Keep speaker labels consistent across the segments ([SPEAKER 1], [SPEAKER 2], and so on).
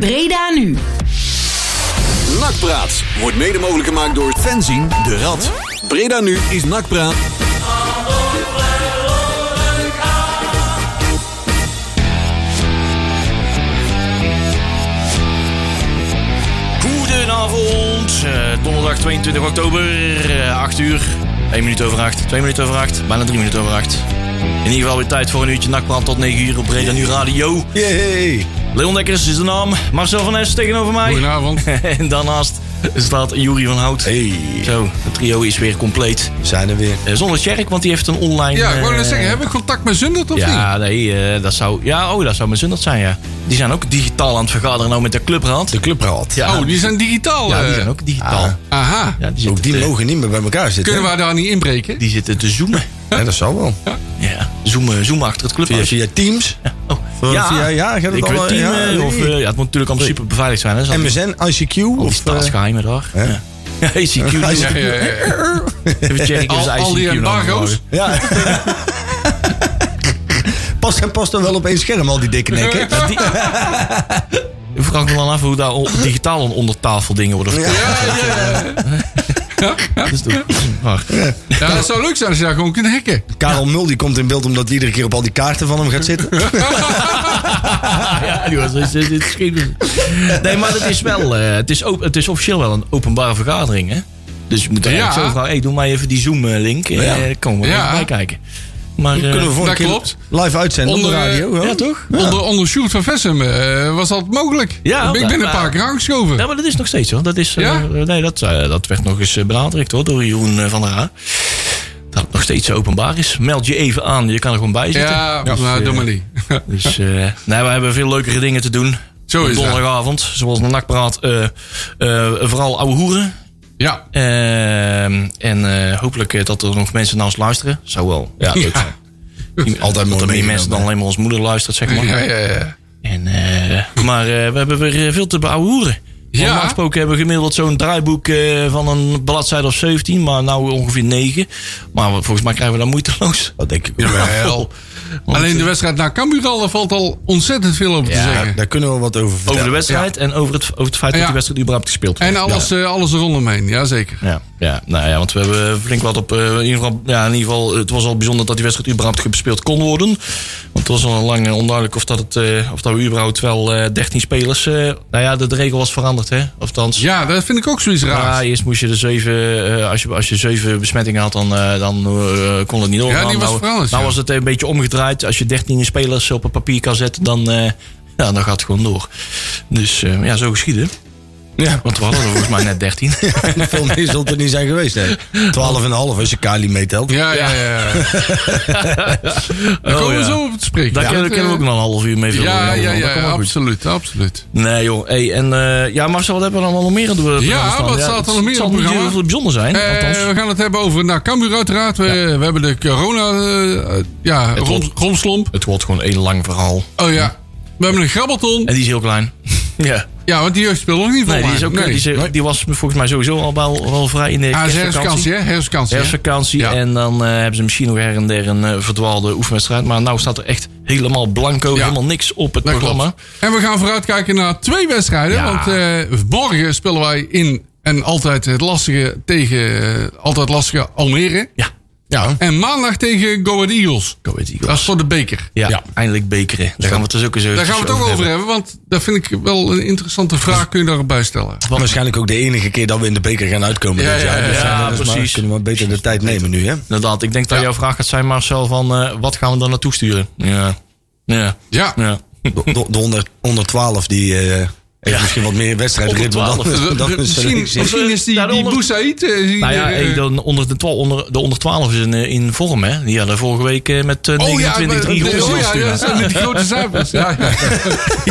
[SPEAKER 1] Breda nu.
[SPEAKER 2] Nakpraat wordt mede mogelijk gemaakt door Fenzien de Rad. Breda nu is Nakpraat.
[SPEAKER 3] Goedenavond, eh, donderdag 22 oktober, eh, 8 uur. 1 minuut over 8, 2 minuten over 8, bijna 3 minuten over 8. In ieder geval weer tijd voor een uurtje nakpraat tot 9 uur op Breda Nu Radio.
[SPEAKER 4] Yay!
[SPEAKER 3] Leon Dekkers is de naam, Marcel van Es tegenover mij.
[SPEAKER 4] Goedenavond.
[SPEAKER 3] en daarnaast staat Jury van Hout.
[SPEAKER 4] Hey,
[SPEAKER 3] Zo, het trio is weer compleet.
[SPEAKER 4] zijn er weer.
[SPEAKER 3] Eh, zonder Sjerk, want die heeft een online...
[SPEAKER 5] Ja, ik wou
[SPEAKER 3] eh,
[SPEAKER 5] net zeggen, heb ik contact met Zundert of niet?
[SPEAKER 3] Ja, nee, eh, dat zou... Ja, oh, dat zou mijn zin dat zijn, ja. Die zijn ook digitaal aan het vergaderen nou met de clubraad.
[SPEAKER 4] De clubraad.
[SPEAKER 3] Ja,
[SPEAKER 5] oh, die zijn digitaal.
[SPEAKER 3] ja, die
[SPEAKER 5] eh.
[SPEAKER 3] zijn ook digitaal.
[SPEAKER 4] Ah.
[SPEAKER 5] Aha.
[SPEAKER 3] Ja, die
[SPEAKER 4] Ook
[SPEAKER 3] zitten
[SPEAKER 4] die
[SPEAKER 3] te-
[SPEAKER 4] mogen niet meer bij elkaar zitten.
[SPEAKER 5] Kunnen we daar niet inbreken?
[SPEAKER 3] Die zitten te zoomen.
[SPEAKER 4] Ja, dat zal wel.
[SPEAKER 3] Ja, zoomen, zoomen achter het
[SPEAKER 4] Via,
[SPEAKER 3] clubhuis.
[SPEAKER 4] via Teams.
[SPEAKER 3] Oh,
[SPEAKER 4] Of via- ja, gaat het
[SPEAKER 3] ik
[SPEAKER 4] allemaal-
[SPEAKER 3] weet team,
[SPEAKER 4] ja,
[SPEAKER 3] eh,
[SPEAKER 4] nee.
[SPEAKER 3] of, eh, ja, het moet natuurlijk allemaal super beveiligd zijn. Hè? Zo,
[SPEAKER 4] MSN, ICQ.
[SPEAKER 3] al die
[SPEAKER 4] Of, eh,
[SPEAKER 3] staatsgeheimen daar.
[SPEAKER 4] hè?
[SPEAKER 3] Ja. Ja, ICQ.
[SPEAKER 4] Ja,
[SPEAKER 3] die-
[SPEAKER 5] Ja, ja, ja.
[SPEAKER 3] Even checken of
[SPEAKER 5] Al,
[SPEAKER 3] ze
[SPEAKER 5] al die
[SPEAKER 3] ICQ nog
[SPEAKER 5] embargo's.
[SPEAKER 4] ja. past, en past dan wel op één scherm, al die dikke nekken.
[SPEAKER 3] mogen. Ik vraag me dan af hoe daar on- digitaal on- onder tafel dingen worden verteld.
[SPEAKER 5] Ja, ja.
[SPEAKER 3] Dat
[SPEAKER 4] Dus
[SPEAKER 3] is toch- Maar,
[SPEAKER 5] ja, dat zou leuk zijn als je daar gewoon kunt hacken.
[SPEAKER 4] Karel Mul die komt in beeld omdat hij iedere keer op al die kaarten van hem gaat zitten.
[SPEAKER 3] ja, jongens, dit is- dit is geen- Nee, maar het is wel, eh, het, is op- het is officieel wel een openbare vergadering, hè? Dus je moet er
[SPEAKER 5] Ja.
[SPEAKER 3] eigenlijk zo vragen, hey, doe mij even die Zoom-link. en
[SPEAKER 4] Ja.
[SPEAKER 3] eh komen we wel
[SPEAKER 5] Ja.
[SPEAKER 3] even bijkijken. Maar, eh,
[SPEAKER 4] Kunnen we voor
[SPEAKER 5] dat
[SPEAKER 4] een keer
[SPEAKER 5] klopt.
[SPEAKER 4] live uitzenden op de
[SPEAKER 5] Onder, eh,
[SPEAKER 4] radio. hè?
[SPEAKER 3] ja, toch?
[SPEAKER 5] Onder, onder Sjoerd van Vessem eh, was dat mogelijk.
[SPEAKER 3] Ja,
[SPEAKER 5] ik ben
[SPEAKER 3] maar-
[SPEAKER 5] een paar keer aangeschoven.
[SPEAKER 3] Ja, maar dat is nog steeds hoor. Dat, is, eh,
[SPEAKER 5] Ja?
[SPEAKER 3] nee, dat, eh, dat werd nog eens eh, benadrukt hoor, door Jeroen eh, van der Haar. Dat het nog steeds zo openbaar is. Meld je even aan, je kan er gewoon bij zitten.
[SPEAKER 5] Ja,
[SPEAKER 3] Dus,
[SPEAKER 5] maar
[SPEAKER 3] eh,
[SPEAKER 5] doe maar niet.
[SPEAKER 3] Dus eh, nee, we hebben veel leukere dingen te doen.
[SPEAKER 5] Zo
[SPEAKER 3] Op
[SPEAKER 5] is dat.
[SPEAKER 3] Donderdagavond, zoals de nakpraat. eh, eh, vooral ouwe hoeren.
[SPEAKER 5] Ja.
[SPEAKER 3] Eh, en eh, hopelijk eh, dat er nog mensen naar ons luisteren. Zou wel. Ja, leuk zijn.
[SPEAKER 4] Altijd
[SPEAKER 3] Dat er
[SPEAKER 4] mooi
[SPEAKER 3] meer mensen
[SPEAKER 4] meegenomen.
[SPEAKER 3] dan alleen maar ons moeder luistert, zeg maar.
[SPEAKER 5] Ja, ja, ja.
[SPEAKER 3] En, eh, maar eh, we hebben weer eh, veel te beouwehoeren. Ja.
[SPEAKER 5] Ja.
[SPEAKER 3] Normaal gesproken hebben we gemiddeld zo'n draaiboek eh, van een bladzijde of 17, maar nou ongeveer 9. Maar we- volgens mij krijgen we dat moeiteloos.
[SPEAKER 4] Dat denk ik wel.
[SPEAKER 5] Jawel. Alleen de wedstrijd naar Cambuur al, daar valt al ontzettend veel over te
[SPEAKER 3] Ja,
[SPEAKER 5] zeggen.
[SPEAKER 4] Daar kunnen we wat over vertellen.
[SPEAKER 3] Over de wedstrijd en over het, over het feit dat
[SPEAKER 5] Ja.
[SPEAKER 3] die wedstrijd überhaupt gespeeld wordt.
[SPEAKER 5] En alles, eh, alles eromheen, ja zeker.
[SPEAKER 3] Ja. Ja, nou ja, want we hebben flink wat op. eh, in, ieder geval, ja, in ieder geval, het was al bijzonder dat die wedstrijd überhaupt gespeeld kon worden. Want het was al lang eh, onduidelijk of dat, het, eh, of dat we überhaupt wel eh 13 spelers. eh, nou ja, de, de regel was veranderd, hè? Ofthans.
[SPEAKER 5] Ja, dat vind ik ook zoiets
[SPEAKER 3] Ja,
[SPEAKER 5] raars.
[SPEAKER 3] eerst moest je de zeven, eh, als, je, als je zeven besmettingen had, dan, eh, dan eh, kon het niet doorgaan.
[SPEAKER 5] Ja, die was
[SPEAKER 3] nou,
[SPEAKER 5] veranderd,
[SPEAKER 3] nou
[SPEAKER 5] ja.
[SPEAKER 3] was het een beetje omgedraaid. Als je 13 spelers op een papier kan zetten, dan, eh, ja, dan gaat het gewoon door. Dus eh, ja, zo geschieden.
[SPEAKER 4] Ja.
[SPEAKER 3] Want we hadden er volgens mij net Oh, 13.
[SPEAKER 4] Veel meer zult er niet zijn geweest. hè. 12,5 als je Kali meetelt.
[SPEAKER 5] Ja, ja, ja. ja. Daar
[SPEAKER 3] Oh,
[SPEAKER 5] komen we
[SPEAKER 3] ja.
[SPEAKER 5] zo op te spreken.
[SPEAKER 3] Daar kunnen,
[SPEAKER 5] Dat,
[SPEAKER 3] kunnen we ook
[SPEAKER 5] eh,
[SPEAKER 3] nog een half uur mee vullen.
[SPEAKER 5] Ja,
[SPEAKER 3] Jan,
[SPEAKER 5] ja,
[SPEAKER 3] want dat
[SPEAKER 5] ja,
[SPEAKER 3] komt wel goed.
[SPEAKER 5] absoluut, absoluut.
[SPEAKER 3] Nee joh, hey, en eh, ja Marcel, wat hebben we allemaal nog meer aan de programma
[SPEAKER 5] Ja,
[SPEAKER 3] staan?
[SPEAKER 5] wat staat er nog
[SPEAKER 3] het
[SPEAKER 5] meer
[SPEAKER 3] zal
[SPEAKER 5] op
[SPEAKER 3] niet
[SPEAKER 5] programma?
[SPEAKER 3] heel veel bijzonder zijn,
[SPEAKER 5] Eh,
[SPEAKER 3] althans.
[SPEAKER 5] we gaan het hebben over nou, Cambuur uiteraard. We, we hebben de corona eh, eh, ja,
[SPEAKER 3] Het
[SPEAKER 5] rom,
[SPEAKER 3] wordt-
[SPEAKER 5] romslomp.
[SPEAKER 3] Het wordt gewoon één lang verhaal.
[SPEAKER 5] Oh ja. We hebben een grabbelton.
[SPEAKER 3] En die is heel klein. ja.
[SPEAKER 5] Ja, want die jeugd speelt nog niet voor
[SPEAKER 3] Nee, die,
[SPEAKER 5] mij.
[SPEAKER 3] is ook, die, is- die was volgens mij sowieso al wel, wel vrij in de
[SPEAKER 5] Ah, het is
[SPEAKER 3] kerstvakantie.
[SPEAKER 5] herfstvakantie, hè? Herfstvakantie. hè?
[SPEAKER 3] Herfstvakantie.
[SPEAKER 5] Ja.
[SPEAKER 3] En dan eh, hebben ze misschien nog her en der een eh, verdwaalde oefenwedstrijd. Maar nou staat er echt helemaal blanco, helemaal niks op het
[SPEAKER 5] Dat
[SPEAKER 3] programma.
[SPEAKER 5] klopt. En we gaan vooruitkijken naar twee wedstrijden.
[SPEAKER 3] Ja.
[SPEAKER 5] Want eh, morgen spelen wij in en altijd het lastige tegen eh, altijd lastige Almere.
[SPEAKER 3] Ja.
[SPEAKER 4] Ja.
[SPEAKER 5] En maandag tegen Go Ahead Eagles.
[SPEAKER 3] Go Ahead Eagles.
[SPEAKER 5] Dat is voor de beker.
[SPEAKER 3] Ja,
[SPEAKER 4] Ja.
[SPEAKER 3] eindelijk bekeren. Daar gaan we het dus ook eens
[SPEAKER 5] Daar gaan we het ook over hebben, want dat vind ik wel een interessante vraag. Kun je daarbij stellen?
[SPEAKER 4] Wat waarschijnlijk ook de enige keer dat we in de beker gaan uitkomen
[SPEAKER 5] Ja,
[SPEAKER 4] dit
[SPEAKER 5] ja,
[SPEAKER 4] jaar.
[SPEAKER 5] ja,
[SPEAKER 4] Dus
[SPEAKER 3] ja,
[SPEAKER 4] dat is maar-
[SPEAKER 3] precies.
[SPEAKER 4] kunnen we maar beter de tijd nemen nu, hè?
[SPEAKER 3] Inderdaad, ik denk dat
[SPEAKER 5] Ja.
[SPEAKER 3] jouw vraag gaat zijn Marcel van eh, wat gaan we dan naartoe sturen? Ja. Ja.
[SPEAKER 5] Ja.
[SPEAKER 3] ja.
[SPEAKER 4] De, de, de onder, onder 12 die eh, heeft misschien wat meer wedstrijdritme dan,
[SPEAKER 3] 112.
[SPEAKER 4] dan, dan een
[SPEAKER 5] Eh, misschien,
[SPEAKER 4] selectie.
[SPEAKER 5] misschien is die, die
[SPEAKER 3] Daaronder-
[SPEAKER 5] Boussaïd... eh, die-
[SPEAKER 3] Nou ja,
[SPEAKER 5] eh,
[SPEAKER 3] hey, dan onder de, twa- onder, de onder 12 is in, eh, in vorm, hè? Die hadden vorige week eh, met eh, 29-3
[SPEAKER 5] Oh ja, maar-
[SPEAKER 3] gewonnen.
[SPEAKER 5] de- oh ja, ja, dat zijn die grote cijfers. Ja,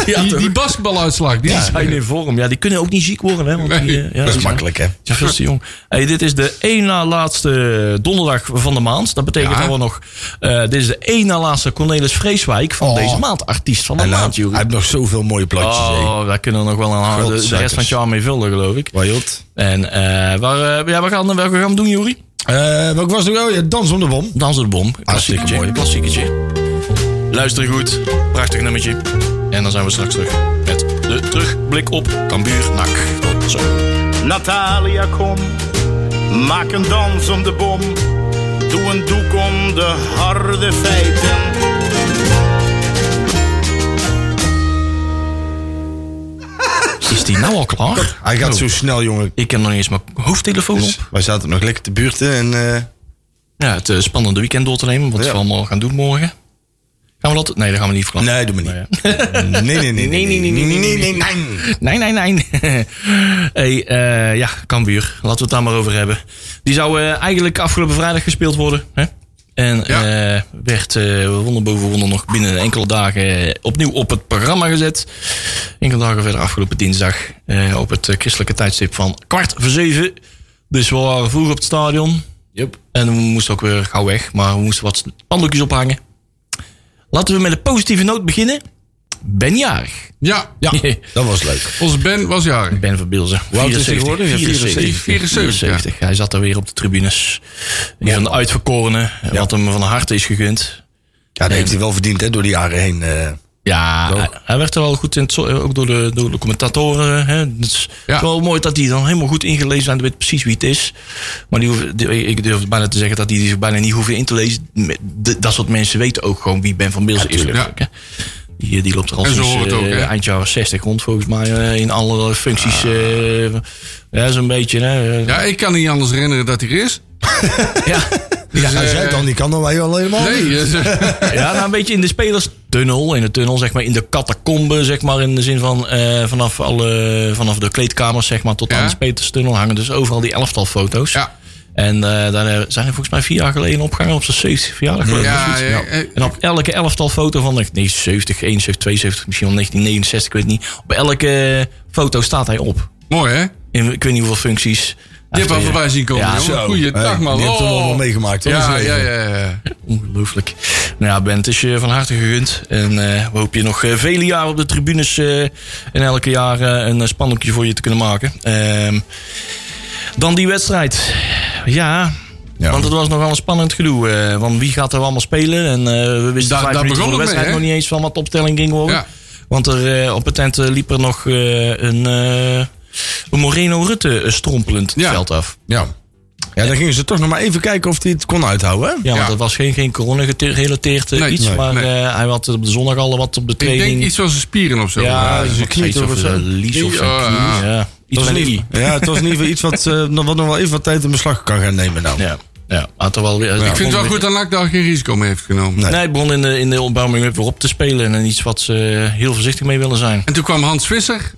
[SPEAKER 5] ja. die, die basketbaluitslag. Die is,
[SPEAKER 3] zijn in vorm. Ja, die kunnen ook niet ziek worden, hè? Want die,
[SPEAKER 5] Nee,
[SPEAKER 3] eh, ja,
[SPEAKER 4] Dat
[SPEAKER 3] die
[SPEAKER 4] is
[SPEAKER 3] zijn-
[SPEAKER 4] makkelijk, hè?
[SPEAKER 3] Ja, veel te jong. Hey, dit is de één na laatste donderdag van de maand. Dat betekent
[SPEAKER 5] Ja.
[SPEAKER 3] dat we nog... eh, dit is de één na laatste Cornelis Vreeswijk van
[SPEAKER 4] Oh.
[SPEAKER 3] deze maand. Artiest van de
[SPEAKER 4] En
[SPEAKER 3] maand,
[SPEAKER 4] laat, hij
[SPEAKER 3] Jury.
[SPEAKER 4] heeft nog zoveel mooie plaatjes. hè.
[SPEAKER 3] Oh, daar kunnen we nog wel een, de, de rest van het jaar mee vullen, geloof ik.
[SPEAKER 4] Wajot.
[SPEAKER 3] En eh, waar, eh, ja, we gaan, welke gaan we doen, Jury?
[SPEAKER 4] Eh, welke was het? Oh ja, Dans om de Bom.
[SPEAKER 3] Dans de bom.
[SPEAKER 4] Hartstikke
[SPEAKER 3] Klassieketje.
[SPEAKER 4] mooi.
[SPEAKER 3] Klassieketje. Luister goed. Prachtig nummertje. En dan zijn we straks terug met De terugblik op Cambuur NAC. Tot Zo.
[SPEAKER 1] Natalia, kom. Maak een dans om de bom. Doe een doek om de harde feiten.
[SPEAKER 3] Is die nou al klaar?
[SPEAKER 4] Hij gaat zo snel, jongen.
[SPEAKER 3] Ik heb nog niet eens mijn hoofdtelefoon
[SPEAKER 4] Dus
[SPEAKER 3] op.
[SPEAKER 4] wij zaten nog lekker te buurten en eh,
[SPEAKER 3] Ja, het eh, spannende weekend door te nemen. Wat
[SPEAKER 4] Ja.
[SPEAKER 3] we allemaal gaan doen morgen. Gaan we dat? Nee, dat gaan we niet verklappen.
[SPEAKER 4] Nee, doe maar niet. Nee, nee, nee.
[SPEAKER 3] Nee, nee, nee, nee, nee, nee, Nee, nee, nee. hey, eh, ja, Cambuur. Laten we het daar maar over hebben. Die zou eh, eigenlijk afgelopen vrijdag gespeeld worden. Hè? En
[SPEAKER 5] Ja.
[SPEAKER 3] eh, werd eh wonder boven wonder nog binnen enkele dagen eh, opnieuw op het programma gezet. Enkele dagen verder afgelopen dinsdag eh, op het eh, christelijke tijdstip van kwart voor zeven. Dus we waren vroeg op het stadion. Yep. En we moesten ook weer gauw weg, maar we moesten wat spandoekjes ophangen. Laten we met een positieve noot beginnen. Ben jarig.
[SPEAKER 5] Ja, ja.
[SPEAKER 4] Dat was leuk.
[SPEAKER 5] onze Ben was jarig.
[SPEAKER 3] Ben van Bilzen. Hoe
[SPEAKER 4] oud is hij geworden? Ja, 74.
[SPEAKER 3] 74. Hij zat daar weer op de tribunes. Die van de uitverkorenen. Wat hem van harte is gegund.
[SPEAKER 4] Ja, dat heeft hij wel verdiend, hè, door die jaren heen. eh.
[SPEAKER 3] Ja, hij, hij werd er wel goed in. het zo- eh, Ook door de, door de commentatoren. Hè. Het is
[SPEAKER 5] Ja.
[SPEAKER 3] wel mooi dat hij dan helemaal goed ingelezen zijn. Weet precies wie het is. Maar die hoeven- die- ik durf bijna te zeggen dat die zich bijna niet hoeven in te lezen. Met- de- Dat soort mensen weten ook gewoon wie Ben van Bilzen is. natuurlijk, hè. Die, die loopt er al
[SPEAKER 5] En zo
[SPEAKER 3] sinds
[SPEAKER 5] hoort het ook,
[SPEAKER 3] eh,
[SPEAKER 5] hè? Ah.
[SPEAKER 3] eind jaren 60 rond volgens mij. eh, in alle functies. eh, ja, zo'n beetje. Hè.
[SPEAKER 5] Ja, ik kan niet anders herinneren dat hij er is.
[SPEAKER 3] Ja.
[SPEAKER 5] Dus,
[SPEAKER 4] ja, hij
[SPEAKER 5] eh,
[SPEAKER 4] zei het al, die kan dan wij al helemaal.
[SPEAKER 5] Nee, eh,
[SPEAKER 3] ja, nou een beetje in de spelerstunnel. In de tunnel, zeg maar. In de catacombe, zeg maar. In de zin van eh, vanaf, alle, vanaf de kleedkamers, zeg maar, tot
[SPEAKER 5] Ja.
[SPEAKER 3] aan de spelerstunnel hangen dus overal die elftal foto's.
[SPEAKER 5] ja.
[SPEAKER 3] En eh, daar eh, zijn er volgens mij vier jaar geleden opgehangen op zijn 70 verjaardag. geloof ik,
[SPEAKER 5] Ja,
[SPEAKER 3] of zoiets.
[SPEAKER 5] ja, eh,
[SPEAKER 3] En op elke elftal foto van eh, nee, 70, 71, 72, misschien wel 1969, ik weet het niet. Op elke foto staat hij op.
[SPEAKER 5] Mooi hè?
[SPEAKER 3] In, ik weet niet hoeveel functies.
[SPEAKER 5] Je hebt al
[SPEAKER 3] Echt, eh,
[SPEAKER 5] voorbij zien komen.
[SPEAKER 3] Ja,
[SPEAKER 5] Ja,
[SPEAKER 3] zo.
[SPEAKER 5] Goeiedag
[SPEAKER 4] Hey,
[SPEAKER 5] man.
[SPEAKER 4] Die heeft hem
[SPEAKER 5] Oh.
[SPEAKER 4] allemaal meegemaakt. hoor, in
[SPEAKER 5] Ja,
[SPEAKER 4] zijn
[SPEAKER 5] ja,
[SPEAKER 4] leven.
[SPEAKER 5] ja, ja.
[SPEAKER 3] Ongelooflijk. Nou ja, Bent, het is je van harte gegund. En eh, we hopen je nog eh, vele jaren op de tribunes eh, en elke jaar eh, een spandoekje voor je te kunnen maken. Ehm, dan die wedstrijd. Ja,
[SPEAKER 4] Ja.
[SPEAKER 3] want het was nogal een spannend gedoe. eh want wie gaat er allemaal spelen? En eh, we wisten
[SPEAKER 5] Daar-
[SPEAKER 3] vijf
[SPEAKER 5] daar
[SPEAKER 3] minuten voor de
[SPEAKER 5] begon het mee,
[SPEAKER 3] wedstrijd
[SPEAKER 5] hè?
[SPEAKER 3] nog niet eens van wat de opstelling ging worden.
[SPEAKER 5] Ja.
[SPEAKER 3] Want er, eh, op het tent eh, liep er nog eh, een, eh, een Moreno Rutte eh, strompelend het
[SPEAKER 5] Ja.
[SPEAKER 3] veld af.
[SPEAKER 4] Ja. Ja, dan gingen ze toch nog maar even kijken of hij het kon uithouden. Hè?
[SPEAKER 3] Ja, want
[SPEAKER 5] Ja.
[SPEAKER 3] dat was geen, geen corona-gerelateerd eh,
[SPEAKER 5] Nee,
[SPEAKER 3] iets.
[SPEAKER 5] nee,
[SPEAKER 3] maar
[SPEAKER 5] nee.
[SPEAKER 3] eh, hij had op de zondag al wat op de
[SPEAKER 5] Ik
[SPEAKER 3] training.
[SPEAKER 5] denk iets zoals een spieren of zo.
[SPEAKER 3] ja, dus
[SPEAKER 4] een
[SPEAKER 3] ik
[SPEAKER 4] knie
[SPEAKER 3] weet
[SPEAKER 4] toch
[SPEAKER 3] of
[SPEAKER 4] of
[SPEAKER 3] zo.
[SPEAKER 4] zo?
[SPEAKER 3] Lies of
[SPEAKER 5] Knie,
[SPEAKER 3] zo'n
[SPEAKER 5] ja.
[SPEAKER 3] knie, ja. Iets met
[SPEAKER 4] Dat was
[SPEAKER 3] een
[SPEAKER 4] niet,
[SPEAKER 3] i.
[SPEAKER 4] ja, het was in ieder geval iets wat, eh, nog- wat nog wel even wat tijd in beslag kan gaan nemen. Nou.
[SPEAKER 3] Ja, ja. Had er wel weer,
[SPEAKER 5] Ik vind het wel goed dat NAC daar geen risico mee heeft genomen.
[SPEAKER 4] Nee.
[SPEAKER 3] Nee, hij begon in de, in de opwarming up weer op te spelen. En iets wat ze eh, heel voorzichtig mee willen zijn.
[SPEAKER 5] En toen kwam Hans Visser.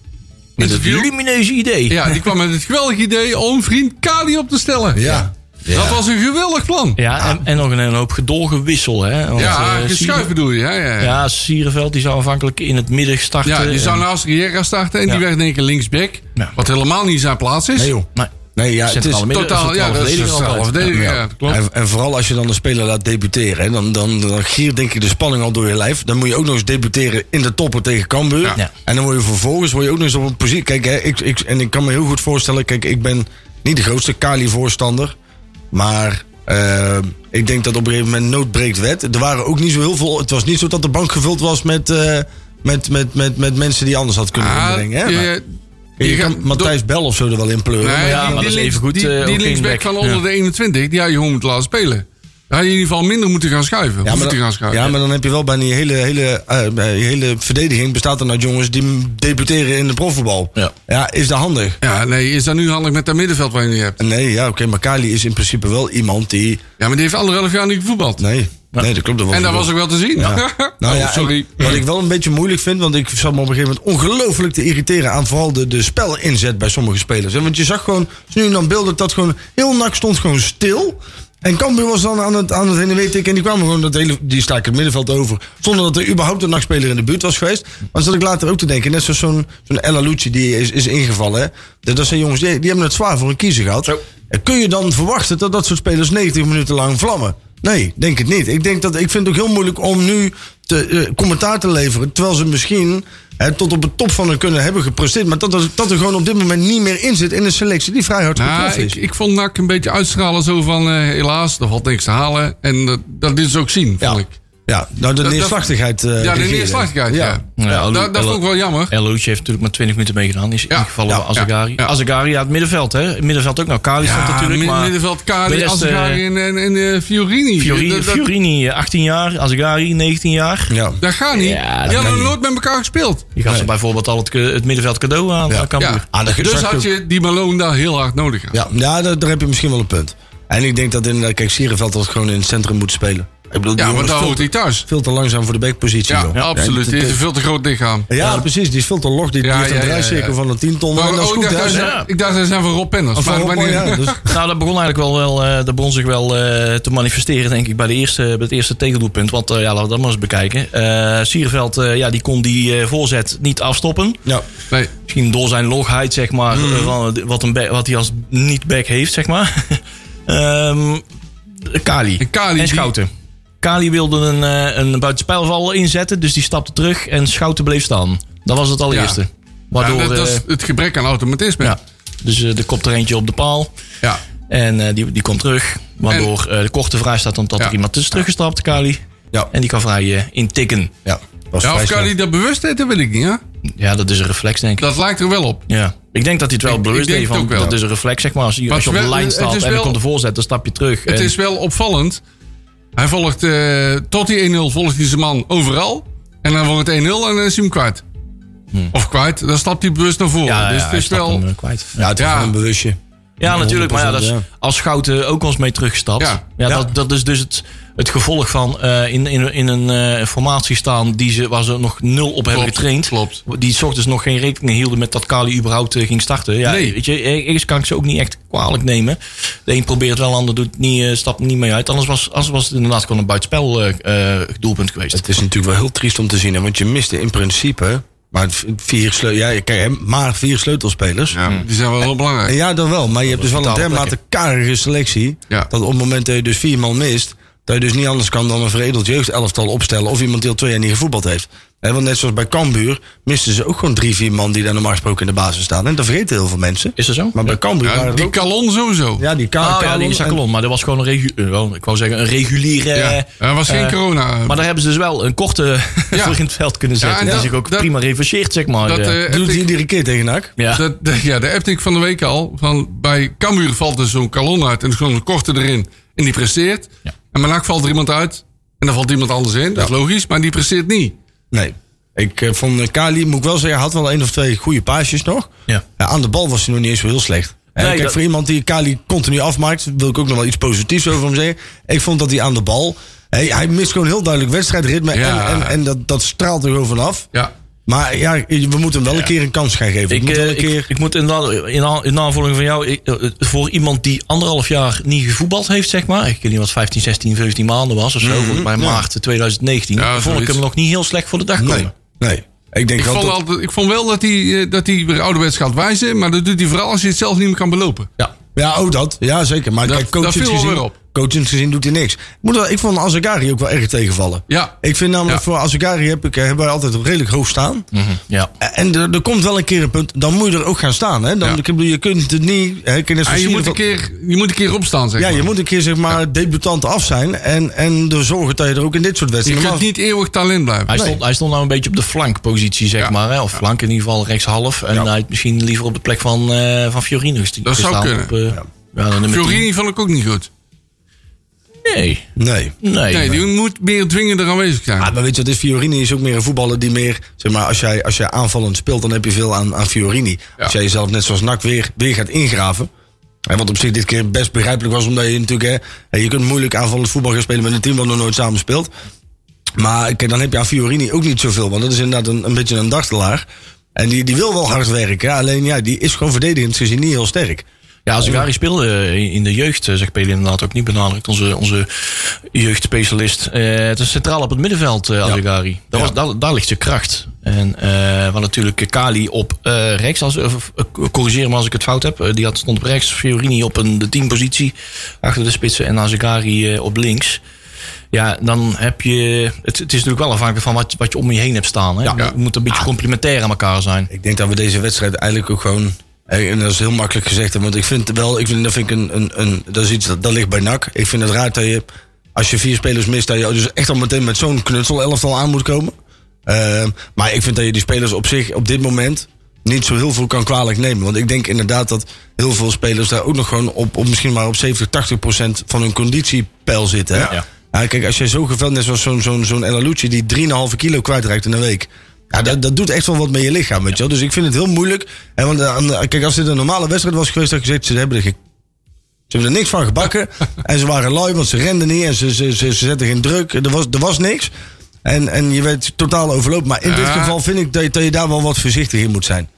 [SPEAKER 3] Met het
[SPEAKER 5] Interview.
[SPEAKER 3] lumineuze idee.
[SPEAKER 5] Ja, die kwam met het geweldig idee om vriend Kali op te stellen.
[SPEAKER 4] Ja.
[SPEAKER 5] Dat was een geweldig plan. Ja,
[SPEAKER 3] Ja, en, en nog een, hoop gedolgewissel. Hè? Want, Ah. eh,
[SPEAKER 5] geschuif
[SPEAKER 3] Sieren-
[SPEAKER 5] bedoel je. Ja, ja, ja.
[SPEAKER 3] Ja, Sierenveld die zou aanvankelijk in het midden starten.
[SPEAKER 5] ja die zou
[SPEAKER 3] En-
[SPEAKER 5] naast Riera starten en
[SPEAKER 3] Ja.
[SPEAKER 5] die werd in één keer linksback.
[SPEAKER 3] Ja.
[SPEAKER 5] Wat helemaal niet zijn plaats is.
[SPEAKER 4] Nee, joh.
[SPEAKER 3] Maar
[SPEAKER 4] Nee, ja, het is
[SPEAKER 3] centrale midden,
[SPEAKER 5] Totaal, ja,
[SPEAKER 3] centrale
[SPEAKER 5] dat is
[SPEAKER 3] verdediger
[SPEAKER 5] centrale
[SPEAKER 3] altijd.
[SPEAKER 5] verdediger.
[SPEAKER 4] Ja.
[SPEAKER 5] Ja, dat klopt.
[SPEAKER 4] En, en vooral als je dan een speler laat debuteren, hè, dan, dan, dan giert denk ik de spanning al door je lijf. Dan moet je ook nog eens debuteren in de toppen tegen Cambuur.
[SPEAKER 5] Ja.
[SPEAKER 3] Ja.
[SPEAKER 4] En dan word je vervolgens word je ook nog eens op een positie. Kijk, hè, ik, ik, en ik kan me heel goed voorstellen, kijk, ik ben niet de grootste Kali-voorstander. Maar eh, ik denk dat op een gegeven moment nood breekt wet. Er waren ook niet zo heel veel. Het was niet zo dat de bank gevuld was met, eh, met, met, met, met mensen die anders had kunnen
[SPEAKER 5] Ah,
[SPEAKER 4] inbrengen. Hè?
[SPEAKER 5] je-
[SPEAKER 4] Maar
[SPEAKER 5] je
[SPEAKER 4] je
[SPEAKER 5] gaat
[SPEAKER 4] kan Matthijs Bel of zo er wel in pleuren.
[SPEAKER 5] Nee,
[SPEAKER 4] maar ja,
[SPEAKER 5] die-
[SPEAKER 3] maar
[SPEAKER 5] die
[SPEAKER 3] dat is
[SPEAKER 5] links-
[SPEAKER 3] even goed,
[SPEAKER 5] Die,
[SPEAKER 3] eh,
[SPEAKER 5] die
[SPEAKER 3] ook
[SPEAKER 5] linksback
[SPEAKER 3] linksback.
[SPEAKER 5] van onder
[SPEAKER 3] Ja.
[SPEAKER 5] de 21, die had je gewoon moeten laten spelen. Daar had je in ieder geval minder moeten gaan schuiven. Ja,
[SPEAKER 4] Ja, maar,
[SPEAKER 5] moeten gaan
[SPEAKER 4] dan,
[SPEAKER 5] schuiven.
[SPEAKER 4] ja, maar dan heb je wel bij die hele, hele, eh, bij die hele verdediging bestaat dan uit jongens die debuteren in de profvoetbal.
[SPEAKER 3] Ja.
[SPEAKER 4] is dat handig?
[SPEAKER 5] Ja, nee, is dat nu handig met dat middenveld wat je nu hebt?
[SPEAKER 4] Nee, ja, oké, maar Kali is in principe wel iemand die...
[SPEAKER 5] Ja, maar die heeft anderhalf jaar niet gevoetbald.
[SPEAKER 4] Nee, nee dat klopt.
[SPEAKER 5] en dat was ook wel te zien.
[SPEAKER 4] Nou
[SPEAKER 5] Oh,
[SPEAKER 4] ja,
[SPEAKER 5] sorry.
[SPEAKER 4] en Wat ik wel een beetje moeilijk vind, want ik zat me op een gegeven moment ongelooflijk te irriteren aan vooral de, de spelinzet bij sommige spelers. hè. Want je zag gewoon, nu en dan beelden dat gewoon heel nak stond gewoon stil. En Cambuur was dan aan het, aan het heen en weer tikken. En die kwamen gewoon dat hele, die staken het middenveld over. Zonder dat er überhaupt een nachtspeler in de buurt was geweest. Maar dan zat ik later ook te denken. Net zoals zo'n zo'n Ella Lucci die is, is ingevallen. Hè. Dat- Dat zijn jongens, die, die hebben het zwaar voor een kiezer gehad. En Kun je dan verwachten dat dat soort spelers 90 minuten lang vlammen? Nee, denk het niet. Ik, denk dat, ik vind het ook heel moeilijk om nu te, eh, commentaar te leveren. Terwijl ze misschien hè, tot op het top van hun kunnen hebben gepresteerd. Maar dat, er- dat er gewoon op dit moment niet meer in zit in een selectie die vrij hard
[SPEAKER 5] Nou,
[SPEAKER 4] getroffen
[SPEAKER 5] ik,
[SPEAKER 4] is.
[SPEAKER 5] ik vond Nak een beetje uitstralen zo van... eh, helaas, er valt niks te halen. En dat dat liet ze ook zien, vond ik.
[SPEAKER 4] Ja, nou de
[SPEAKER 5] dat-
[SPEAKER 4] neerslachtigheid. eh,
[SPEAKER 5] Ja, de
[SPEAKER 4] regeerde.
[SPEAKER 5] neerslachtigheid, ja.
[SPEAKER 3] Ja,
[SPEAKER 5] Ja,
[SPEAKER 3] Elu-
[SPEAKER 5] dat, dat
[SPEAKER 3] Elu-
[SPEAKER 5] vond ik wel jammer.
[SPEAKER 3] El Ouch heeft natuurlijk maar 20 minuten meegedaan. Die is ingevallen
[SPEAKER 4] ja,
[SPEAKER 3] bij Azagari.
[SPEAKER 5] ja, ja.
[SPEAKER 3] Azagari, ja, het middenveld, hè. Het middenveld ook. Nou, Kali stond natuurlijk,
[SPEAKER 5] Ah, mid-
[SPEAKER 3] maar...
[SPEAKER 5] middenveld Kali,
[SPEAKER 3] de rest,
[SPEAKER 5] Asgari en, en, en eh, Fiorini.
[SPEAKER 3] Fiori-
[SPEAKER 5] dat, dat-
[SPEAKER 3] Fiorini, eh, 18 jaar. Azagari, 19 jaar.
[SPEAKER 4] Ja.
[SPEAKER 5] dat gaat niet.
[SPEAKER 3] Ja, dat
[SPEAKER 5] die
[SPEAKER 3] kan
[SPEAKER 5] hadden nog
[SPEAKER 3] niet.
[SPEAKER 5] nooit met elkaar gespeeld.
[SPEAKER 3] Die gaf ze bijvoorbeeld al het, ke- het middenveld cadeau aan
[SPEAKER 4] Ja.
[SPEAKER 3] aan Cambuur.
[SPEAKER 5] Ja.
[SPEAKER 4] Ah, dat
[SPEAKER 5] dus
[SPEAKER 4] zag ik
[SPEAKER 5] had
[SPEAKER 4] ook.
[SPEAKER 5] je die Malone daar heel hard nodig. gehad.
[SPEAKER 4] Ja, ja daar, daar heb je misschien wel een punt. En ik denk dat inderdaad, kijk, Sierenveld dat gewoon in het centrum moet spelen. Ik bedoel, die
[SPEAKER 5] Ja,
[SPEAKER 4] jongen
[SPEAKER 5] maar
[SPEAKER 4] is
[SPEAKER 5] daar
[SPEAKER 4] veel,
[SPEAKER 5] hoort hij thuis.
[SPEAKER 4] veel te langzaam voor de backpositie.
[SPEAKER 5] Ja,
[SPEAKER 4] joh.
[SPEAKER 5] absoluut.
[SPEAKER 4] Ja,
[SPEAKER 5] Die is
[SPEAKER 4] die-
[SPEAKER 5] een veel te groot lichaam.
[SPEAKER 4] ja, precies. Die is veel te log. Die, die
[SPEAKER 5] Ja,
[SPEAKER 4] heeft
[SPEAKER 5] ja,
[SPEAKER 4] een
[SPEAKER 5] ja,
[SPEAKER 4] draaicirkel
[SPEAKER 5] ja.
[SPEAKER 4] van een tienton.
[SPEAKER 5] Maar,
[SPEAKER 4] en dat is
[SPEAKER 5] oh,
[SPEAKER 4] goed,
[SPEAKER 5] ik,
[SPEAKER 4] hè?
[SPEAKER 5] dacht, dat-
[SPEAKER 3] Ja.
[SPEAKER 5] ik dacht dat zijn van Rob Penners.
[SPEAKER 4] Of
[SPEAKER 5] Maar,
[SPEAKER 4] van
[SPEAKER 5] maar
[SPEAKER 4] Rob,
[SPEAKER 5] niet-
[SPEAKER 4] ja, dus-
[SPEAKER 3] Nou, dat begon eigenlijk wel, wel eh, dat begon zich wel eh, te manifesteren, denk ik, bij, de eerste, bij het eerste tegendoelpunt. Want eh, ja, laten we dat maar eens bekijken. Eh Sierveld, eh, ja, die kon die eh, voorzet niet afstoppen.
[SPEAKER 4] Ja.
[SPEAKER 5] Nee,
[SPEAKER 3] Misschien door zijn logheid, zeg maar,
[SPEAKER 5] Mhm.
[SPEAKER 3] eh, van, wat, een back- wat hij als niet-back heeft, zeg maar. Ehm, Kali.
[SPEAKER 5] En Kali, die-
[SPEAKER 3] Schouten. Kali wilde een, eh, een buitenspelval inzetten, dus die stapte terug en Schouten bleef staan. Dat was het allereerste.
[SPEAKER 5] Ja,
[SPEAKER 3] Waardoor,
[SPEAKER 5] dat, dat is
[SPEAKER 3] eh,
[SPEAKER 5] het gebrek aan automatisme.
[SPEAKER 3] ja, dus eh, er komt er eentje op de paal.
[SPEAKER 5] Ja.
[SPEAKER 3] En eh, die, die komt terug. Waardoor eh, de korte vrij staat omdat
[SPEAKER 5] Ja.
[SPEAKER 3] er iemand is teruggestapt, Kali.
[SPEAKER 4] Ja.
[SPEAKER 3] En die kan vrij eh, intikken.
[SPEAKER 4] Ja. Was
[SPEAKER 5] Ja,
[SPEAKER 4] vrij
[SPEAKER 5] of
[SPEAKER 4] snel.
[SPEAKER 5] Kali dat bewust deed, dat weet ik niet. Hè?
[SPEAKER 3] Ja, dat is een reflex, denk ik.
[SPEAKER 5] Dat lijkt er wel op.
[SPEAKER 3] Ja. Ik denk dat hij het wel
[SPEAKER 5] Ik- ik
[SPEAKER 3] bewust
[SPEAKER 5] denk
[SPEAKER 3] deed
[SPEAKER 5] het
[SPEAKER 3] van
[SPEAKER 5] ook wel.
[SPEAKER 3] dat is een reflex, zeg maar. Als je,
[SPEAKER 5] Maar
[SPEAKER 3] als je op
[SPEAKER 5] het
[SPEAKER 3] de
[SPEAKER 5] is wel-
[SPEAKER 3] lijn
[SPEAKER 5] het
[SPEAKER 3] staat
[SPEAKER 5] is
[SPEAKER 3] en dan
[SPEAKER 5] wel-
[SPEAKER 3] komt de voorzet, dan stap je terug.
[SPEAKER 5] Het
[SPEAKER 3] En-
[SPEAKER 5] is wel opvallend. Hij volgt, eh, tot die 1-0 volgt hij zijn man overal. En dan wordt het 1-0 en dan is hij hem kwijt. Of kwijt, dan stapt hij bewust naar voren.
[SPEAKER 3] ja, ja,
[SPEAKER 5] dus het
[SPEAKER 3] hij
[SPEAKER 5] is
[SPEAKER 3] stapt
[SPEAKER 5] wel...
[SPEAKER 3] hem, eh, kwijt.
[SPEAKER 4] Ja, het is
[SPEAKER 5] Ja.
[SPEAKER 4] gewoon een bewustje.
[SPEAKER 3] Ja, natuurlijk. Maar ja, dat is,
[SPEAKER 4] 100%,
[SPEAKER 3] als Schouten ook ons mee terugstapt. Ja,
[SPEAKER 5] Ja.
[SPEAKER 4] Ja.
[SPEAKER 3] Dat, dat is dus het, het gevolg van eh, in, in, in een eh, formatie staan die ze, waar ze nog nul op hebben
[SPEAKER 5] Klopt,
[SPEAKER 3] getraind.
[SPEAKER 5] klopt.
[SPEAKER 3] Die 's ochtends nog geen rekening hielden met dat Kali überhaupt eh, ging starten. Ja,
[SPEAKER 5] Nee.
[SPEAKER 3] Weet je, ergens kan ik ze ook niet echt kwalijk nemen. De een probeert wel, de ander doet niet, eh, stapt niet mee uit. Anders was, anders was het inderdaad gewoon een buitenspel eh, eh, doelpunt geweest.
[SPEAKER 4] Het is natuurlijk wel heel triest om te zien, hè, want je miste in principe maar v- vier, sleu ja, je krijgt hem maar vier sleutelspelers. Ja.
[SPEAKER 3] Hm.
[SPEAKER 5] Die zijn wel heel belangrijk.
[SPEAKER 4] ja, dan wel, maar je hebt dus wel een
[SPEAKER 3] vitale
[SPEAKER 4] dermate karige selectie.
[SPEAKER 5] Ja.
[SPEAKER 4] Dat op het moment dat je dus vier man mist, dat je dus niet anders kan dan een veredeld jeugdelftal opstellen. Of iemand die al twee jaar niet gevoetbald heeft. Hè, want net zoals bij Cambuur misten ze ook gewoon drie, vier man die daar normaal gesproken in de basis staan. En dat vergeten heel veel mensen.
[SPEAKER 3] Is dat zo?
[SPEAKER 4] Maar bij Cambuur
[SPEAKER 5] Ja,
[SPEAKER 4] waren er
[SPEAKER 5] die
[SPEAKER 4] ook-
[SPEAKER 5] Calon sowieso.
[SPEAKER 4] ja, die
[SPEAKER 3] Ah,
[SPEAKER 4] Ka-
[SPEAKER 3] ja, die
[SPEAKER 4] Kalon en-
[SPEAKER 3] Sakalon. Maar dat was gewoon een, regu eh, wel, ik wou zeggen, een reguliere...
[SPEAKER 5] Ja. Er was geen
[SPEAKER 3] eh,
[SPEAKER 5] corona.
[SPEAKER 3] Maar daar hebben ze dus wel een korte
[SPEAKER 5] Ja.
[SPEAKER 3] voor in het veld kunnen zetten.
[SPEAKER 5] Ja, en
[SPEAKER 3] die
[SPEAKER 5] dat-
[SPEAKER 3] zich ook
[SPEAKER 5] dat-
[SPEAKER 3] prima reverseert, zeg maar.
[SPEAKER 5] dat,
[SPEAKER 3] Ja.
[SPEAKER 5] eh,
[SPEAKER 4] doet
[SPEAKER 5] appte
[SPEAKER 4] hij
[SPEAKER 5] ik-
[SPEAKER 4] iedere keer tegen NAC.
[SPEAKER 3] ja.
[SPEAKER 5] dat, de- ja, de appte ik van de week al. Van, bij Cambuur valt er zo'n Calon uit. En er is gewoon een korte erin. En die presteert.
[SPEAKER 3] Ja.
[SPEAKER 5] En bij NAC valt er iemand uit. En dan valt iemand anders in. Dat is logisch. Maar die presteert niet.
[SPEAKER 4] Nee. Ik eh, vond eh, Kali, moet ik wel zeggen, had wel één of twee goede paasjes nog.
[SPEAKER 3] Ja.
[SPEAKER 4] aan de bal was hij nog niet eens zo heel slecht. En
[SPEAKER 3] Nee,
[SPEAKER 4] kijk,
[SPEAKER 3] dat-
[SPEAKER 4] voor iemand die Kali continu afmaakt, wil ik ook nog wel iets positiefs over hem zeggen. Ik vond dat hij aan de bal. Hij, hij mist gewoon heel duidelijk wedstrijdritme.
[SPEAKER 5] Ja.
[SPEAKER 4] En, en, en dat, dat straalt er gewoon vanaf.
[SPEAKER 5] Ja.
[SPEAKER 4] Maar ja, we moeten hem wel een keer een kans gaan geven. We
[SPEAKER 3] Ik,
[SPEAKER 4] moeten
[SPEAKER 3] eh,
[SPEAKER 4] wel een keer...
[SPEAKER 3] ik, ik moet in, in, a- in aanvulling van jou, ik, eh, eh, voor iemand die anderhalf jaar niet gevoetbald heeft, zeg maar. Ik weet niet wat 15, 16, 17 maanden was of zo. volgens mij maart 2019.
[SPEAKER 5] Mhm. Ja,
[SPEAKER 3] vond ik
[SPEAKER 5] zoiets.
[SPEAKER 3] hem nog niet heel slecht voor de dag komen.
[SPEAKER 4] nee, nee. Ik denk
[SPEAKER 5] Ik
[SPEAKER 4] wel
[SPEAKER 5] vond,
[SPEAKER 4] dat-
[SPEAKER 5] altijd, ik vond wel dat hij, eh, dat hij weer ouderwets gaat wijzen. Maar dat doet hij vooral als je het zelf niet meer kan belopen.
[SPEAKER 3] Ja.
[SPEAKER 4] Ja, ook dat. Ja, zeker. Maar
[SPEAKER 5] Dat-
[SPEAKER 4] kijk,
[SPEAKER 5] dat
[SPEAKER 4] coachend
[SPEAKER 5] viel wel
[SPEAKER 4] gezien,
[SPEAKER 5] weer op.
[SPEAKER 4] coachend gezien doet hij niks. Ik, moet wel, ik vond Azagari ook wel erg tegenvallen.
[SPEAKER 5] Ja.
[SPEAKER 4] Ik vind namelijk
[SPEAKER 5] Ja. Hm.
[SPEAKER 4] voor Azagari heb ik, hebben wij altijd redelijk hoog staan. Eh,
[SPEAKER 3] ja.
[SPEAKER 4] En er, er komt wel een keer een punt, dan moet je er ook gaan staan. Hè? Dan,
[SPEAKER 5] Ja.
[SPEAKER 4] ik bedoel, je kunt het niet... Hè, ik kan net zo
[SPEAKER 5] En Ah, je
[SPEAKER 4] zien
[SPEAKER 5] moet, een
[SPEAKER 4] dat-
[SPEAKER 5] keer, je moet een keer opstaan, zeg
[SPEAKER 4] ja,
[SPEAKER 5] maar.
[SPEAKER 4] je moet een keer zeg maar debutant af zijn. En, en er zorgen dat je er ook in dit soort
[SPEAKER 5] Je
[SPEAKER 4] wedstrijden...
[SPEAKER 5] kunt
[SPEAKER 4] maar-
[SPEAKER 5] niet eeuwig talent blijven.
[SPEAKER 3] Hij, stond, hij stond nou een beetje op de flankpositie, zeg
[SPEAKER 5] Ja.
[SPEAKER 3] maar. Hè? Of flank in ieder geval rechtshalf. En hij had misschien liever op de plek van, eh van Fiorino gest-
[SPEAKER 5] Dat zou
[SPEAKER 3] gestaan.
[SPEAKER 5] kunnen.
[SPEAKER 3] Op, eh, ja. de nummer
[SPEAKER 5] Fiorini vond ik ook niet goed.
[SPEAKER 3] 10. Nee.
[SPEAKER 4] Nee.
[SPEAKER 3] Nee.
[SPEAKER 5] Nee, die moet meer dwingender aanwezig zijn.
[SPEAKER 4] Ah, maar weet je wat, is Fiorini is ook meer een voetballer die meer... Zeg maar, als jij, als jij aanvallend speelt, dan heb je veel aan, aan Fiorini.
[SPEAKER 5] Ja.
[SPEAKER 4] Als jij jezelf net zoals NAC weer, weer gaat ingraven... En wat op zich dit keer best begrijpelijk was, omdat je natuurlijk... Hè, hè, je kunt moeilijk aanvallend voetbal gaan spelen met een team wat nog nooit samen speelt. Maar kijk, dan heb je aan Fiorini ook niet zoveel. Want dat is inderdaad een, een beetje een dartelaar. En die, die wil wel hard werken. hè, Alleen ja, die is gewoon verdedigend gezien niet heel sterk.
[SPEAKER 3] Ja, Azegari speelde in de jeugd, eh, zegt Peli inderdaad ook niet benadrukt. Onze, onze jeugdspecialist. Eh, het is centraal op het middenveld, eh Azegari. Daar, was, daar, daar ligt zijn kracht. En eh waar natuurlijk Kali op eh, rechts, als, of, eh, corrigeer me als ik het fout heb. Eh, die had, stond op rechts, Fiorini op een, de tienpositie achter de spitsen en Azegari eh, op links. Ja, dan heb je. Het, het is natuurlijk wel afhankelijk van wat, wat je om je heen hebt staan. Hè? Het moet een beetje complementair aan elkaar zijn.
[SPEAKER 4] Ik denk dat we deze wedstrijd eigenlijk ook gewoon. eh, En dat is heel makkelijk gezegd. hè, Want ik vind wel, ik vind, dat vind ik een, een, een. Dat is iets dat, dat ligt bij NAC. Ik vind het raar dat je. als je vier spelers mist, dat je dus echt al meteen met zo'n knutsel elftal aan moet komen. Ehm, maar ik vind dat je die spelers op zich op dit moment niet zo heel veel kan kwalijk nemen. Want ik denk inderdaad dat heel veel spelers daar ook nog gewoon op, op misschien maar op 70, 80 procent van hun conditiepeil zitten. hè.
[SPEAKER 3] Ja.
[SPEAKER 4] Ja, kijk, als jij zo geveld net zoals zo'n zo'n zo'n El Alouchi die 3,5 kilo kwijtraakt in een week. Ja, dat, dat doet echt wel wat met je lichaam, weet je wel. Dus ik vind het heel moeilijk. En want, eh, aan de- kijk, als dit een normale wedstrijd was geweest, had ik gezegd, ze hebben er, ge- ze hebben er niks van gebakken. en ze waren lui, want ze renden niet en ze, ze, ze, ze zetten geen druk. Er was, er was niks. En, en je werd totaal overlopen. Maar in dit
[SPEAKER 5] Ja.
[SPEAKER 4] geval vind ik dat, je- dat je daar wel wat voorzichtig in moet zijn.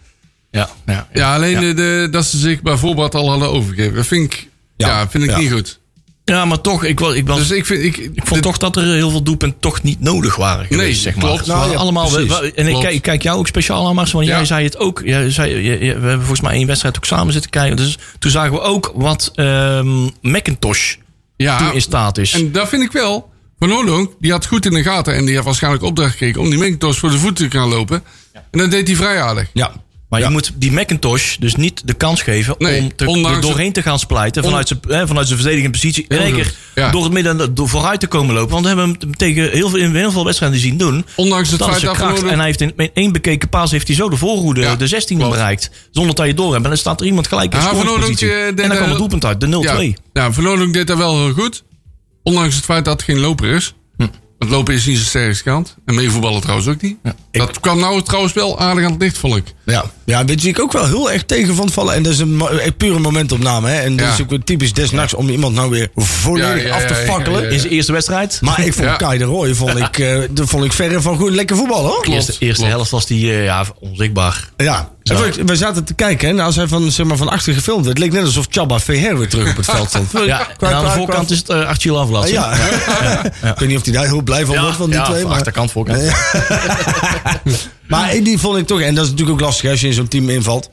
[SPEAKER 3] Ja, ja, ja.
[SPEAKER 5] Ja, alleen De, de- dat ze zich bij voorbaat al hadden overgegeven. Dat vind ik, ja.
[SPEAKER 4] Ja.
[SPEAKER 5] vind ik
[SPEAKER 4] Ja.
[SPEAKER 5] niet goed.
[SPEAKER 3] Ja, maar toch, ik, was, ik, was,
[SPEAKER 5] Dus ik vind... Ik,
[SPEAKER 3] ik vond toch dat er heel veel doelpunten toch niet nodig waren geweest,
[SPEAKER 5] Nee,
[SPEAKER 3] zeg maar.
[SPEAKER 5] klopt.
[SPEAKER 3] Het waren
[SPEAKER 4] Nou ja,
[SPEAKER 3] allemaal, we-
[SPEAKER 4] precies.
[SPEAKER 3] we- en ik
[SPEAKER 5] Klopt.
[SPEAKER 3] kijk, ik kijk jou ook speciaal aan, Mars, want
[SPEAKER 5] Ja.
[SPEAKER 3] jij zei het ook. Jij zei, je- je- we hebben volgens mij één wedstrijd ook samen zitten kijken. Dus toen zagen we ook wat ehm, Macintosh
[SPEAKER 5] ja,
[SPEAKER 3] toen in staat is.
[SPEAKER 5] en dat vind ik wel. Van Oorlog, die had goed in de gaten. En die had waarschijnlijk opdracht gekregen om die Mentos voor de voeten te gaan lopen. En dat deed hij vrij aardig.
[SPEAKER 4] Ja.
[SPEAKER 3] Maar
[SPEAKER 4] Ja.
[SPEAKER 3] je moet die Macintosh dus niet de kans geven
[SPEAKER 5] Nee,
[SPEAKER 3] om te,
[SPEAKER 5] ondanks
[SPEAKER 3] er doorheen te gaan splijten. Vanuit zijn, hè, vanuit zijn verdedigende positie. In
[SPEAKER 5] Heel
[SPEAKER 3] één
[SPEAKER 5] goed,
[SPEAKER 3] keer
[SPEAKER 5] ja.
[SPEAKER 3] door het midden en door vooruit te komen lopen. Want we hebben hem tegen heel veel, in heel veel wedstrijden zien doen.
[SPEAKER 5] Ondanks het
[SPEAKER 3] Dat is
[SPEAKER 5] feit
[SPEAKER 3] zijn
[SPEAKER 5] dat Van
[SPEAKER 3] kracht.
[SPEAKER 5] Oorlog-
[SPEAKER 3] En hij heeft in, in één bekeken paas heeft hij zo de voorhoede,
[SPEAKER 5] Ja,
[SPEAKER 3] de 16
[SPEAKER 5] klopt.
[SPEAKER 3] bereikt. Zonder dat je door hebt. En dan staat er iemand gelijk in
[SPEAKER 5] Ja, Van Oorlog,
[SPEAKER 3] scoringspositie.
[SPEAKER 5] eh,
[SPEAKER 3] En
[SPEAKER 5] deed,
[SPEAKER 3] dan kwam
[SPEAKER 5] eh,
[SPEAKER 3] het doelpunt uit, de 0-2.
[SPEAKER 5] Ja, ja Van Oorlog deed dat wel heel goed. Ondanks het feit dat het geen loper is. Want lopen is niet zijn sterkste kant. En meevoetballen trouwens ook niet. Dat kwam nou trouwens wel aardig aan het licht, vond ik.
[SPEAKER 4] Ja, ja dit zie ik ook wel heel erg tegen van vallen. En dat is een mo- echt pure momentopname. Hè? En
[SPEAKER 5] Ja.
[SPEAKER 4] dat is ook weer typisch desnachts om iemand nou weer volledig
[SPEAKER 5] Ja, ja,
[SPEAKER 4] af te
[SPEAKER 5] ja, ja,
[SPEAKER 4] fakkelen.
[SPEAKER 5] ja, ja.
[SPEAKER 3] In zijn eerste wedstrijd.
[SPEAKER 4] Maar ik vond
[SPEAKER 5] Ja.
[SPEAKER 4] Kai de Roy vond ik, eh, dat vond ik verre van goed. Lekker voetbal hoor.
[SPEAKER 5] Klopt.
[SPEAKER 3] eerste eerste
[SPEAKER 5] klopt.
[SPEAKER 3] helft was hij eh, ja, onzichtbaar.
[SPEAKER 4] Ja. En
[SPEAKER 3] Zo.
[SPEAKER 4] we- We zaten te kijken hè, en als hij van, zeg maar, van achter gefilmd werd. Het leek net alsof Chabba Feher weer terug op het veld stond.
[SPEAKER 3] Ja, en aan de voorkant is het eh Achille Aflas.
[SPEAKER 4] Ah, ja. Ik weet niet of hij daar heel blij van wordt van die twee. Maar,
[SPEAKER 3] achterkant, voorkant.
[SPEAKER 4] maar die vond ik toch... En dat is natuurlijk ook lastig als je in zo'n team invalt.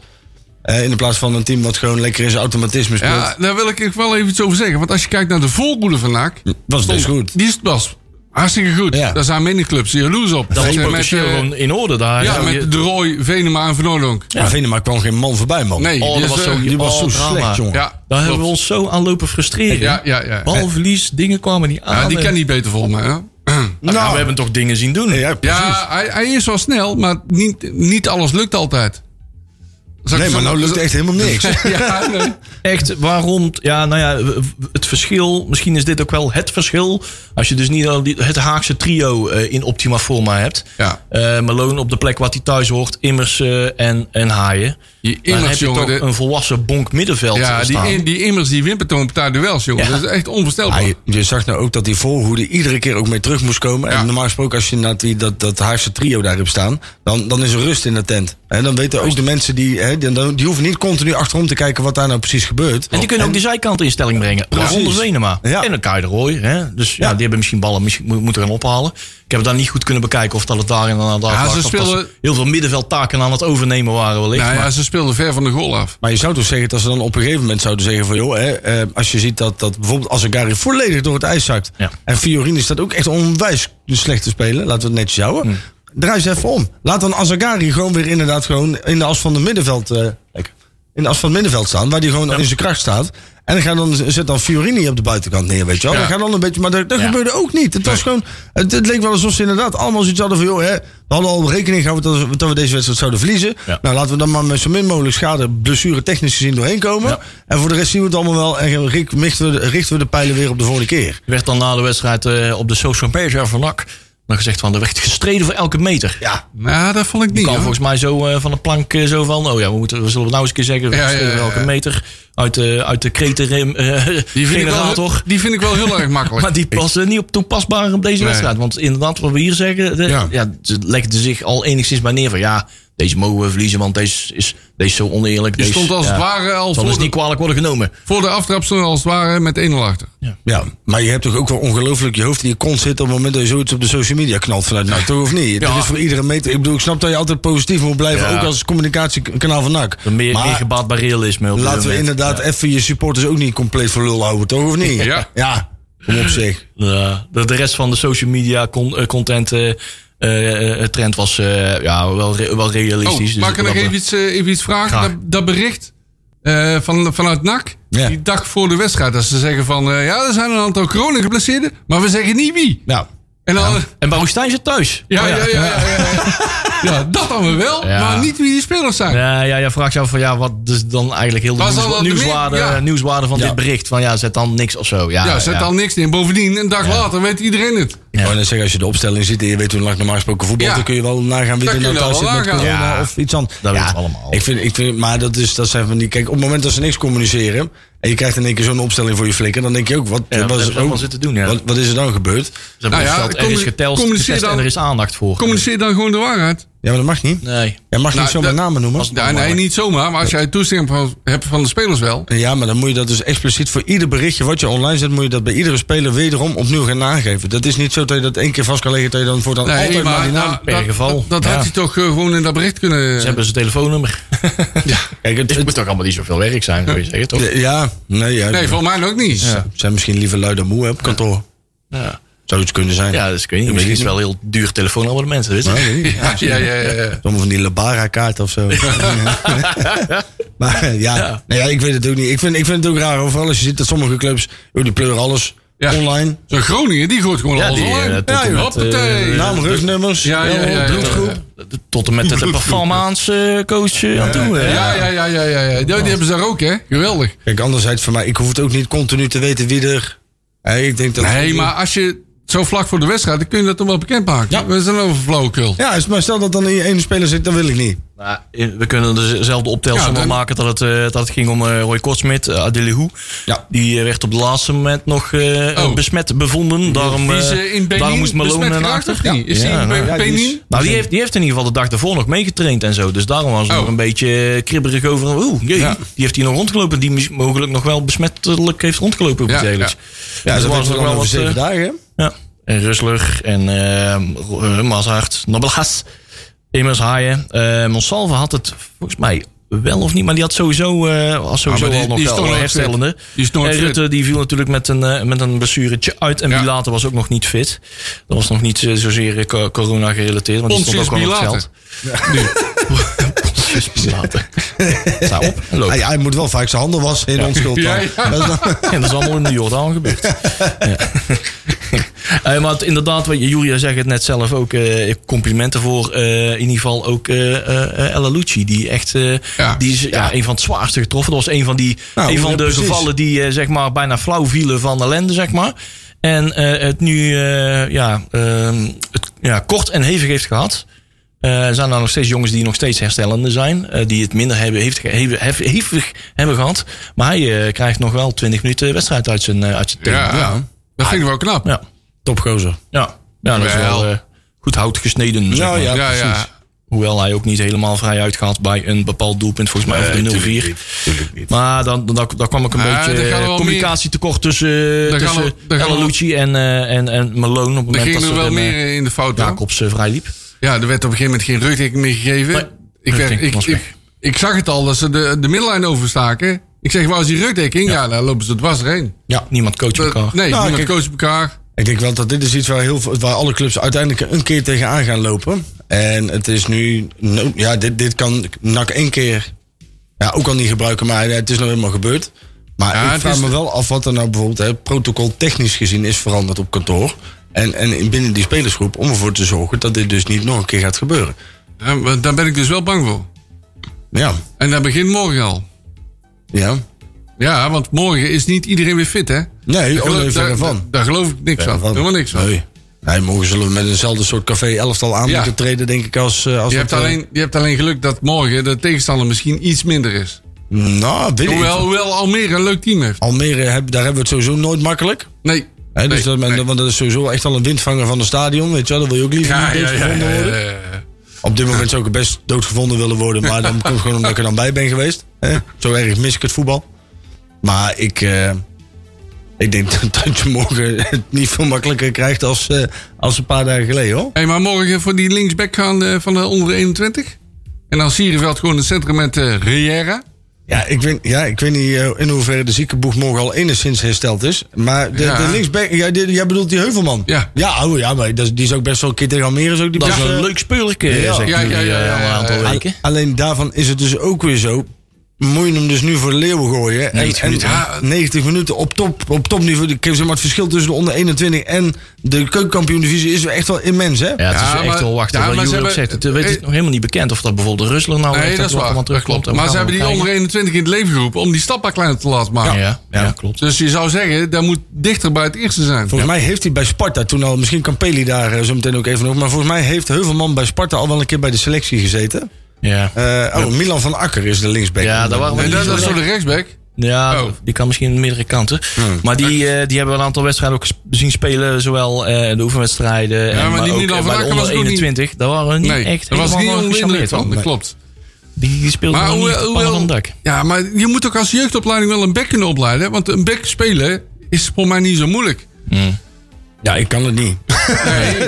[SPEAKER 4] eh, in de plaats van een team wat gewoon lekker in zijn automatisme speelt.
[SPEAKER 5] Ja, daar wil ik echt wel even iets over zeggen. Want als je kijkt naar de voorboede van NAC...
[SPEAKER 4] was best goed.
[SPEAKER 5] Die is- was hartstikke goed.
[SPEAKER 4] Ja.
[SPEAKER 5] Daar zijn menig clubs jaloers op.
[SPEAKER 3] Dat was
[SPEAKER 5] Met, eh,
[SPEAKER 3] potentieel
[SPEAKER 5] met, eh,
[SPEAKER 3] gewoon in orde daar.
[SPEAKER 5] Ja,
[SPEAKER 3] Zo, je-
[SPEAKER 5] met De Roy, Venema en Van Oorlog.
[SPEAKER 4] Maar Venema kwam geen man voorbij, man.
[SPEAKER 5] Nee,
[SPEAKER 3] Oh,
[SPEAKER 5] die
[SPEAKER 3] dat
[SPEAKER 5] is,
[SPEAKER 3] was
[SPEAKER 5] eh,
[SPEAKER 3] zo,
[SPEAKER 4] Die was
[SPEAKER 3] oh,
[SPEAKER 4] zo
[SPEAKER 3] drama.
[SPEAKER 4] slecht, jongen.
[SPEAKER 5] Ja,
[SPEAKER 3] Daar hebben we
[SPEAKER 5] klopt.
[SPEAKER 3] ons zo aan lopen frustreren.
[SPEAKER 5] Ja, ja, ja.
[SPEAKER 3] Balverlies, dingen kwamen niet aan.
[SPEAKER 5] Ja, die
[SPEAKER 3] En-
[SPEAKER 5] kan niet beter volgens mij. hè?
[SPEAKER 3] Nou, we hebben toch dingen zien doen.
[SPEAKER 4] Ja, precies.
[SPEAKER 5] Ja, hij, hij is wel snel, maar niet, niet alles lukt altijd. Zal ik
[SPEAKER 4] nee,
[SPEAKER 5] zo-
[SPEAKER 4] maar nou lukt echt helemaal niks.
[SPEAKER 5] ja, nee.
[SPEAKER 3] Echt, waarom? Ja, nou ja, w- w- het verschil. Misschien is dit ook wel het verschil. Als je dus niet al die, het Haagse trio eh, in optima forma hebt.
[SPEAKER 5] Ja.
[SPEAKER 3] Eh, Malone op de plek wat hij thuis hoort. Immers eh, en, en Haaien.
[SPEAKER 5] Die
[SPEAKER 3] Dan heb
[SPEAKER 5] immers,
[SPEAKER 3] je
[SPEAKER 5] jongen.
[SPEAKER 3] toch
[SPEAKER 5] de-
[SPEAKER 3] een volwassen bonk middenveld
[SPEAKER 5] ja, die,
[SPEAKER 3] staan.
[SPEAKER 5] in- die immers die wimpert een paar duels, jongen.
[SPEAKER 3] Ja.
[SPEAKER 5] Dat is echt onvoorstelbaar.
[SPEAKER 4] Ah, je, je zag nou ook dat die voorhoede iedere keer ook mee terug moest komen.
[SPEAKER 5] Ja.
[SPEAKER 4] En normaal gesproken, als je naar die, dat, dat Haagse trio daar hebt staan, dan, dan is er rust in de tent. En dan weten ook de mensen die, hè, die, dan- die hoeven niet continu achterom te kijken wat daar nou precies gebeurt.
[SPEAKER 3] En die kunnen ook die zijkant in stelling brengen. Waaronder Venema.
[SPEAKER 4] Ja.
[SPEAKER 3] En dan Kai de Roy. Hè? Dus ja.
[SPEAKER 4] Ja.
[SPEAKER 3] die hebben misschien ballen. Misschien moet- moeten er gaan ophalen. Ik heb dan niet goed kunnen bekijken of dat het daar en aan daar
[SPEAKER 5] Ja,
[SPEAKER 3] lag,
[SPEAKER 5] ze
[SPEAKER 3] of dat
[SPEAKER 5] speelden-
[SPEAKER 3] heel veel middenveldtaken aan het overnemen waren wellicht.
[SPEAKER 5] nou, ja,
[SPEAKER 3] maar,
[SPEAKER 5] ze speelden ver van de goal af.
[SPEAKER 4] Maar je zou toch zeggen dat ze dan op een gegeven moment zouden zeggen van... joh, hè, eh, als je ziet dat, dat bijvoorbeeld Azagari volledig door het ijs zakt...
[SPEAKER 3] Ja.
[SPEAKER 4] en Fiorini staat ook echt onwijs slecht te spelen. Laten we het netjes houden.
[SPEAKER 3] Hmm.
[SPEAKER 4] Draai ze even om. Laat dan Azagari gewoon weer inderdaad gewoon in de as van het middenveld... eh, in de as van het middenveld staan, waar die gewoon in zijn kracht staat. En dan, ga dan, zet dan Fiorini op de buitenkant neer, weet je wel.
[SPEAKER 5] Ja.
[SPEAKER 4] Dan ga dan een beetje, maar dat, dat
[SPEAKER 3] Ja.
[SPEAKER 4] gebeurde ook niet. Het, was gewoon, het, het leek wel alsof ze inderdaad allemaal zoiets hadden van... Joh, hè, we hadden al rekening gehouden dat we, dat we deze wedstrijd zouden verliezen.
[SPEAKER 3] Ja.
[SPEAKER 4] Nou, laten we dan maar met zo min mogelijk schade, blessure technisch gezien doorheen komen.
[SPEAKER 3] Ja.
[SPEAKER 4] En voor de rest zien we het allemaal wel. En rik- richten we, de, richten we de pijlen weer op de volgende keer.
[SPEAKER 3] werd dan na de wedstrijd eh, op de social media van NAC dan gezegd van er werd gestreden voor elke meter.
[SPEAKER 4] Ja.
[SPEAKER 5] Nou, dat vond ik
[SPEAKER 3] Die
[SPEAKER 5] niet.
[SPEAKER 3] kan
[SPEAKER 5] hoor.
[SPEAKER 3] volgens mij zo eh, van de plank eh, zo van, oh ja, we, moeten, we zullen het nou eens een keer zeggen, we
[SPEAKER 5] Ja, ja,
[SPEAKER 3] gestreden voor
[SPEAKER 5] ja,
[SPEAKER 3] elke
[SPEAKER 5] ja.
[SPEAKER 3] meter uit de, uit de kretenrem eh
[SPEAKER 5] Die vind, ik
[SPEAKER 3] generator.
[SPEAKER 5] wel, die vind ik wel heel erg makkelijk.
[SPEAKER 3] Maar die was eh, niet op toepasbaar op deze
[SPEAKER 5] Nee.
[SPEAKER 3] wedstrijd. Want inderdaad, wat we hier zeggen, de-
[SPEAKER 5] Ja.
[SPEAKER 3] ja. ze legden zich al enigszins bij neer van ja, deze mogen we verliezen, want deze is, deze is zo oneerlijk.
[SPEAKER 5] Je
[SPEAKER 3] deze,
[SPEAKER 5] stond als
[SPEAKER 3] ja,
[SPEAKER 5] het ware al
[SPEAKER 3] zal dus
[SPEAKER 5] voor
[SPEAKER 3] niet
[SPEAKER 5] de,
[SPEAKER 3] kwalijk worden genomen.
[SPEAKER 5] voor de aftrap stond als het ware met 1-0 achter.
[SPEAKER 4] ja. Maar je hebt toch ook wel ongelooflijk je hoofd in je kont zitten... op het moment dat je zoiets op de social media knalt vanuit NAC, toch of niet?
[SPEAKER 3] Ja.
[SPEAKER 4] Dat is voor iedere meter... Ik bedoel, ik snap dat je altijd positief moet blijven...
[SPEAKER 3] Ja.
[SPEAKER 4] ook als communicatiekanaal van NAC.
[SPEAKER 3] Meer,
[SPEAKER 4] Maar
[SPEAKER 3] meer gebaat bij realisme. op dit
[SPEAKER 4] laten we
[SPEAKER 3] moment.
[SPEAKER 4] inderdaad even je supporters ook niet compleet voor lul houden, toch of niet?
[SPEAKER 5] Ja.
[SPEAKER 4] Ja, kom op zich.
[SPEAKER 3] Ja, de, de rest van de social media con- eh, content eh, eh, eh, trend was eh, ja, wel, re- wel realistisch. Dus
[SPEAKER 5] Oh, mag ik
[SPEAKER 3] dat-
[SPEAKER 5] nog even iets, eh, even iets vragen?
[SPEAKER 3] Graag.
[SPEAKER 5] Dat, dat bericht eh, van, vanuit NAC.
[SPEAKER 4] Ja.
[SPEAKER 5] Die dag voor de wedstrijd. Dat ze zeggen van, eh, ja, er zijn een aantal corona geblesseerden, maar we zeggen niet wie.
[SPEAKER 4] Nou,
[SPEAKER 5] En dan, ja,
[SPEAKER 3] En Bouwstein zit thuis.
[SPEAKER 5] ja, ja, ja. ja, ja. Ja, dat dan weer wel,
[SPEAKER 3] Oh Ja.
[SPEAKER 5] maar niet wie die spelers zijn.
[SPEAKER 3] Ja, ja, ja, vraag je af van ja, wat is dan eigenlijk heel de
[SPEAKER 5] Wat is
[SPEAKER 3] nieuws,
[SPEAKER 5] dan de
[SPEAKER 3] nieuwswaarde,
[SPEAKER 5] meer- ja.
[SPEAKER 3] nieuwswaarde van dit bericht? Van ja, zet dan niks of zo. Ja,
[SPEAKER 5] Ja, zet al niks in. Bovendien, een dag later weet iedereen het.
[SPEAKER 4] ik wou net zeggen, als je de opstelling ziet en je weet hoe lang normaal gesproken voetbal,
[SPEAKER 5] Ja.
[SPEAKER 4] dan kun je wel nagaan wie
[SPEAKER 5] Dat kun
[SPEAKER 4] er nou
[SPEAKER 5] je wel
[SPEAKER 4] thuis zit met
[SPEAKER 5] nagaan.
[SPEAKER 4] corona
[SPEAKER 3] Ja.
[SPEAKER 4] of iets anders.
[SPEAKER 3] Dat weten we allemaal.
[SPEAKER 4] Ik vind, ik vind, maar dat, is, dat zijn van die... Kijk, op het moment dat ze niks communiceren en je krijgt in één keer zo'n opstelling voor je flikker, dan denk je ook, wat,
[SPEAKER 3] Ja, wat
[SPEAKER 4] wat,
[SPEAKER 3] hebben ze
[SPEAKER 4] is,
[SPEAKER 3] allemaal
[SPEAKER 4] ook-
[SPEAKER 3] zitten doen, ja.
[SPEAKER 4] wat, wat is er dan gebeurd?
[SPEAKER 3] Ze hebben
[SPEAKER 5] Nou ja,
[SPEAKER 3] gesteld, er is
[SPEAKER 5] communi-
[SPEAKER 3] geteld,
[SPEAKER 5] communiceer
[SPEAKER 3] getest en
[SPEAKER 5] dan-
[SPEAKER 3] er is aandacht voor.
[SPEAKER 5] Communiceer dan gewoon de waarheid.
[SPEAKER 4] Ja, maar dat mag niet.
[SPEAKER 3] Nee.
[SPEAKER 4] Jij mag
[SPEAKER 5] Nou,
[SPEAKER 4] niet zomaar
[SPEAKER 5] dat-
[SPEAKER 4] namen noemen.
[SPEAKER 5] Ja, nee, niet zomaar. Maar als jij toestemming van- hebt van de spelers wel.
[SPEAKER 4] Ja, maar dan moet je dat dus expliciet voor ieder berichtje wat je online zet, moet je dat bij iedere speler wederom opnieuw gaan nageven. Dat is niet zo dat je dat één keer vast kan leggen, dat je dan voortaan
[SPEAKER 5] Nee,
[SPEAKER 4] altijd maar, die naam...
[SPEAKER 5] nou,
[SPEAKER 3] per
[SPEAKER 5] dat-
[SPEAKER 3] geval.
[SPEAKER 5] Dat, dat
[SPEAKER 3] Ja.
[SPEAKER 5] had hij toch eh, gewoon in dat bericht kunnen...
[SPEAKER 3] Ze hebben zijn telefoonnummer.
[SPEAKER 4] Kijk, het,
[SPEAKER 3] Het moet toch allemaal niet zoveel werk zijn, zou je zeggen, toch?
[SPEAKER 4] ja, nee, ja,
[SPEAKER 5] Nee, volgens mij ook niet.
[SPEAKER 4] ja. zijn misschien liever lui dan moe hè, op kantoor.
[SPEAKER 3] Ja,
[SPEAKER 4] Zou iets kunnen zijn.
[SPEAKER 5] dus-
[SPEAKER 3] ja dat is, kun je niet.
[SPEAKER 4] Misschien
[SPEAKER 3] Misschien is
[SPEAKER 4] niet.
[SPEAKER 3] wel een heel duur telefoonabonnement, dat weet je.
[SPEAKER 4] Nou, weet ik niet.
[SPEAKER 5] Ja, ja, ja, ja, ja.
[SPEAKER 4] Sommige van die Lebara-kaart of zo. maar eh, ja, Nou ja, ik weet het ook niet. Ik vind, ik vind het ook raar, overal als je ziet dat sommige clubs, joh, die pleuren alles
[SPEAKER 5] Ja.
[SPEAKER 4] online.
[SPEAKER 5] Zo'n Groningen, die gooit gewoon
[SPEAKER 3] Ja,
[SPEAKER 5] alles
[SPEAKER 3] die, eh,
[SPEAKER 5] online.
[SPEAKER 3] tot en met,
[SPEAKER 5] Hoppatee.
[SPEAKER 3] eh,
[SPEAKER 4] Naam, rugnummers,
[SPEAKER 5] Ja, ja, ja, ja.
[SPEAKER 4] bloedgroep.
[SPEAKER 3] Tot en met de performance eh, coach eh, aan toe. hè.
[SPEAKER 5] Ja, ja, ja, ja, ja. ja. Die, die hebben ze daar ook, hè? Geweldig.
[SPEAKER 4] Kijk, anderzijds voor mij, ik hoef het ook niet continu te weten wie er... Hé, ik denk dat
[SPEAKER 5] Nee, maar als je zo vlak voor de wedstrijd, dan kun je dat toch wel bekendmaken. Ja. We zijn over flauwekul.
[SPEAKER 4] Ja, maar stel dat dan in je ene speler zit, dat wil ik niet.
[SPEAKER 3] Nou, eh, we kunnen dezelfde optelsom
[SPEAKER 5] Ja,
[SPEAKER 3] wel
[SPEAKER 5] dan-
[SPEAKER 3] maken dat het, eh, dat het ging om eh, Roy Kortsmit, uh,
[SPEAKER 4] Ja.
[SPEAKER 3] Die eh, werd op het laatste moment nog eh,
[SPEAKER 5] Oh.
[SPEAKER 3] besmet bevonden. Daarom,
[SPEAKER 5] Die is
[SPEAKER 3] eh,
[SPEAKER 5] eh, in Benin
[SPEAKER 3] daarom moest Malone
[SPEAKER 5] besmet
[SPEAKER 3] naar
[SPEAKER 5] geraakt,
[SPEAKER 3] achter.
[SPEAKER 5] of niet? Is die
[SPEAKER 3] Ja,
[SPEAKER 5] in
[SPEAKER 3] nou,
[SPEAKER 5] Be-
[SPEAKER 4] ja, die is-
[SPEAKER 5] Benin?
[SPEAKER 3] Nou, die heeft, die heeft in ieder geval de dag daarvoor nog meegetraind en zo. Dus daarom was het
[SPEAKER 5] Oh.
[SPEAKER 3] nog een beetje eh, kribberig over. Oeh, jee,
[SPEAKER 5] Ja.
[SPEAKER 3] die heeft hier nog rondgelopen. Die mis- mogelijk nog wel besmettelijk heeft rondgelopen. op
[SPEAKER 5] Ja,
[SPEAKER 3] iets dergelijks.
[SPEAKER 5] ja.
[SPEAKER 4] Ja,
[SPEAKER 3] Dus
[SPEAKER 4] dat
[SPEAKER 3] er
[SPEAKER 4] was
[SPEAKER 3] nog
[SPEAKER 4] dan over
[SPEAKER 3] wat,
[SPEAKER 4] zeven
[SPEAKER 3] eh,
[SPEAKER 4] dagen. hè?
[SPEAKER 3] ja. En Rusler en eh eh, Mazart, Nobelgas, Immers Haaien. Eh Monsalve had het volgens mij wel of niet, maar die had sowieso, eh was sowieso
[SPEAKER 5] maar die-
[SPEAKER 3] al nog
[SPEAKER 5] die is
[SPEAKER 3] wel
[SPEAKER 5] toch nog
[SPEAKER 3] herstellende.
[SPEAKER 5] fit. Die is nog
[SPEAKER 3] en
[SPEAKER 5] fit.
[SPEAKER 3] Rutte die viel natuurlijk met een, eh, met een blessuretje uit. En
[SPEAKER 5] Ja.
[SPEAKER 3] Bilater was ook nog niet fit. Dat was nog niet eh, zozeer eh, co- corona gerelateerd, want die
[SPEAKER 5] Pontius
[SPEAKER 3] stond ook al op het
[SPEAKER 5] Pilater.
[SPEAKER 3] veld. Pontius Pilater. Sta op en loop.
[SPEAKER 4] Hij, Ah, hij moet wel vaak zijn handen wassen in onschuld.
[SPEAKER 5] Ja,
[SPEAKER 4] dan.
[SPEAKER 5] ja.
[SPEAKER 4] Dat is dan-
[SPEAKER 3] En dat is allemaal in de Jordaan gebeurd. ja. Eh, maar het- inderdaad, wat Julia zegt het net zelf ook. eh, complimenten voor eh, in ieder geval ook eh eh, eh, Ella Lucci. Die echt eh,
[SPEAKER 5] Ja.
[SPEAKER 3] die is, ja. een van het zwaarste getroffen. Dat was een van, die,
[SPEAKER 4] Nou,
[SPEAKER 3] een van de
[SPEAKER 4] precies.
[SPEAKER 3] gevallen die eh, zeg maar, bijna flauw vielen van ellende. Zeg maar. En eh, het nu eh, ja, ehm, het, ja, kort en hevig heeft gehad. Eh, er zijn er nog steeds jongens die nog steeds herstellende zijn. eh, die het minder hebben, heeft, ge- hevig, hef- hevig hebben gehad. Maar hij eh, krijgt nog wel 20 minuten wedstrijd uit zijn, eh, uit zijn tent.
[SPEAKER 5] Ja, dat vind ik wel knap.
[SPEAKER 3] Ja.
[SPEAKER 4] Topgozer.
[SPEAKER 3] Ja. ja, dat is wel eh, goed hout gesneden. zeg
[SPEAKER 4] Nou
[SPEAKER 3] maar.
[SPEAKER 4] ja,
[SPEAKER 5] Ja,
[SPEAKER 4] precies.
[SPEAKER 5] ja.
[SPEAKER 3] Hoewel hij ook niet helemaal vrij uitgaat bij een bepaald doelpunt. Volgens mij over de 0-4. Maar dan, dan, dan, dan kwam ik een
[SPEAKER 5] Ah,
[SPEAKER 3] beetje
[SPEAKER 5] er gaan er wel
[SPEAKER 3] eh, communicatietekort tussen, eh,
[SPEAKER 5] Er gaan
[SPEAKER 3] tussen
[SPEAKER 5] er- er gaan er-
[SPEAKER 3] Ellalucci en, eh, en, en Malone. Op het
[SPEAKER 5] Er
[SPEAKER 3] moment dat
[SPEAKER 5] ging er
[SPEAKER 3] ze
[SPEAKER 5] wel
[SPEAKER 3] een, eh,
[SPEAKER 5] meer in de fout. hoor.
[SPEAKER 3] Jacobs eh, vrij liep.
[SPEAKER 5] Ja, er werd op een gegeven moment geen rugdekking meer gegeven.
[SPEAKER 3] Nee,
[SPEAKER 5] ik, werd,
[SPEAKER 3] rugdekking
[SPEAKER 5] ik,
[SPEAKER 3] was
[SPEAKER 5] ik,
[SPEAKER 3] weg.
[SPEAKER 5] ik zag het al, dat ze de, de middenlijn overstaken. Ik zeg, waar is die rugdekking? Ja, daar lopen ze dwars erheen.
[SPEAKER 4] Ja.
[SPEAKER 3] Niemand coacht
[SPEAKER 5] Dat-
[SPEAKER 3] elkaar.
[SPEAKER 5] nee,
[SPEAKER 4] Nou,
[SPEAKER 5] niemand
[SPEAKER 4] kijk.
[SPEAKER 5] coacht elkaar.
[SPEAKER 4] Ik denk wel dat dit is iets waar, heel, veel- waar alle clubs uiteindelijk een keer tegenaan gaan lopen. En het is nu... no- Ja, dit, dit kan NAC één keer ja, ook al niet gebruiken, maar het is nog helemaal gebeurd. Maar
[SPEAKER 5] Ja,
[SPEAKER 4] ik
[SPEAKER 5] het
[SPEAKER 4] vraag
[SPEAKER 5] is-
[SPEAKER 4] me wel af wat er nou bijvoorbeeld hè, protocol technisch gezien is veranderd op kantoor. En, en in- binnen die spelersgroep om ervoor te zorgen dat dit dus niet nog een keer gaat gebeuren.
[SPEAKER 5] Ja, maar daar ben ik dus wel bang voor.
[SPEAKER 4] Ja,
[SPEAKER 5] En dat begint morgen al.
[SPEAKER 4] ja.
[SPEAKER 5] Ja, want morgen is niet iedereen weer fit, hè?
[SPEAKER 4] Nee, oh, nee, verre
[SPEAKER 5] daar,
[SPEAKER 4] van.
[SPEAKER 5] daar, daar geloof ik niks
[SPEAKER 4] Verre
[SPEAKER 5] van.
[SPEAKER 4] van.
[SPEAKER 5] Helemaal niks van.
[SPEAKER 4] Nee. Nee, morgen zullen we met eenzelfde soort café-elftal aan
[SPEAKER 5] Ja.
[SPEAKER 4] moeten treden, denk ik, als... eh, als
[SPEAKER 5] Je
[SPEAKER 4] dat,
[SPEAKER 5] hebt,
[SPEAKER 4] eh,
[SPEAKER 5] alleen, je hebt alleen geluk dat morgen de tegenstander misschien iets minder is.
[SPEAKER 4] Nou, weet ik.
[SPEAKER 5] Hoewel, hoewel Almere een leuk team heeft.
[SPEAKER 4] Almere, heb, daar hebben we het sowieso nooit makkelijk.
[SPEAKER 5] Nee.
[SPEAKER 4] Hè, dus
[SPEAKER 5] Nee,
[SPEAKER 4] dat, men-
[SPEAKER 5] nee.
[SPEAKER 4] Want dat is sowieso echt al een windvanger van het stadion, weet je wel. Dat wil je ook liever
[SPEAKER 5] Ja,
[SPEAKER 4] niet
[SPEAKER 5] ja, ja,
[SPEAKER 4] doodgevonden
[SPEAKER 5] ja,
[SPEAKER 4] worden.
[SPEAKER 5] ja, ja.
[SPEAKER 4] Op dit moment zou ik het best doodgevonden willen worden. Maar dan komt het gewoon omdat ik er dan bij ben geweest. Hè? Zo erg mis ik het voetbal. Maar ik, eh, ik denk dat- dat je morgen het niet veel makkelijker krijgt als, eh, als een paar dagen geleden hoor.
[SPEAKER 5] Hé, maar morgen voor die linksback gaan eh, van de onder de 21? En dan Sierenveld gewoon in het centrum met eh
[SPEAKER 3] Oh,
[SPEAKER 5] Riera.
[SPEAKER 4] Ja, ik weet, ja, ik weet niet eh, in hoeverre de ziekenboeg morgen al enigszins hersteld is. Maar de,
[SPEAKER 5] Ja.
[SPEAKER 4] de linksback, jij, de- jij bedoelt die Heuvelman?
[SPEAKER 5] Ja.
[SPEAKER 4] Ja, oh, ja maar dat is- die is ook best wel een keer tegen Almere. Is ook die
[SPEAKER 3] Dat
[SPEAKER 4] best,
[SPEAKER 3] is
[SPEAKER 4] eh,
[SPEAKER 3] een leuk speurlijk,
[SPEAKER 4] ja.
[SPEAKER 3] zeg
[SPEAKER 5] Ja,
[SPEAKER 3] jullie,
[SPEAKER 5] ja, ja,
[SPEAKER 3] eh,
[SPEAKER 5] ja,
[SPEAKER 3] al een aantal
[SPEAKER 5] ja,
[SPEAKER 3] weken.
[SPEAKER 4] Alleen daarvan is het dus ook weer zo. moet je hem dus nu voor de leeuwen gooien. En-
[SPEAKER 3] 90
[SPEAKER 4] en,
[SPEAKER 3] minuten, hè?
[SPEAKER 4] ja, 90 minuten op, top, op topniveau. Ik zeg maar, het verschil tussen de onder 21 en de keukenkampioen divisie is echt wel immens. Hè?
[SPEAKER 3] Ja, het is
[SPEAKER 5] Ja,
[SPEAKER 3] echt
[SPEAKER 5] maar-
[SPEAKER 3] wel wachten.
[SPEAKER 5] ja,
[SPEAKER 3] wat
[SPEAKER 5] maar ze
[SPEAKER 3] Jury ook
[SPEAKER 5] hebben-
[SPEAKER 3] zegt, het eh, weet
[SPEAKER 5] eh,
[SPEAKER 3] het nog helemaal niet bekend of dat bijvoorbeeld de Rusler nou
[SPEAKER 5] Nee,
[SPEAKER 3] echt
[SPEAKER 5] dat is waar.
[SPEAKER 3] allemaal
[SPEAKER 5] Dat klopt.
[SPEAKER 3] terugkomt.
[SPEAKER 5] Maar ze hebben die onder 21 in het leven geroepen om die stap maar kleiner te laten maken.
[SPEAKER 3] Ja, ja, klopt.
[SPEAKER 5] Dus je zou zeggen, dat moet dichter bij het eerste zijn.
[SPEAKER 4] Volgens mij heeft hij bij Sparta toen al, misschien kan Peli daar eh, zo meteen ook even nog, maar volgens mij heeft Heuvelman bij Sparta al wel een keer bij de selectie gezeten.
[SPEAKER 3] Ja,
[SPEAKER 4] Eh, oh, Milan van Akker is de linksback.
[SPEAKER 3] ja daar waren we
[SPEAKER 5] En
[SPEAKER 3] niet
[SPEAKER 5] dat,
[SPEAKER 3] zo
[SPEAKER 5] dat is
[SPEAKER 3] lekker.
[SPEAKER 5] voor de rechtsback.
[SPEAKER 3] Ja,
[SPEAKER 5] Oh.
[SPEAKER 3] die kan misschien meerdere kanten. Maar die, eh, die hebben we een aantal wedstrijden ook zien spelen. Zowel eh, de oefenwedstrijden en,
[SPEAKER 5] maar
[SPEAKER 3] maar
[SPEAKER 5] die
[SPEAKER 3] ook
[SPEAKER 5] Milan
[SPEAKER 3] eh,
[SPEAKER 5] van
[SPEAKER 3] bij de
[SPEAKER 5] Akker was
[SPEAKER 3] onder
[SPEAKER 5] ook niet-
[SPEAKER 3] 21. Daar waren we niet
[SPEAKER 5] Nee,
[SPEAKER 3] echt
[SPEAKER 5] daar was niet
[SPEAKER 3] helemaal
[SPEAKER 5] onder de indruk
[SPEAKER 3] gecharmeerd
[SPEAKER 5] van.
[SPEAKER 3] van.
[SPEAKER 5] Dat klopt.
[SPEAKER 3] Die, die speelde
[SPEAKER 5] Maar
[SPEAKER 3] nog niet
[SPEAKER 5] hoewel,
[SPEAKER 3] op de pannen
[SPEAKER 5] hoewel-
[SPEAKER 3] van het dak.
[SPEAKER 5] ja, maar je moet ook als jeugdopleiding wel een back kunnen opleiden. hè? Want een back spelen is voor mij niet zo moeilijk.
[SPEAKER 4] Ja, ik kan het niet.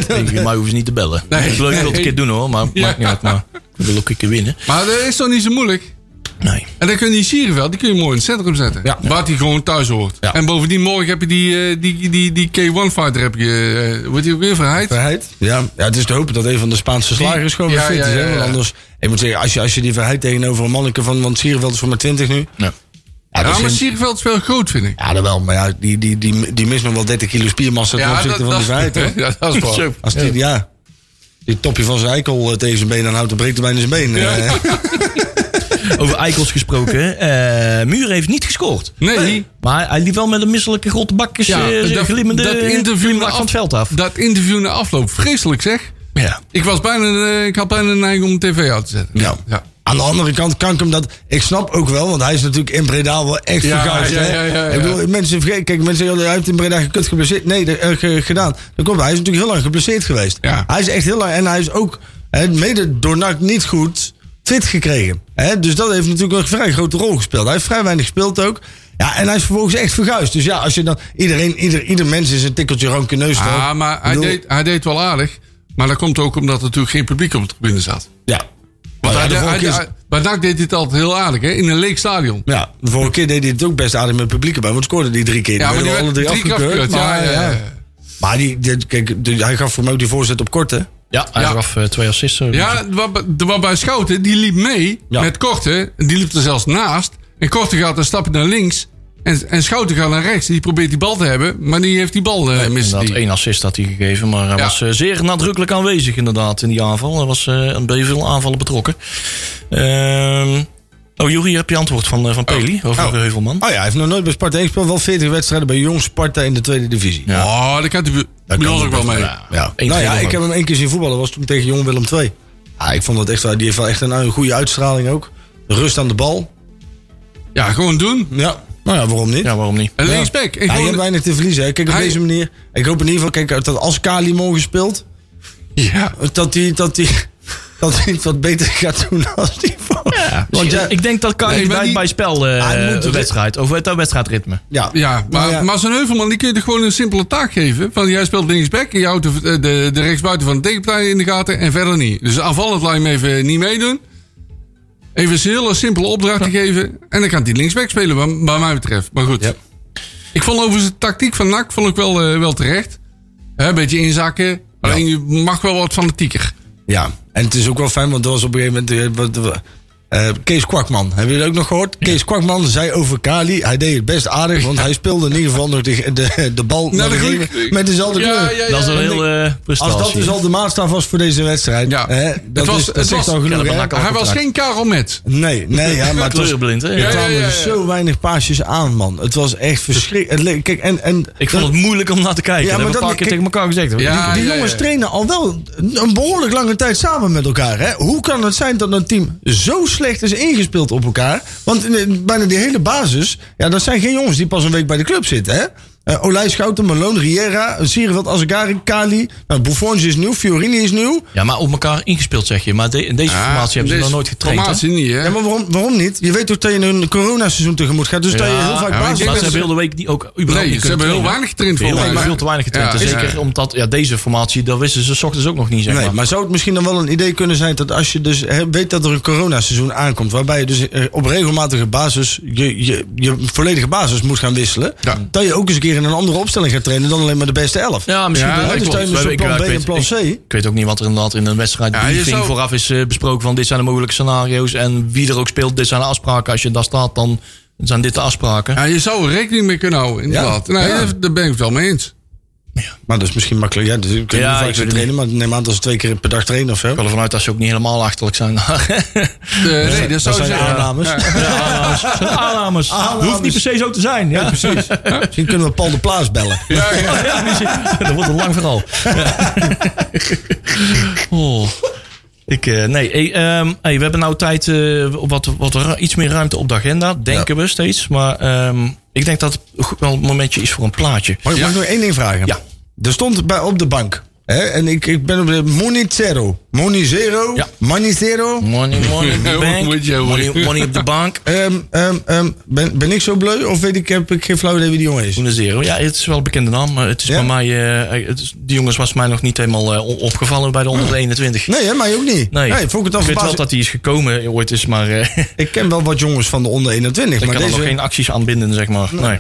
[SPEAKER 3] Tegen mij hoeven ze niet te bellen.
[SPEAKER 5] Nee.
[SPEAKER 3] Het is leuk dat het een keer doen hoor, maar
[SPEAKER 5] Ja.
[SPEAKER 3] maakt niet uit. Maar ik wil ook een keer winnen.
[SPEAKER 5] Maar dat is toch niet zo moeilijk?
[SPEAKER 3] Nee.
[SPEAKER 5] En dan kun je die Sierenveld, die kun je mooi in het centrum zetten.
[SPEAKER 4] Ja.
[SPEAKER 5] Waar die gewoon thuis hoort.
[SPEAKER 3] Ja.
[SPEAKER 5] En bovendien, morgen heb je die, eh, die, die, die K1-fighter. Heb je, eh, wordt die ook weer verheid?
[SPEAKER 4] Verheid? Ja, ja, het is te hopen dat een van de Spaanse slagers gewoon weer
[SPEAKER 5] Ja,
[SPEAKER 4] fit
[SPEAKER 5] ja,
[SPEAKER 4] is.
[SPEAKER 5] ja,
[SPEAKER 4] hè? Want
[SPEAKER 5] ja.
[SPEAKER 4] anders, ik moet zeggen, als je, als je die Verheid tegenover een manneke van, want Sierveld is voor maar 20 nu.
[SPEAKER 3] Ja.
[SPEAKER 5] Ja,
[SPEAKER 4] dat is
[SPEAKER 5] maar
[SPEAKER 4] een-
[SPEAKER 5] Sierenveld is wel groot, vind ik.
[SPEAKER 4] Ja, dat wel. Maar ja, die, die, die, die mist nog wel 30 kilo spiermassa ten
[SPEAKER 5] Ja,
[SPEAKER 4] opzichte van die Verheid. hoor.
[SPEAKER 5] ja, dat is waar.
[SPEAKER 3] Zo.
[SPEAKER 4] Als die, ja, die topje van zijn eikel eh, tegen zijn been aanhoudt, dan breekt hij bijna zijn been. eh.
[SPEAKER 3] Over Eikels gesproken. eh Muur heeft niet gescoord.
[SPEAKER 5] Nee,
[SPEAKER 3] Maar hij liep wel met een misselijke grote bakjes
[SPEAKER 5] ja,
[SPEAKER 3] eh, glimmende
[SPEAKER 5] na
[SPEAKER 3] glimlach
[SPEAKER 5] af-
[SPEAKER 3] van het veld af.
[SPEAKER 5] Dat interview na afloop, vreselijk zeg.
[SPEAKER 3] Ja.
[SPEAKER 5] Ik, was bijna, eh, ik had bijna de neiging om de tv uit te zetten.
[SPEAKER 4] Ja.
[SPEAKER 5] ja.
[SPEAKER 4] Aan de andere kant kan ik hem dat. Ik snap ook wel, want hij is natuurlijk in Breda wel echt
[SPEAKER 5] Ja,
[SPEAKER 4] verguisd.
[SPEAKER 5] ja,
[SPEAKER 4] hè.
[SPEAKER 5] ja, ja, ja.
[SPEAKER 4] Ik bedoel, mensen vergeten. Kijk, mensen zeggen, hij heeft in Breda gekut geblesseerd. Nee, dat, eh, ge- gedaan. Dat komt. Hij is natuurlijk heel lang geblesseerd geweest.
[SPEAKER 5] Ja.
[SPEAKER 4] Hij is echt heel lang. En hij is ook hè, mede door NAC niet goed fit gekregen. Hè? Dus dat heeft natuurlijk een vrij grote rol gespeeld. Hij heeft vrij weinig gespeeld ook. Ja, en hij is vervolgens echt verguisd. Dus ja, als je dan. Iedereen, ieder, ieder mens is een tikkeltje rankeneus. toch?
[SPEAKER 5] Ah, maar hij,
[SPEAKER 4] Ik bedoel,
[SPEAKER 5] deed, hij deed wel aardig. Maar dat komt ook omdat er natuurlijk geen publiek op de tribune zat.
[SPEAKER 4] Ja.
[SPEAKER 5] Want
[SPEAKER 4] Oh ja,
[SPEAKER 5] hij,
[SPEAKER 4] de
[SPEAKER 5] hij-
[SPEAKER 4] vorige keer-
[SPEAKER 5] hij- bij NAC deed hij het altijd heel aardig, hè? In een leeg stadion.
[SPEAKER 4] Ja, de vorige keer deed hij het ook best aardig met het publiek erbij. Want scoorde die drie keer.
[SPEAKER 5] Ja, maar die
[SPEAKER 4] werden
[SPEAKER 5] werd
[SPEAKER 4] alle
[SPEAKER 5] drie keer afgekeurd. Ja,
[SPEAKER 4] maar,
[SPEAKER 5] ja, ja.
[SPEAKER 4] ja. Maar die, dit- kijk, die- hij gaf voor mij ook die voorzet op korte. Oh
[SPEAKER 3] Ja, hij
[SPEAKER 5] Ja.
[SPEAKER 3] gaf eh, twee assists. eh,
[SPEAKER 5] Ja, wat- wat bij Schouten, die liep mee
[SPEAKER 4] Ja.
[SPEAKER 5] met Korte. Die liep er zelfs naast. En Korte gaat een stapje naar links. En, en Schouten gaat naar rechts. Die probeert die bal te hebben, maar die heeft die bal eh mist.
[SPEAKER 3] Inderdaad, één assist had hij gegeven, maar hij
[SPEAKER 5] Ja.
[SPEAKER 3] was eh, zeer nadrukkelijk aanwezig inderdaad in die aanval. Er was eh een beetje veel aanvallen betrokken. Ehm, oh, Jury, heb je antwoord van, eh, van Peli over
[SPEAKER 4] Oh.
[SPEAKER 3] Heuvelman?
[SPEAKER 4] Oh ja, hij heeft nog nooit bij Sparta 1 gespeeld. Wel 40 wedstrijden bij Jong Sparta in de tweede divisie.
[SPEAKER 3] Ja.
[SPEAKER 5] Oh, daar kan hij bij ons ook wel mee.
[SPEAKER 4] Ja.
[SPEAKER 3] Eén
[SPEAKER 4] Nou ja,
[SPEAKER 3] keer
[SPEAKER 4] ik heb
[SPEAKER 3] nog.
[SPEAKER 4] hem één keer zien voetballen. Dat was toen tegen Jong Willem II. Ja, ik vond dat echt wel... Die heeft wel echt een, een goede uitstraling ook. Rust aan de bal.
[SPEAKER 5] Ja, gewoon doen.
[SPEAKER 4] Ja. Nou ja, waarom niet?
[SPEAKER 3] Ja, waarom niet?
[SPEAKER 5] En
[SPEAKER 4] Ja.
[SPEAKER 5] linksback. En
[SPEAKER 4] Ja, je
[SPEAKER 5] gewoon-
[SPEAKER 4] hebt weinig te verliezen. hè. Kijk, op
[SPEAKER 5] Hij-
[SPEAKER 4] deze manier... Ik hoop in ieder geval... Kijk, dat als Kali morgen speelt...
[SPEAKER 5] ja.
[SPEAKER 4] dat hij dat die, dat die het wat beter gaat doen als die voor. Want ja,
[SPEAKER 3] ik denk dat kan
[SPEAKER 5] Nee,
[SPEAKER 3] niet
[SPEAKER 5] maar
[SPEAKER 3] bij,
[SPEAKER 5] die-
[SPEAKER 3] bij spel eh,
[SPEAKER 4] Hij moet-
[SPEAKER 3] eh, wedstrijd, of het wedstrijdritme.
[SPEAKER 4] ja,
[SPEAKER 5] Ja, maar,
[SPEAKER 4] Nou ja.
[SPEAKER 5] maar zo'n Heuvelman, die kun je toch gewoon een simpele taak geven. Van jij speelt linksback en je houdt de, de, de rechtsbuiten van de tegenpartij in de gaten en verder niet. Dus aanvallend laat je hem even niet meedoen. Even een hele simpele opdracht te geven. En dan kan hij linksback spelen, wat, wat mij betreft. Maar goed.
[SPEAKER 4] Ja.
[SPEAKER 5] Ik vond overigens de tactiek van NAC vond ik wel, eh, wel terecht. Hè, Een beetje inzakken. Alleen je mag wel wat fanatieker.
[SPEAKER 4] ja, en het is ook wel fijn, want er was op een gegeven moment. eh, wat- eh, Kees Kwakman, hebben jullie dat ook nog gehoord? Kees Kwakman zei over Kali, hij deed het best aardig, want hij speelde in ieder geval nog de, de, de bal naar de
[SPEAKER 5] groene-
[SPEAKER 4] green met dezelfde kleur.
[SPEAKER 3] dat is een
[SPEAKER 5] ja.
[SPEAKER 3] hele eh, prestatie.
[SPEAKER 4] Als dat dus al de maatstaf was voor deze wedstrijd,
[SPEAKER 5] Ja.
[SPEAKER 4] hè,
[SPEAKER 5] Het
[SPEAKER 4] dat,
[SPEAKER 5] was-
[SPEAKER 4] is, dat
[SPEAKER 5] het
[SPEAKER 4] zegt
[SPEAKER 5] was-
[SPEAKER 4] al genoeg.
[SPEAKER 3] Ja, dat
[SPEAKER 4] hè?
[SPEAKER 3] maakt al-
[SPEAKER 5] Hij was geen Karel Met.
[SPEAKER 4] nee, nee, ja, maar het was,
[SPEAKER 3] Kleurblind, hè?
[SPEAKER 4] er
[SPEAKER 5] Ja,
[SPEAKER 4] kwamen zo weinig paasjes aan, man. Het was echt verschrikkelijk. Kijk, en, en,
[SPEAKER 3] Ik vond het moeilijk om naar te kijken.
[SPEAKER 4] Ja,
[SPEAKER 3] dat hebben we
[SPEAKER 4] maar
[SPEAKER 3] een
[SPEAKER 4] dat-
[SPEAKER 3] paar keer
[SPEAKER 4] kijk-
[SPEAKER 3] tegen elkaar gezegd. hoor.
[SPEAKER 5] Ah, Ja.
[SPEAKER 4] Die jongens trainen al wel een behoorlijk lange tijd samen met elkaar. Hè? Hoe kan het zijn dat een team zo slecht is ingespeeld op elkaar? Want in de- bijna die hele basis, ja, dat zijn geen jongens die pas een week bij de club zitten. Hè? Eh, Olij Schouten, Malone, Riera, Sierveld, Azegari, Kali. Nou, Buffon is nieuw, Fiorini is nieuw.
[SPEAKER 3] Ja, maar op elkaar ingespeeld zeg je. Maar de- in deze formatie hebben ze nog nooit getraind. hè?
[SPEAKER 5] Ah, dus Formatie niet, hè?
[SPEAKER 4] Ja, maar waarom, waarom niet? Je weet toch dat je een coronaseizoen tegemoet gaat. Dus dat je
[SPEAKER 3] Ja,
[SPEAKER 4] heel vaak
[SPEAKER 5] maar ik
[SPEAKER 4] basis
[SPEAKER 5] denk
[SPEAKER 3] Maar
[SPEAKER 5] dat
[SPEAKER 3] ze hebben heel de week die ook überhaupt
[SPEAKER 5] Nee,
[SPEAKER 3] niet
[SPEAKER 5] ze
[SPEAKER 3] kunnen
[SPEAKER 5] hebben heel
[SPEAKER 3] trainen.
[SPEAKER 5] weinig getraind voor
[SPEAKER 3] Heel
[SPEAKER 5] mij.
[SPEAKER 3] weinig, veel te weinig getraind. Dus
[SPEAKER 5] Ja,
[SPEAKER 3] Zeker
[SPEAKER 5] ja.
[SPEAKER 3] omdat ja, deze formatie, dat wisten ze s ochtends ook nog niet. Zeg
[SPEAKER 4] Nee,
[SPEAKER 3] maar.
[SPEAKER 4] maar zou het misschien dan wel een idee kunnen zijn dat als je dus hè, weet dat er een coronaseizoen aankomt, waarbij je dus eh, op regelmatige basis je, je, je volledige basis moet gaan wisselen,
[SPEAKER 5] Ja.
[SPEAKER 4] dat je ook eens een keer in een andere opstelling gaat trainen dan alleen maar de beste elf.
[SPEAKER 3] Ja, misschien
[SPEAKER 5] Ja,
[SPEAKER 3] wel.
[SPEAKER 5] dat
[SPEAKER 4] dus
[SPEAKER 5] klopt.
[SPEAKER 4] dan is
[SPEAKER 3] Maar
[SPEAKER 4] zo'n
[SPEAKER 3] ik-
[SPEAKER 4] plan
[SPEAKER 3] ik
[SPEAKER 4] B en
[SPEAKER 3] weet-
[SPEAKER 4] plan
[SPEAKER 3] ik-
[SPEAKER 4] C.
[SPEAKER 3] Ik weet ook niet wat er inderdaad in een wedstrijd
[SPEAKER 5] Ja, je
[SPEAKER 3] briefing
[SPEAKER 5] zou-
[SPEAKER 3] vooraf is eh, besproken van dit zijn de mogelijke scenario's en wie er ook speelt, dit zijn de afspraken. Als je daar staat, dan zijn dit de afspraken.
[SPEAKER 5] Ja, je zou er rekening mee kunnen houden, inderdaad.
[SPEAKER 4] Ja.
[SPEAKER 5] Nou,
[SPEAKER 4] Ja.
[SPEAKER 5] daar- Daar ben ik het wel mee eens.
[SPEAKER 4] Maar dat is misschien makkelijk. Ja, dus ik kan
[SPEAKER 3] Ja,
[SPEAKER 4] niet
[SPEAKER 3] ik
[SPEAKER 4] vaak
[SPEAKER 3] weet
[SPEAKER 4] zo
[SPEAKER 3] het
[SPEAKER 4] trainen, maar neem aan dat ze twee keer per dag trainen of zo.
[SPEAKER 3] Ik wil ervan uit dat ze ook niet helemaal achterlijk zijn.
[SPEAKER 5] Eh, nee, dat, zou
[SPEAKER 4] zijn
[SPEAKER 5] zeggen.
[SPEAKER 4] aannames.
[SPEAKER 3] Aannames. Hoeft niet per se zo te zijn. Ja, precies.
[SPEAKER 4] Misschien kunnen we Paul de Plaats bellen.
[SPEAKER 5] Ja, ja.
[SPEAKER 3] dat wordt een lang verhaal. oh. Ik, eh, nee, hey, ehm, hey, we hebben nou tijd, eh, op wat, wat ru- iets meer ruimte op de agenda, denken we steeds. Maar ehm, ik denk dat het goed wel een momentje is voor een plaatje.
[SPEAKER 4] Mag ik, mag ik nog één ding vragen?
[SPEAKER 3] Ja.
[SPEAKER 4] Er stond bij, op de bank. Hè, en ik, ik ben op de Monizero. Monizero.
[SPEAKER 3] Ja.
[SPEAKER 4] Monizero.
[SPEAKER 3] Money, money op de bank,
[SPEAKER 5] Moet je, hoor.
[SPEAKER 3] money, money op de bank.
[SPEAKER 4] Ehm, ehm, ehm, ben, ben ik zo bleu of weet ik, heb ik geen flauw idee wie die jongen is?
[SPEAKER 3] Groene Zero. Ja, het is wel een bekende naam, maar het is
[SPEAKER 4] Ja?
[SPEAKER 3] bij mij, eh, het is- die jongens was mij nog niet helemaal eh, o- opgevallen bij de onder 21.
[SPEAKER 4] Nee, hè, mij ook niet.
[SPEAKER 3] Nee,
[SPEAKER 4] vond ik het
[SPEAKER 3] ik
[SPEAKER 4] al
[SPEAKER 3] weet wel
[SPEAKER 4] verbazing-
[SPEAKER 3] dat hij is gekomen ooit is, maar eh,
[SPEAKER 4] Ik ken wel wat jongens van de onder 21.
[SPEAKER 3] ik
[SPEAKER 4] Maar
[SPEAKER 3] kan er nog
[SPEAKER 4] deze...
[SPEAKER 3] geen acties aanbinden, zeg maar. Nee.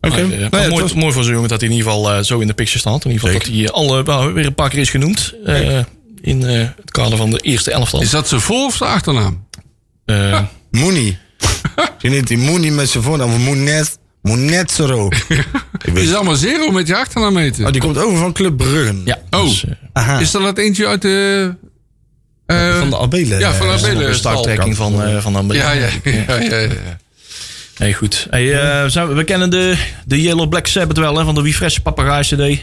[SPEAKER 4] Oké.
[SPEAKER 3] Maar, eh,
[SPEAKER 4] Nou ja,
[SPEAKER 3] maar
[SPEAKER 4] het
[SPEAKER 3] mooi,
[SPEAKER 4] was-
[SPEAKER 3] mooi voor zo'n jongen dat hij in ieder geval eh, zo in de picture staat. In ieder geval dat hij eh, alle, nou, weer een paar keer is genoemd. eh, in eh, het kader van de eerste elftal.
[SPEAKER 5] Is dat zijn voor- of zijn achternaam?
[SPEAKER 3] Eh,
[SPEAKER 4] Mooney. Misschien heet hij Mooney met zijn voornaam. Of Moenet. Moenetsero.
[SPEAKER 5] Het is allemaal zero met je achternaam heten.
[SPEAKER 4] Oh, die komt over van Club Bruggen.
[SPEAKER 3] ja,
[SPEAKER 5] Oh.
[SPEAKER 3] dus, eh,
[SPEAKER 4] Aha.
[SPEAKER 5] Is dat dat eentje uit de... eh,
[SPEAKER 4] van de Abelen.
[SPEAKER 5] ja, van de
[SPEAKER 4] eh,
[SPEAKER 5] Abelen.
[SPEAKER 3] een starttrekking van, eh van een
[SPEAKER 5] Ja, ja, ja, ja, ja.
[SPEAKER 3] Hey, goed. Hey, eh, zijn we, we kennen de, de Yellow Black Sabbath wel, hè, van de Refresh Papagaai CD.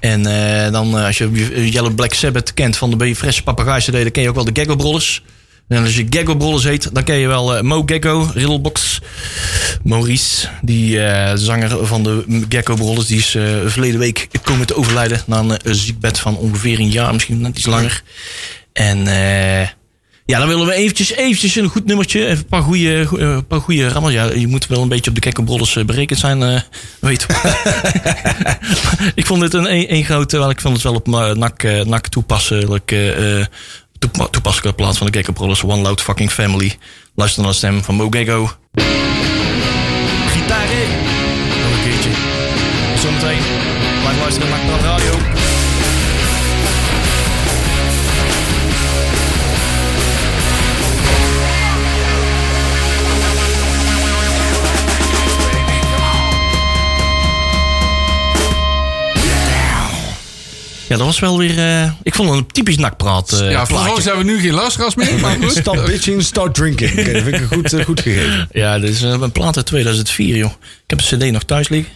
[SPEAKER 3] En eh, dan, eh, als je eh, Yellow Black Sabbath kent van de Refresh Papagaai CD, dan ken je ook wel de Gaggle Brothers. En als je Gaggle Brothers heet, dan ken je wel eh, Mo Gecko, Riddlebox, Maurice, die eh, zanger van de Gecko Brothers. Die is eh, verleden week komen te overlijden na een eh, ziekbed van ongeveer een jaar, misschien net iets langer. En eh, ja, dan willen we eventjes, eventjes een goed nummertje. Even een paar goede, goe- eh, een paar goede rammels. Ja, je moet wel een beetje op de kekkenbrollers eh, berekend zijn. eh, weet ik vond dit een, een, een grote, wel, ik vond het wel op mijn nak, eh, nak toepasselijk. eh, eh, toepa- Toepasselijke plaats van de Gekkenbrollers, One Loud Fucking Family. Luister naar de stem van Mo Gecko. Gitaren. Nog een keertje. Zometeen. Blijf luisteren naar Nakpraat Radio. Ja, dat was wel weer... eh, ik vond het een typisch nakpraat eh
[SPEAKER 5] ja,
[SPEAKER 3] plaatje.
[SPEAKER 5] volgens hebben we nu geen luisteraars meer. Maar goed.
[SPEAKER 4] Stop bitching, start drinking. Oké, dat vind ik een goed, eh, goed gegeven.
[SPEAKER 3] Ja, dit is eh, een plaat uit 2004, joh. Ik heb een cd nog thuis liggen.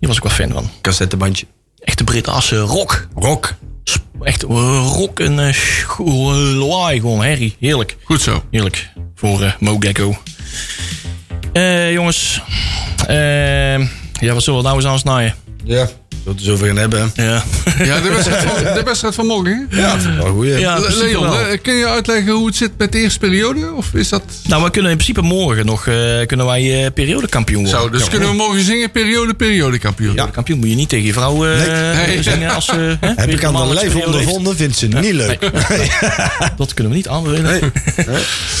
[SPEAKER 3] Hier was ik wel fan van.
[SPEAKER 4] Cassettebandje.
[SPEAKER 3] Echte Brit assen rock.
[SPEAKER 4] Rock.
[SPEAKER 3] Sp- Echt eh, rock en eh, sch- eh, lawaai, gewoon herrie. Heerlijk.
[SPEAKER 5] Goed zo.
[SPEAKER 3] Heerlijk. Voor eh, Mo Gecko. Eh, jongens. Eh, ja, wat zullen we nou eens aansnijden?
[SPEAKER 4] Ja. Dat we zoveel gaan hebben. hè?
[SPEAKER 3] Ja.
[SPEAKER 5] Ja, de wedstrijd van, de wedstrijd van morgen. hè?
[SPEAKER 4] Ja, wel goed. hè?
[SPEAKER 3] Ja, in principe
[SPEAKER 5] Leon,
[SPEAKER 3] wel.
[SPEAKER 5] eh, kun je uitleggen hoe het zit met de eerste periode? Of is dat...
[SPEAKER 3] Nou, we kunnen in principe morgen nog eh, kunnen wij eh, periodekampioen worden.
[SPEAKER 5] Zo, dus kunnen we morgen zingen periode, periode kampioen.
[SPEAKER 3] Ja, kampioen moet je niet tegen je vrouw eh,
[SPEAKER 5] Nee.
[SPEAKER 3] zingen als ze... hè,
[SPEAKER 4] Heb
[SPEAKER 3] weer
[SPEAKER 4] ik aan
[SPEAKER 3] een
[SPEAKER 4] de
[SPEAKER 3] mannelijke
[SPEAKER 4] lijf
[SPEAKER 3] periode heeft.
[SPEAKER 4] ondervonden, vindt ze niet leuk.
[SPEAKER 3] Dat kunnen we niet aanbevelen.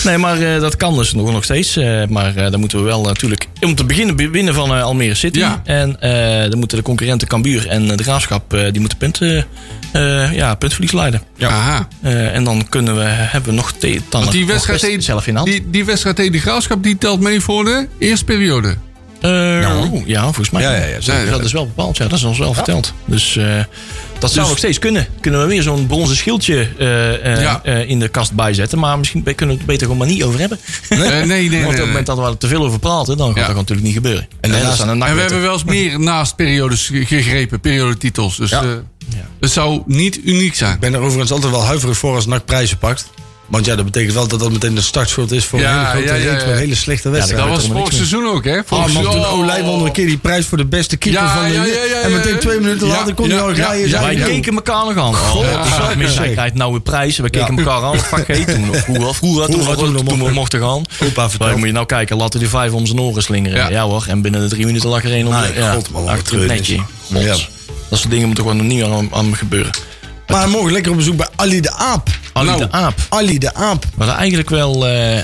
[SPEAKER 3] Nee, maar eh, dat kan dus nog, nog steeds. Eh, maar eh, dan moeten we wel natuurlijk... Om te beginnen be- winnen van eh, Almere City.
[SPEAKER 5] Ja.
[SPEAKER 3] En eh, dan moeten de concurrenten Cambuur en eh, de Graafschap... eh, die moeten punten, eh, ja, puntverlies leiden.
[SPEAKER 5] Aha.
[SPEAKER 3] Eh, en dan kunnen we, hebben we nog... te- Dan
[SPEAKER 5] Want die
[SPEAKER 3] nog
[SPEAKER 5] wedstrijd,
[SPEAKER 3] best
[SPEAKER 5] tegen,
[SPEAKER 3] zelf in de hand.
[SPEAKER 5] Die, die wedstrijd tegen de Graafschap die telt mee voor de eerste
[SPEAKER 4] Ah,
[SPEAKER 5] periode.
[SPEAKER 3] Eh, oeh, ja, volgens mij.
[SPEAKER 4] Ja, ja, ja,
[SPEAKER 5] zeker.
[SPEAKER 3] dat is wel bepaald. Ja, dat is ons wel verteld. Dus eh, dat zou nog steeds kunnen. Kunnen we weer zo'n bronzen schildje eh, eh,
[SPEAKER 5] Ja.
[SPEAKER 3] eh, in de kast bijzetten. Maar misschien be- kunnen we het beter gewoon maar niet over hebben.
[SPEAKER 5] Eh, nee, nee, nee.
[SPEAKER 3] Want op het
[SPEAKER 5] nee.
[SPEAKER 3] moment dat we er te veel over praten, dan gaat
[SPEAKER 5] Ja.
[SPEAKER 3] dat natuurlijk niet gebeuren. En
[SPEAKER 4] daarnaast-
[SPEAKER 3] dat zijn een
[SPEAKER 5] En we
[SPEAKER 3] nakwetten.
[SPEAKER 5] hebben wel eens meer naast periodes ge- gegrepen, periodetitels. Dus eh, het zou niet uniek zijn.
[SPEAKER 4] Ik ben er overigens altijd wel huiverig voor als NAC prijzen pakt. Want ja, dat betekent wel dat dat meteen de startschuld is voor
[SPEAKER 5] Ja,
[SPEAKER 4] een hele, grote
[SPEAKER 5] ja, ja,
[SPEAKER 4] reeks
[SPEAKER 5] ja.
[SPEAKER 4] met een hele slechte wedstrijd.
[SPEAKER 5] Dat
[SPEAKER 3] weet
[SPEAKER 5] was
[SPEAKER 3] er
[SPEAKER 5] vorig
[SPEAKER 3] niks meer.
[SPEAKER 5] seizoen ook, hè?
[SPEAKER 4] Oh,
[SPEAKER 5] Vorig
[SPEAKER 4] man,
[SPEAKER 5] seizoen-
[SPEAKER 4] toen Olij won er een keer die prijs voor de beste keeper
[SPEAKER 5] Ja,
[SPEAKER 4] van de
[SPEAKER 5] ja,
[SPEAKER 4] liga.
[SPEAKER 5] ja, ja,
[SPEAKER 4] En meteen
[SPEAKER 5] ja.
[SPEAKER 4] twee minuten
[SPEAKER 5] Ja,
[SPEAKER 4] later kon hij
[SPEAKER 5] ja,
[SPEAKER 4] al
[SPEAKER 5] ja,
[SPEAKER 4] rijden.
[SPEAKER 5] ja,
[SPEAKER 4] zei
[SPEAKER 3] wij
[SPEAKER 4] hij,
[SPEAKER 3] keken elkaar nog aan. Oh, die zag me, Zij krijgt nou weer prijzen. We keken elkaar aan. Fuck, hey, toen, hoe, hoe, hoe, toen,
[SPEAKER 4] Hoe-
[SPEAKER 3] we-
[SPEAKER 4] toen
[SPEAKER 3] toen
[SPEAKER 4] we
[SPEAKER 3] we
[SPEAKER 4] mochten.
[SPEAKER 3] mochten gaan.
[SPEAKER 4] Opa vertelt.
[SPEAKER 3] Maar moet je nou kijken, laten die vijf om zijn oren slingeren.
[SPEAKER 5] Ja.
[SPEAKER 3] Ja, hoor, en binnen de drie minuten lag er één om de-
[SPEAKER 4] Nee,
[SPEAKER 3] ja,
[SPEAKER 4] god, man, wat
[SPEAKER 3] achter het
[SPEAKER 4] treurig.
[SPEAKER 3] netje. God.
[SPEAKER 4] Ja.
[SPEAKER 3] Dat soort dingen moeten gewoon nog niet aan, aan gebeuren.
[SPEAKER 4] Maar morgen lekker op bezoek bij Ali de Aap.
[SPEAKER 3] Ali
[SPEAKER 5] Nou.
[SPEAKER 3] de Aap.
[SPEAKER 4] Ali de Aap.
[SPEAKER 3] We hadden eigenlijk wel eh,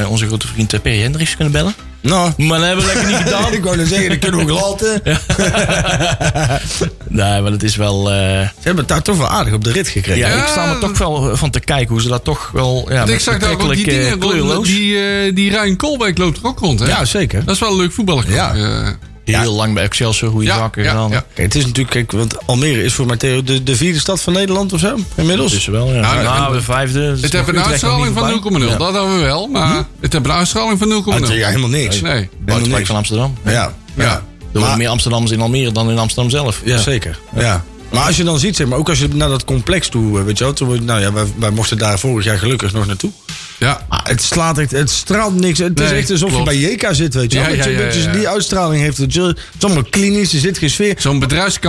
[SPEAKER 3] eh, onze grote vriend eh, Perry Hendricks kunnen bellen.
[SPEAKER 4] Nou,
[SPEAKER 3] Maar dat hebben we lekker niet gedaan.
[SPEAKER 4] ik wou net zeggen, dat kunnen we gelaten.
[SPEAKER 3] Nee, maar het is wel... eh,
[SPEAKER 4] Ze hebben het daar toch wel aardig op de rit gekregen.
[SPEAKER 3] ja,
[SPEAKER 5] Ja,
[SPEAKER 3] ik sta me
[SPEAKER 5] dat-
[SPEAKER 3] toch wel van te kijken hoe ze dat toch wel... Ja,
[SPEAKER 5] Want ik
[SPEAKER 3] met
[SPEAKER 5] zag daar ook die
[SPEAKER 3] betrekkelijk, eh,
[SPEAKER 5] dingen rond,
[SPEAKER 3] kleurloos.
[SPEAKER 5] die, eh, die Rijn Kolbeek loopt er ook rond, hè?
[SPEAKER 4] Ja, zeker.
[SPEAKER 5] Dat is wel een leuk voetballer.
[SPEAKER 4] Ja.
[SPEAKER 5] Eh,
[SPEAKER 3] Heel lang bij Excelsior, goede
[SPEAKER 5] ja,
[SPEAKER 3] zaken
[SPEAKER 5] ja,
[SPEAKER 3] gedaan.
[SPEAKER 5] ja.
[SPEAKER 4] Kijk, het is natuurlijk, kijk, want Almere is voor Matteo de, de vierde stad van Nederland of zo, inmiddels.
[SPEAKER 3] Dus wel, ja.
[SPEAKER 5] Nou,
[SPEAKER 3] Nou, de vijfde. dus nog
[SPEAKER 5] Het heeft een
[SPEAKER 3] Utrecht nog
[SPEAKER 5] uitstraling
[SPEAKER 3] niet
[SPEAKER 5] van 0,0.
[SPEAKER 3] voorbij. Ja.
[SPEAKER 5] Dat hadden we wel, maar het heeft een uitstraling van 0,0.
[SPEAKER 4] Hm? Ah, het- ja, helemaal niks.
[SPEAKER 5] Nee.
[SPEAKER 3] Buiten
[SPEAKER 4] Helemaal
[SPEAKER 3] van Amsterdam.
[SPEAKER 4] niks. Ja, ja.
[SPEAKER 5] Ja.
[SPEAKER 3] Er
[SPEAKER 4] Maar-
[SPEAKER 3] wonen meer Amsterdammers in Almere dan in Amsterdam zelf.
[SPEAKER 4] Ja, zeker. Ja. Maar als je dan ziet, zeg maar, ook als je naar dat complex toe, eh, weet je wel, toen, we- nou ja, wij, wij mochten daar vorig jaar gelukkig nog naartoe.
[SPEAKER 5] Ja.
[SPEAKER 4] Ah, het slaat echt, het straalt niks. Het is
[SPEAKER 5] Nee,
[SPEAKER 4] echt alsof
[SPEAKER 5] klopt.
[SPEAKER 4] je bij JK zit, weet je wel.
[SPEAKER 5] Ja,
[SPEAKER 4] Weet je,
[SPEAKER 5] ja, ja,
[SPEAKER 4] dat je
[SPEAKER 5] ja, ja.
[SPEAKER 4] Die uitstraling heeft het. Je- Het is allemaal klinisch, er zit geen sfeer.
[SPEAKER 5] Zo'n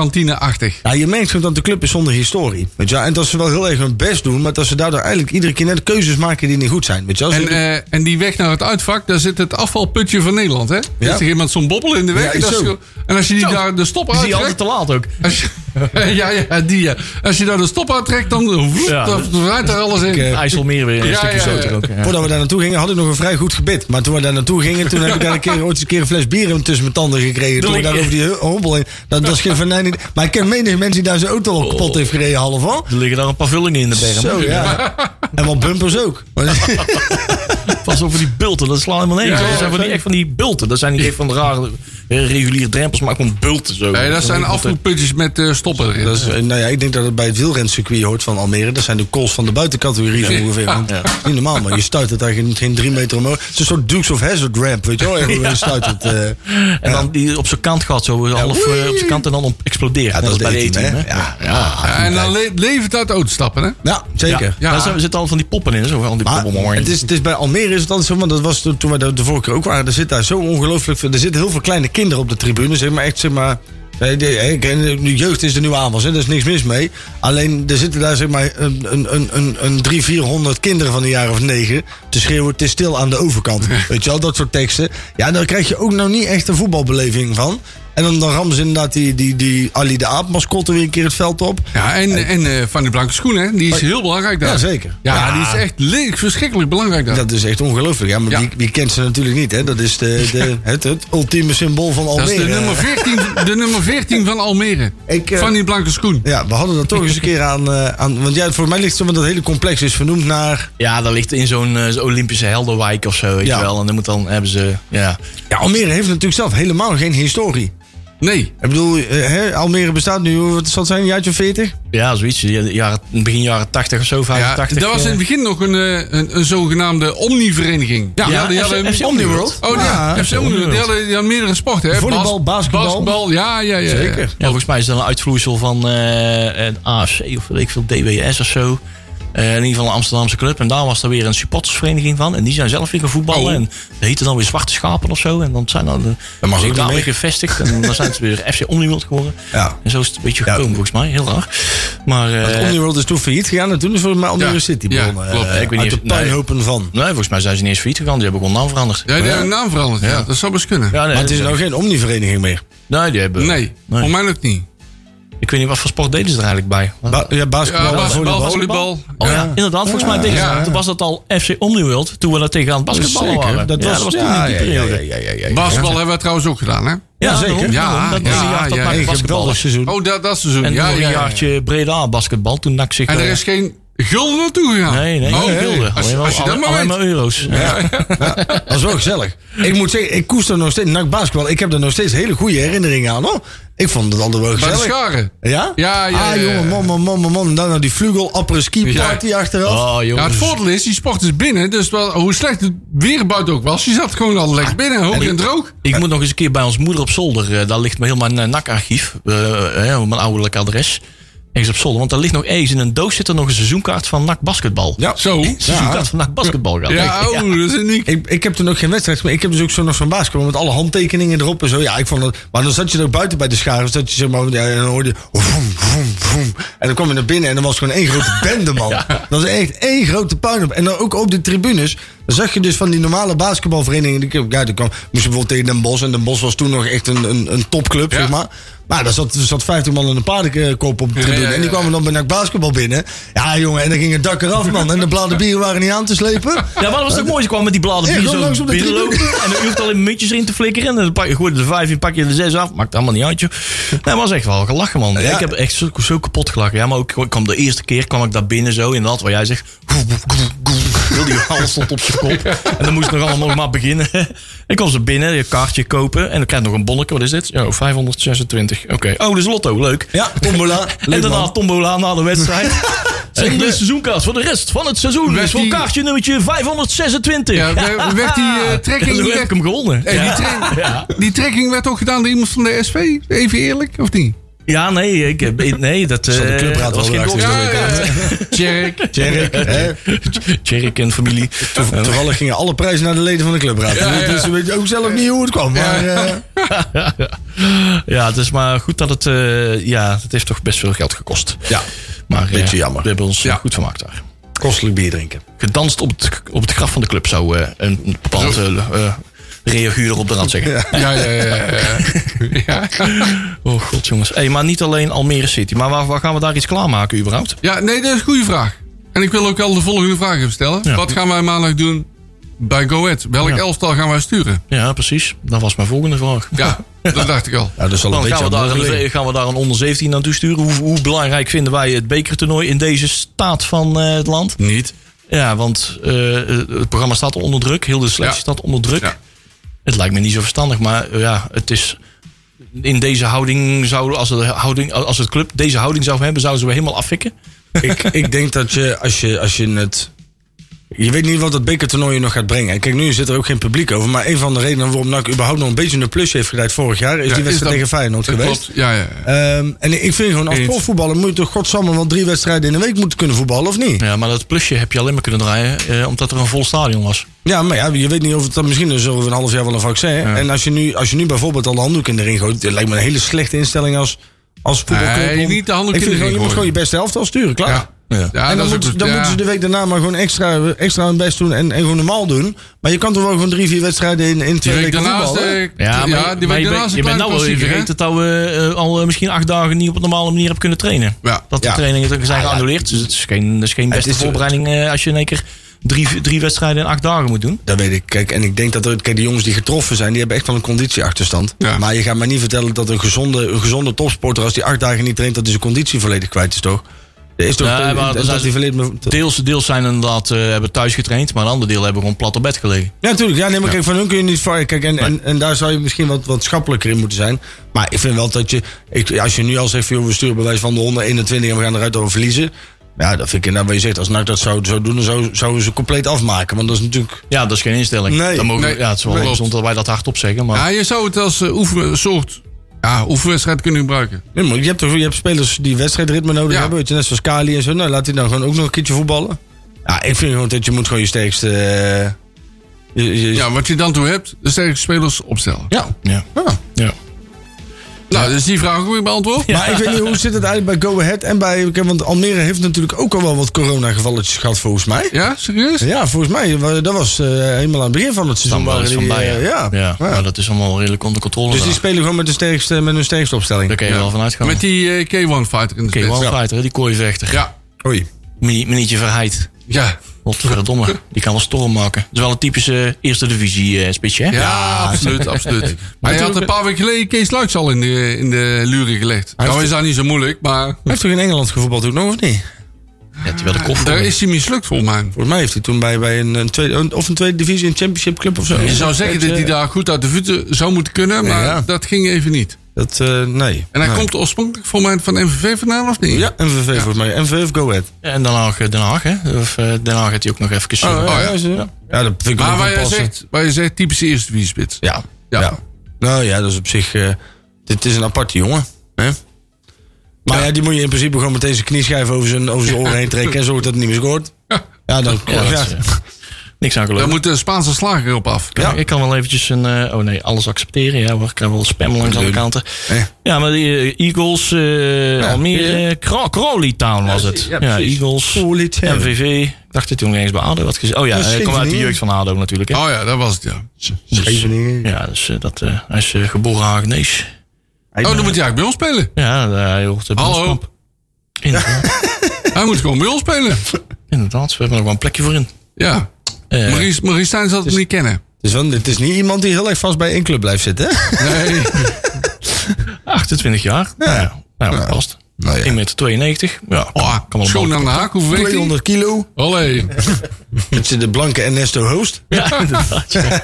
[SPEAKER 5] bedrijfskantine-achtig.
[SPEAKER 4] Ja, je merkt gewoon dat de club is zonder historie. Weet je wel. En dat ze wel heel erg hun best doen, maar dat ze daardoor eigenlijk iedere keer net keuzes maken die niet goed zijn. Weet je wel. Ze-
[SPEAKER 5] En, eh, en die weg naar het uitvak, daar zit het afvalputje van Nederland, hè?
[SPEAKER 4] Ja.
[SPEAKER 5] Er is er iemand zo'n bobbel in de weg.
[SPEAKER 4] Ja,
[SPEAKER 5] en, dat is
[SPEAKER 4] zo.
[SPEAKER 5] gewoon- en als je die
[SPEAKER 3] Zo.
[SPEAKER 5] daar de stop
[SPEAKER 3] Die
[SPEAKER 5] uittrekt...
[SPEAKER 3] altijd te laat ook.
[SPEAKER 5] Als je, ja, ja, die ja. Als je daar de stop uittrekt, dan eh, woep,
[SPEAKER 3] Ja.
[SPEAKER 5] dan rijdt er alles in.
[SPEAKER 4] eh,
[SPEAKER 3] IJsselmeer weer een
[SPEAKER 5] Ja,
[SPEAKER 3] stukje
[SPEAKER 5] ja, ja.
[SPEAKER 3] groter ook. ja.
[SPEAKER 4] Voordat we daar naartoe gingen, had ik nog een vrij goed gebit. Maar toen we daar naartoe gingen, toen heb ik daar een keer, ooit eens een keer een fles bier in tussen mijn tanden gekregen. Toen
[SPEAKER 3] Doe
[SPEAKER 4] ik daar
[SPEAKER 3] ik-
[SPEAKER 4] over die hu- hobbel in. Dat, dat is geen venijn. Maar ik ken menige mensen die daar zijn auto al kapot heeft gereden, half al.
[SPEAKER 3] Er liggen daar een paar vullingen in de berm.
[SPEAKER 4] Zo ja. En wat bumpers ook.
[SPEAKER 3] Pas over die bulten, dat slaat helemaal nergens.
[SPEAKER 5] Ja,
[SPEAKER 3] op. dat zijn
[SPEAKER 5] ja,
[SPEAKER 3] van die, echt van die bulten. Dat zijn niet echt van de rare eh, reguliere drempels, maar gewoon bulten zo.
[SPEAKER 5] Nee, dat zijn afvoerputjes met eh, stoppen erin.
[SPEAKER 4] Dat is, eh, nou ja, ik denk dat het bij het wielrencircuit hoort van Almere. Dat zijn de calls van de buitencategorie zo ongeveer. Want Niet normaal, maar je stuit het daar geen, geen drie meter omhoog. Het is een soort Dukes of Hazard ramp, weet je wel. Je stuit het. eh.
[SPEAKER 3] En dan die op zijn kant gaat, zo half eh, op zijn kant en dan op- explodeert.
[SPEAKER 4] ja,
[SPEAKER 3] Net
[SPEAKER 4] dat
[SPEAKER 3] als
[SPEAKER 4] is
[SPEAKER 3] bij de
[SPEAKER 4] de 18,
[SPEAKER 3] eten.
[SPEAKER 4] hè.
[SPEAKER 3] hè?
[SPEAKER 4] Ja, ja.
[SPEAKER 5] en dan le- levert dat uitstappen, hè?
[SPEAKER 4] ja, zeker.
[SPEAKER 5] Ja.
[SPEAKER 3] Daar zijn- zitten al van die poppen in, zo van die
[SPEAKER 4] Maar
[SPEAKER 3] poppen.
[SPEAKER 4] het is, het is bij Almere is het altijd zo, want dat was toen toen we de, de vorige keer ook waren. Er zit daar zo ongelooflijk veel. Er zitten heel veel kleine kinderen op de tribune. Zeg maar echt, zeg maar. eh, die- eh, ik- eh, De jeugd is de nieuwe aanwas, hè, daar is niks mis mee. Alleen er zitten daar zeg maar een, een, een, een, een 300, 400 kinderen van een jaar of negen te schreeuwen: Het is stil aan de overkant. Weet je wel, dat soort teksten. Ja, daar krijg je ook nou niet echt een voetbalbeleving van. En dan, dan rammen ze inderdaad die, die, die Ali de Aap mascotte weer een keer het veld op.
[SPEAKER 5] Ja, en, en eh, Van die Blanke Schoen, hè? Die is heel belangrijk daar.
[SPEAKER 4] Ja, zeker.
[SPEAKER 5] Ja, die is echt le- verschrikkelijk belangrijk daar.
[SPEAKER 4] Dat is echt ongelooflijk. Ja, maar
[SPEAKER 5] Ja.
[SPEAKER 4] Wie, wie kent ze natuurlijk niet. Hè? Dat is de, de, het, het ultieme symbool van
[SPEAKER 5] Dat is
[SPEAKER 4] Almere.
[SPEAKER 5] de nummer 14, de nummer 14 van Almere.
[SPEAKER 4] Ik, eh,
[SPEAKER 5] van die blanke schoen.
[SPEAKER 4] Ja, we hadden dat toch eens een keer aan... eh, aan want ja, voor mij ligt het zo, want dat hele complex is vernoemd naar...
[SPEAKER 3] Ja, dat ligt in zo'n eh, zo'n Olympische heldenwijk of zo, weet
[SPEAKER 4] Ja.
[SPEAKER 3] je wel. En dan, moet dan hebben ze, ja.
[SPEAKER 4] Ja, Almere heeft natuurlijk zelf helemaal geen historie.
[SPEAKER 5] Nee.
[SPEAKER 4] Ik bedoel, eh, hè, Almere bestaat nu, wat zal het zijn, een jaartje of 40?
[SPEAKER 3] ja, zoiets. Ja, de Jaren, begin jaren 80 of zo,
[SPEAKER 5] Ja,
[SPEAKER 3] 85.
[SPEAKER 5] dat was in het begin nog een, eh, een, een zogenaamde omni-vereniging.
[SPEAKER 3] Ja,
[SPEAKER 5] die
[SPEAKER 3] FC
[SPEAKER 5] hadden-
[SPEAKER 3] FC Omniworld.
[SPEAKER 5] Oh ja,
[SPEAKER 4] Ja,
[SPEAKER 5] FC Omniworld. Die hadden, die hadden meerdere sporten. Hè?
[SPEAKER 4] Volleybal,
[SPEAKER 5] Bas-
[SPEAKER 4] basketbal.
[SPEAKER 5] basketbal. Ja, ja, ja. ja.
[SPEAKER 4] Zeker.
[SPEAKER 3] Ja, volgens mij is dat een uitvloeisel van eh een AFC of weet ik veel, DWS of zo. Eh, in ieder geval een Amsterdamse club. En daar was er weer een supportersvereniging van. En die zijn zelf weer gaan voetballen.
[SPEAKER 5] Oh.
[SPEAKER 3] En dat heette dan weer Zwarte Schapen of zo. En dan zijn dan de,
[SPEAKER 4] Dat mag
[SPEAKER 3] zijn
[SPEAKER 4] ook
[SPEAKER 3] daar
[SPEAKER 4] niet
[SPEAKER 3] weer
[SPEAKER 4] mee.
[SPEAKER 3] gevestigd. En dan zijn ze weer FC Omniworld geworden.
[SPEAKER 4] Ja.
[SPEAKER 3] En zo is het een beetje gekomen volgens mij. Heel raar. Maar eh,
[SPEAKER 4] Uh, Omniworld is toen failliet gegaan en toen is volgens mij Almere
[SPEAKER 5] Ja,
[SPEAKER 4] City
[SPEAKER 5] ja,
[SPEAKER 4] begonnen. eh,
[SPEAKER 5] klopt. Ja,
[SPEAKER 3] ik weet
[SPEAKER 4] uit
[SPEAKER 3] niet
[SPEAKER 4] de
[SPEAKER 3] of- nee.
[SPEAKER 4] puinhopen van.
[SPEAKER 3] nee, volgens mij zijn ze niet eens failliet gegaan. Die hebben gewoon naam veranderd.
[SPEAKER 5] Ja, die hebben hun naam veranderd. Ja. Dat zou best kunnen.
[SPEAKER 3] Ja, nee,
[SPEAKER 4] Maar het is
[SPEAKER 3] dat-
[SPEAKER 4] nou geen Omni-vereniging meer.
[SPEAKER 3] nee, die hebben...
[SPEAKER 5] Nee,
[SPEAKER 3] Nee.
[SPEAKER 5] voor mij ook niet.
[SPEAKER 3] Ik weet niet, wat voor sport deden ze er eigenlijk bij?
[SPEAKER 4] Ba- ja,
[SPEAKER 5] Ja,
[SPEAKER 4] basketbal,
[SPEAKER 5] basketbal,
[SPEAKER 4] volleybal.
[SPEAKER 5] volleybal.
[SPEAKER 3] Oh ja, inderdaad. Volgens mij deden ze
[SPEAKER 5] Ja.
[SPEAKER 3] dat. Toen was dat al FC Omniworld. Toen we dat tegen aan het basketballen
[SPEAKER 4] Zeker,
[SPEAKER 3] waren.
[SPEAKER 4] dat
[SPEAKER 3] ja,
[SPEAKER 4] was-
[SPEAKER 3] dat was toen in
[SPEAKER 4] ja,
[SPEAKER 3] die
[SPEAKER 4] ja, ja,
[SPEAKER 3] periode.
[SPEAKER 4] ja, ja, ja, ja.
[SPEAKER 5] Basketbal hebben we trouwens ook gedaan, hè?
[SPEAKER 3] Ja,
[SPEAKER 4] zeker.
[SPEAKER 3] daarom,
[SPEAKER 5] Ja,
[SPEAKER 3] daarom. dat
[SPEAKER 5] ja,
[SPEAKER 3] ene jaar dat
[SPEAKER 5] ja,
[SPEAKER 3] maakte
[SPEAKER 5] ja.
[SPEAKER 4] Hey,
[SPEAKER 3] basketbal.
[SPEAKER 4] geweldig seizoen.
[SPEAKER 5] Oh, dat, dat seizoen.
[SPEAKER 3] En
[SPEAKER 5] ja,
[SPEAKER 3] nog
[SPEAKER 5] ja,
[SPEAKER 3] een
[SPEAKER 5] ja.
[SPEAKER 3] jaartje Breda basketbal. Toen NAC zich...
[SPEAKER 5] En er
[SPEAKER 3] eh,
[SPEAKER 5] is geen gulden naartoe gegaan.
[SPEAKER 3] Nee, nee,
[SPEAKER 5] Oh,
[SPEAKER 3] geen
[SPEAKER 5] nee.
[SPEAKER 3] gulden.
[SPEAKER 5] Als,
[SPEAKER 3] Alleen
[SPEAKER 5] je-
[SPEAKER 3] maar-
[SPEAKER 5] als je dat
[SPEAKER 3] alle-
[SPEAKER 5] maar
[SPEAKER 3] alleen
[SPEAKER 5] weet.
[SPEAKER 3] maar euro's.
[SPEAKER 4] Dat is wel gezellig. Ik moet zeggen, ik koester nog steeds. NAC basketbal, ik heb daar nog steeds hele goede herinneringen aan hoor. Ik vond het altijd wel
[SPEAKER 5] Bij de
[SPEAKER 4] gezellig.
[SPEAKER 5] scharen.
[SPEAKER 4] Ja?
[SPEAKER 5] Ja, ja,
[SPEAKER 4] Ah,
[SPEAKER 5] ja, ja.
[SPEAKER 4] jongen, man, man, man, man, man. En daarna die vlugel, après ski
[SPEAKER 5] Ja.
[SPEAKER 4] party achteraf.
[SPEAKER 3] Oh,
[SPEAKER 5] Ja, het
[SPEAKER 3] jongens.
[SPEAKER 5] voordeel is, die sport is binnen. Dus wel, hoe slecht het weer buiten ook was, je zat gewoon al lekker
[SPEAKER 4] Ah,
[SPEAKER 5] binnen, hoog en droog.
[SPEAKER 3] Ik moet nog eens een keer bij ons moeder op zolder. eh, daar ligt mijn- heel mijn eh, NAC-archief. eh, eh, mijn ouderlijk adres. Ergens op zolder. Want daar ligt nog eens in een doos zit er nog een seizoenkaart van NAC basketbal.
[SPEAKER 4] Ja.
[SPEAKER 5] Zo.
[SPEAKER 3] Seizoenkaart van NAC basketbal. gehad.
[SPEAKER 5] Ja, oh, dat is uniek.
[SPEAKER 4] Ik, ik heb toen ook geen wedstrijd, maar ik heb dus ook zo nog zo'n basketbal met alle handtekeningen erop en zo. Ja, ik vond dat. Maar dan zat je er ook buiten bij de scharen. Dus dat je zeg maar, ja, en dan hoorde je. Vroom, vroom, vroom. en dan kwam je naar binnen en dan was het gewoon één grote bende, man. Dat was echt één grote puinhoop. En dan ook op de tribunes. Dan zag je dus van die normale basketbalverenigingen die ik op uit kwam. Moest je bijvoorbeeld tegen Den Bos. En Den Bos was toen nog echt een, een, een topclub,
[SPEAKER 5] Ja.
[SPEAKER 4] zeg maar. Maar daar zat, er zat 50 man in een paardenkop op de
[SPEAKER 5] Ja,
[SPEAKER 4] tribune.
[SPEAKER 5] ja, ja,
[SPEAKER 4] En die kwamen dan bij NAC Basketbal binnen. Ja, jongen, en dan ging het dak eraf, man. En de bladen bieren waren niet aan te slepen.
[SPEAKER 3] Ja, maar dat was ook mooi. Ze kwamen met die bladen
[SPEAKER 4] Ja,
[SPEAKER 3] bier
[SPEAKER 4] gewoon
[SPEAKER 3] zo
[SPEAKER 4] langs op de
[SPEAKER 3] binnenlopen. En dan hoeft alleen muntjes erin te flikkeren. En dan pak je gooi je er vijf in, pak je er zes af. Maakt allemaal niet uit, joh. Nee, maar was echt wel gelachen, man. Ik heb echt zo, zo kapot gelachen. Ja, maar ook, ik kwam de eerste keer kwam ik daar binnen zo. En dat waar jij zegt... goe, goe, goe, goe. Heel die hals stond op zijn kop. En dan moest ik nog allemaal nog maar beginnen. Ik kwam ze binnen, je kaartje kopen. En dan krijg je nog een bonnetje. Wat is dit? Ja, 526. Oké. Oh, dus lotto. Leuk.
[SPEAKER 4] Ja, tombola.
[SPEAKER 3] en
[SPEAKER 4] Leuk,
[SPEAKER 3] daarna
[SPEAKER 4] man.
[SPEAKER 3] tombola na de wedstrijd. Zeg de seizoenkaart voor de rest van het seizoen.
[SPEAKER 5] Werd
[SPEAKER 3] Dus voor
[SPEAKER 5] die-
[SPEAKER 3] kaartje nummertje 526.
[SPEAKER 5] Ja, we- werd die eh,
[SPEAKER 3] En
[SPEAKER 5] trekking... Eh,
[SPEAKER 3] zo heb
[SPEAKER 5] werd-
[SPEAKER 3] ik hem gewonnen.
[SPEAKER 5] Hey, die, trekking, die trekking werd ook gedaan door iemand van de SP? Even eerlijk, of niet?
[SPEAKER 3] Ja, nee, ik, heb- nee dat eh,
[SPEAKER 4] Zal de clubraad
[SPEAKER 3] was
[SPEAKER 4] wel dus
[SPEAKER 3] geen
[SPEAKER 4] weer
[SPEAKER 3] doel.
[SPEAKER 4] achter
[SPEAKER 5] Ja, ja, Tjerk.
[SPEAKER 4] Tjerk, hè?
[SPEAKER 3] Tjerk en familie.
[SPEAKER 4] Toe- Toevallig gingen alle prijzen naar de leden van de clubraad.
[SPEAKER 5] ja.
[SPEAKER 4] Dus we weten ook zelf niet hoe het kwam. Maar, eh,
[SPEAKER 3] Ja, het is maar goed dat het... eh, ja, het heeft toch best veel geld gekost.
[SPEAKER 4] ja,
[SPEAKER 3] Maar eh,
[SPEAKER 4] beetje jammer.
[SPEAKER 3] we hebben ons
[SPEAKER 5] Ja.
[SPEAKER 3] goed vermaakt daar.
[SPEAKER 4] kostelijk bier drinken.
[SPEAKER 3] Gedanst op het, op het graf van de club, zou eh, een bepaald eh, eh, reaguurder op de rand zeggen.
[SPEAKER 5] Ja, ja, ja. ja. ja.
[SPEAKER 3] Oh god, jongens. Hey, maar niet alleen Almere City. Maar waar, waar gaan we daar iets klaarmaken überhaupt?
[SPEAKER 5] Ja, nee, dat is een goede vraag. En ik wil ook al de volgende vraag even stellen.
[SPEAKER 3] Ja.
[SPEAKER 5] Wat gaan wij maandag doen bij Go Ahead? Welk
[SPEAKER 3] Ja.
[SPEAKER 5] elftal gaan wij sturen?
[SPEAKER 3] Ja, precies. Dat was mijn volgende vraag.
[SPEAKER 5] Ja, dat dacht ik al.
[SPEAKER 4] Ja, dat is al een
[SPEAKER 3] Dan
[SPEAKER 4] beetje
[SPEAKER 3] gaan we,
[SPEAKER 4] aan
[SPEAKER 3] daar
[SPEAKER 4] boord liggen.
[SPEAKER 3] een, gaan we daar een onder 17 aan toesturen. Hoe, hoe belangrijk vinden wij het bekertoernooi in deze staat van eh, het land?
[SPEAKER 5] Niet.
[SPEAKER 3] Ja, want eh, het programma staat onder druk. Heel de selectie
[SPEAKER 5] Ja.
[SPEAKER 3] staat onder druk.
[SPEAKER 5] Ja.
[SPEAKER 3] Het lijkt me niet zo verstandig, maar eh, ja, het is... In deze houding zou, als, de houding, als het club deze houding zou hebben, zouden ze we helemaal afvikken.
[SPEAKER 4] ik, ik denk dat je als, je, als je het... Je weet niet wat dat bekertoernooi je nog gaat brengen. En Kijk, nu zit er ook geen publiek over. Maar een van de redenen waarom NAC überhaupt nog een beetje een plus heeft gedaan vorig jaar... is
[SPEAKER 5] Ja,
[SPEAKER 4] die
[SPEAKER 5] is dat-
[SPEAKER 4] wedstrijd tegen Feyenoord
[SPEAKER 5] Dat
[SPEAKER 4] geweest.
[SPEAKER 5] klopt. Ja, ja. ja.
[SPEAKER 4] Ehm, en ik vind gewoon, als
[SPEAKER 5] Eens.
[SPEAKER 4] profvoetballer moet je toch godsamme wel drie wedstrijden in de week moeten kunnen voetballen, of niet?
[SPEAKER 3] Ja, maar dat plusje heb je alleen maar kunnen draaien eh, omdat er een vol stadion was.
[SPEAKER 4] Ja, maar ja, je weet niet of het dan misschien is over een half jaar wel een vaccin. En als je nu, als je nu bijvoorbeeld al de handdoek in de ring gooit, dat lijkt me een hele slechte instelling als, als voetbalclub.
[SPEAKER 5] Nee,
[SPEAKER 4] om-
[SPEAKER 5] niet de handdoek
[SPEAKER 4] ik
[SPEAKER 5] in de
[SPEAKER 4] vind
[SPEAKER 5] ring
[SPEAKER 4] gewoon, Je moet
[SPEAKER 5] gooien.
[SPEAKER 4] gewoon je beste helft al sturen, klaar.
[SPEAKER 5] Ja. Ja,
[SPEAKER 4] en
[SPEAKER 5] dat
[SPEAKER 4] dan,
[SPEAKER 5] is
[SPEAKER 4] moet-
[SPEAKER 5] ook-
[SPEAKER 4] dan
[SPEAKER 5] ja.
[SPEAKER 4] moeten ze de week daarna maar gewoon extra, extra hun best doen en, en gewoon normaal doen. Maar je kan toch wel gewoon drie, vier wedstrijden in, in
[SPEAKER 5] Die
[SPEAKER 4] twee
[SPEAKER 5] week
[SPEAKER 4] weken
[SPEAKER 5] daarnaast...
[SPEAKER 4] voetballen?
[SPEAKER 5] eh,
[SPEAKER 3] Ja, maar,
[SPEAKER 5] die
[SPEAKER 3] maar
[SPEAKER 5] week
[SPEAKER 3] je, bent-
[SPEAKER 5] daarnaast
[SPEAKER 3] je
[SPEAKER 5] een
[SPEAKER 3] bent
[SPEAKER 5] kleine
[SPEAKER 3] nou wel
[SPEAKER 5] klassieker, hè?
[SPEAKER 3] vergeten dat we eh, al eh, misschien acht dagen niet op een normale manier hebben kunnen trainen.
[SPEAKER 5] Ja.
[SPEAKER 3] Dat de
[SPEAKER 4] Ja.
[SPEAKER 3] trainingen zijn geannuleerd. Dus het is geen, dat is geen beste
[SPEAKER 4] is-
[SPEAKER 3] voorbereiding eh, als je in één keer drie, drie wedstrijden in acht dagen moet doen.
[SPEAKER 4] Dat weet ik. Kijk, en ik denk dat er, kijk, die jongens die getroffen zijn, die hebben echt wel een conditieachterstand.
[SPEAKER 5] Ja.
[SPEAKER 4] Maar je gaat mij niet vertellen dat een gezonde, een gezonde topsporter, als die acht dagen niet traint, dat hij zijn conditie volledig kwijt is, toch? Er is toch
[SPEAKER 3] Nee, maar
[SPEAKER 4] dat,
[SPEAKER 3] dat zijn-
[SPEAKER 4] die volledig me-
[SPEAKER 3] Deels, deels zijn inderdaad eh, hebben thuis getraind, maar een ander deel hebben gewoon plat op bed gelegen.
[SPEAKER 4] Ja, natuurlijk. Ja, nee, maar kijk, van hun kun je niet varen. Kijk, en, en, en daar zou je misschien wat, wat schappelijker in moeten zijn. Maar ik vind wel dat je... Ik, als je nu al zegt, van, joh, we sturen bij wijze van de 121 en we gaan eruit over verliezen. Ja, dat vind ik inderdaad wat je zegt. Als NAC dat zou, zou doen, dan zou, zouden ze compleet afmaken. Want dat is natuurlijk...
[SPEAKER 3] Ja, dat is geen instelling.
[SPEAKER 4] Nee.
[SPEAKER 3] Dan mogen, we-
[SPEAKER 5] Nee.
[SPEAKER 3] ja, het is wel
[SPEAKER 5] Klopt.
[SPEAKER 3] gezond dat wij dat hardop zeggen. Maar
[SPEAKER 5] Ja, je zou het als eh, oefen, soort ja, oefenwedstrijd kunnen gebruiken.
[SPEAKER 4] Nee, maar je, hebt toch, je hebt spelers die wedstrijdritme nodig
[SPEAKER 5] Ja.
[SPEAKER 4] hebben. Weet je, net zoals Kali en zo. Nou, laat die dan gewoon ook nog een keertje voetballen. Ja, ik vind gewoon dat je moet gewoon je sterkste... eh, je, je-
[SPEAKER 5] Ja, wat je dan toe hebt, de sterkste spelers opstellen.
[SPEAKER 4] ja.
[SPEAKER 3] ja.
[SPEAKER 4] Ah.
[SPEAKER 3] Ja.
[SPEAKER 5] Nou, dus die vraag ook weer beantwoord.
[SPEAKER 4] Maar ik weet niet, hoe zit het eigenlijk bij Go Ahead en bij... kijk, Want Almere heeft natuurlijk ook al wel wat coronagevalletjes gehad, volgens mij.
[SPEAKER 5] Ja, serieus?
[SPEAKER 4] Ja, volgens mij, wa- dat was eh, helemaal aan het begin van het seizoen.
[SPEAKER 3] Dan wel
[SPEAKER 4] waren
[SPEAKER 3] eens van
[SPEAKER 4] die,
[SPEAKER 3] bij.
[SPEAKER 4] eh,
[SPEAKER 3] Ja.
[SPEAKER 4] ja.
[SPEAKER 3] Ja,
[SPEAKER 4] Ja.
[SPEAKER 3] maar dat is allemaal redelijk onder controle.
[SPEAKER 4] Dus die
[SPEAKER 3] daar.
[SPEAKER 4] spelen gewoon met, de sterkste, met hun sterkste
[SPEAKER 3] Daar
[SPEAKER 4] opstelling.
[SPEAKER 3] kun je wel vanuit gaan.
[SPEAKER 5] Met die eh, K1 fighter in de
[SPEAKER 3] Oké,
[SPEAKER 5] spits.
[SPEAKER 3] wel
[SPEAKER 5] Ja.
[SPEAKER 3] fighter, hè, die kooivechter.
[SPEAKER 5] Ja.
[SPEAKER 4] Oei.
[SPEAKER 3] Mini- Minietje Verheid.
[SPEAKER 5] Ja.
[SPEAKER 3] Wat verdomme. Die kan wel storm maken. Dat is wel een typische eerste divisie eh spitje, hè?
[SPEAKER 5] Ja, absoluut, absoluut. Maar hij had een paar weken geleden Kees Luiks al in de, in de luren gelegd. Nou is dat niet zo moeilijk, maar
[SPEAKER 4] Hij heeft toch in Engeland gevoetbald ook nog, of niet?
[SPEAKER 3] Ja, terwijl de kop
[SPEAKER 5] daar is hij mislukt volgens mij.
[SPEAKER 4] Volgens mij heeft hij toen bij, bij een, een tweede, een- of een tweede divisie, een championship club of zo.
[SPEAKER 5] Je zou zeggen dat hij daar goed uit de voeten zou moeten kunnen, maar
[SPEAKER 4] Ja.
[SPEAKER 5] dat ging even niet.
[SPEAKER 4] Dat, eh, nee.
[SPEAKER 5] En hij
[SPEAKER 4] nee.
[SPEAKER 5] komt oorspronkelijk volgens mij van MVV vandaan, of niet? Oh,
[SPEAKER 4] Ja, MVV volgens mij. MVV of Go Ahead.
[SPEAKER 3] En Den Haag, eh, Den Haag, hè? Of eh, Den Haag heeft hij ook nog even...
[SPEAKER 5] Oh, ja.
[SPEAKER 4] is, eh, ja. dat vind ik
[SPEAKER 5] Maar
[SPEAKER 4] ook wel
[SPEAKER 5] waar je,
[SPEAKER 4] passen.
[SPEAKER 5] zegt, waar je zegt, typische eerste divisie spits.
[SPEAKER 4] Ja.
[SPEAKER 5] Ja.
[SPEAKER 4] Ja. Nou ja, dat is op zich... eh, dit is een aparte jongen. Hè? Maar ja. die moet je in principe gewoon meteen zijn knieschijf over zijn, over zijn oren heen trekken... en zorgen dat het niet meer scoort. Ja, dan... Ja,
[SPEAKER 3] Ja, dat is, eh, Niks aan
[SPEAKER 5] Daar
[SPEAKER 3] gelopen.
[SPEAKER 5] moet de Spaanse slager op af.
[SPEAKER 3] Ja. Ik kan wel eventjes een... eh, oh nee, alles accepteren. Ja hoor, ik kan wel spam langs alle kanten.
[SPEAKER 4] Ja.
[SPEAKER 3] Ja, maar die eh, Eagles, eh, Almere, Cro- Crowley Town was het.
[SPEAKER 4] ja,
[SPEAKER 3] Ja,
[SPEAKER 4] precies.
[SPEAKER 3] Eagles,
[SPEAKER 4] Crowley Town.
[SPEAKER 3] MVV. Ik dacht dat toen eens bij ADO had gezien. Oh ja,
[SPEAKER 4] Dat is
[SPEAKER 3] hij
[SPEAKER 4] geen
[SPEAKER 3] komt uit de
[SPEAKER 4] vernieuwing.
[SPEAKER 3] jeugd van ADO natuurlijk. Hè?
[SPEAKER 5] Oh ja, dat was het, ja.
[SPEAKER 3] Dus,
[SPEAKER 4] Scheveningen.
[SPEAKER 3] ja, dus eh, dat, eh, hij is eh, geboren Hagenees.
[SPEAKER 5] Oh, dan moet hij eigenlijk bij ons spelen.
[SPEAKER 3] Ja, eh, hij hoort eh, bij ons
[SPEAKER 5] Hallo.
[SPEAKER 3] kamp. Inderdaad,
[SPEAKER 5] Hij moet gewoon bij ons spelen.
[SPEAKER 3] inderdaad, we hebben er wel een plekje voor in.
[SPEAKER 5] Ja.
[SPEAKER 3] Eh,
[SPEAKER 5] Maurice, Maurice Stijn zal het niet kennen.
[SPEAKER 4] Dus want het is niet iemand die heel erg vast bij één club blijft zitten. hè?
[SPEAKER 5] Nee.
[SPEAKER 3] 28 jaar. Nou ja, nou, dat past.
[SPEAKER 4] Nou ja.
[SPEAKER 3] 1,92 meter. 92. Ja,
[SPEAKER 5] Oh,
[SPEAKER 3] kan wel
[SPEAKER 5] schoon
[SPEAKER 3] een
[SPEAKER 5] aan de haak, hoeveel weegt hij?
[SPEAKER 4] 200 kilo.
[SPEAKER 5] Allee.
[SPEAKER 4] Het zit de blanke Ernesto Hoost.
[SPEAKER 3] Ja, inderdaad. Ja,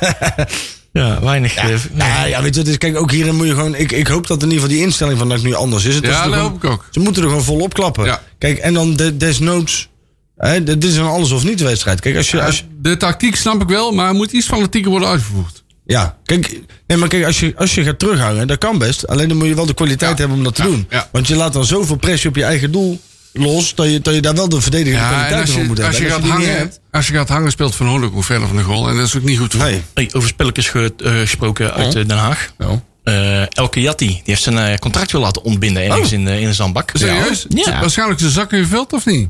[SPEAKER 3] ja weinig. eh,
[SPEAKER 4] Nou ja, weet je, het is, kijk, ook hierin moet je gewoon... Ik, ik hoop dat in ieder geval die instelling van dat nu anders is. Het is
[SPEAKER 5] Ja,
[SPEAKER 4] er
[SPEAKER 5] dat
[SPEAKER 4] gewoon-
[SPEAKER 5] hoop ik ook.
[SPEAKER 4] Ze moeten er gewoon volop klappen.
[SPEAKER 5] Ja.
[SPEAKER 4] Kijk, en dan de, desnoods... Hè, dit is een alles of niet wedstrijd. Kijk, als je, als je-
[SPEAKER 5] De tactiek snap ik wel, maar er moet iets fanatieker worden uitgevoerd.
[SPEAKER 4] Ja, kijk, nee, maar kijk, als je, als je gaat terughangen, dat kan best. Alleen dan moet je wel de kwaliteit
[SPEAKER 5] Ja.
[SPEAKER 4] hebben om dat te
[SPEAKER 5] Ja,
[SPEAKER 4] doen.
[SPEAKER 5] ja.
[SPEAKER 4] Want je laat dan zoveel pressie op je eigen doel los, dat je, dat je daar wel de verdedigende
[SPEAKER 5] Ja, en
[SPEAKER 4] kwaliteit
[SPEAKER 5] als
[SPEAKER 4] voor moet
[SPEAKER 5] je,
[SPEAKER 4] hebben.
[SPEAKER 5] als je
[SPEAKER 4] En
[SPEAKER 5] gaat
[SPEAKER 4] die niet
[SPEAKER 5] hangen,
[SPEAKER 4] hebt-
[SPEAKER 5] als je gaat hangen speelt Van Hoorn ook hoe verder van de goal. En dat is ook niet goed te doen.
[SPEAKER 4] Nee.
[SPEAKER 3] Hey, over spelletjes ge- eh, gesproken uit eh, Den Haag.
[SPEAKER 5] Nou.
[SPEAKER 3] Eh Elke Jatti, die heeft zijn eh, contract weer laten ontbinden ergens in, eh, in een zandbak.
[SPEAKER 5] Oh. Serieus?
[SPEAKER 3] Ja.
[SPEAKER 5] Z- Waarschijnlijk zijn zakken gevuld of niet?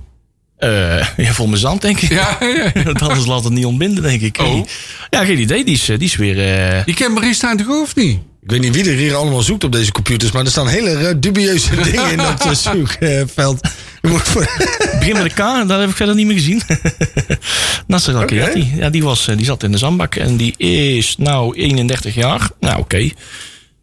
[SPEAKER 3] Eh, ja, vol mijn zand, denk ik.
[SPEAKER 5] Ja, ja.
[SPEAKER 3] Want anders laat het niet ontbinden, denk ik.
[SPEAKER 5] Oh.
[SPEAKER 3] Ja, geen idee. Die is, eh, die is weer... eh,
[SPEAKER 5] Je kent Marie Stijn toch ook of niet?
[SPEAKER 4] Ik weet niet wie er hier allemaal zoekt op deze computers, maar er staan hele eh, dubieuze dingen in dat eh, zoekveld. Je moet voor-
[SPEAKER 3] begin met de K, dat heb ik verder niet meer gezien. Nasser El Khelaifi. ja, die, was, eh, die zat in de zandbak en die is nou 31 jaar. Nou, oké.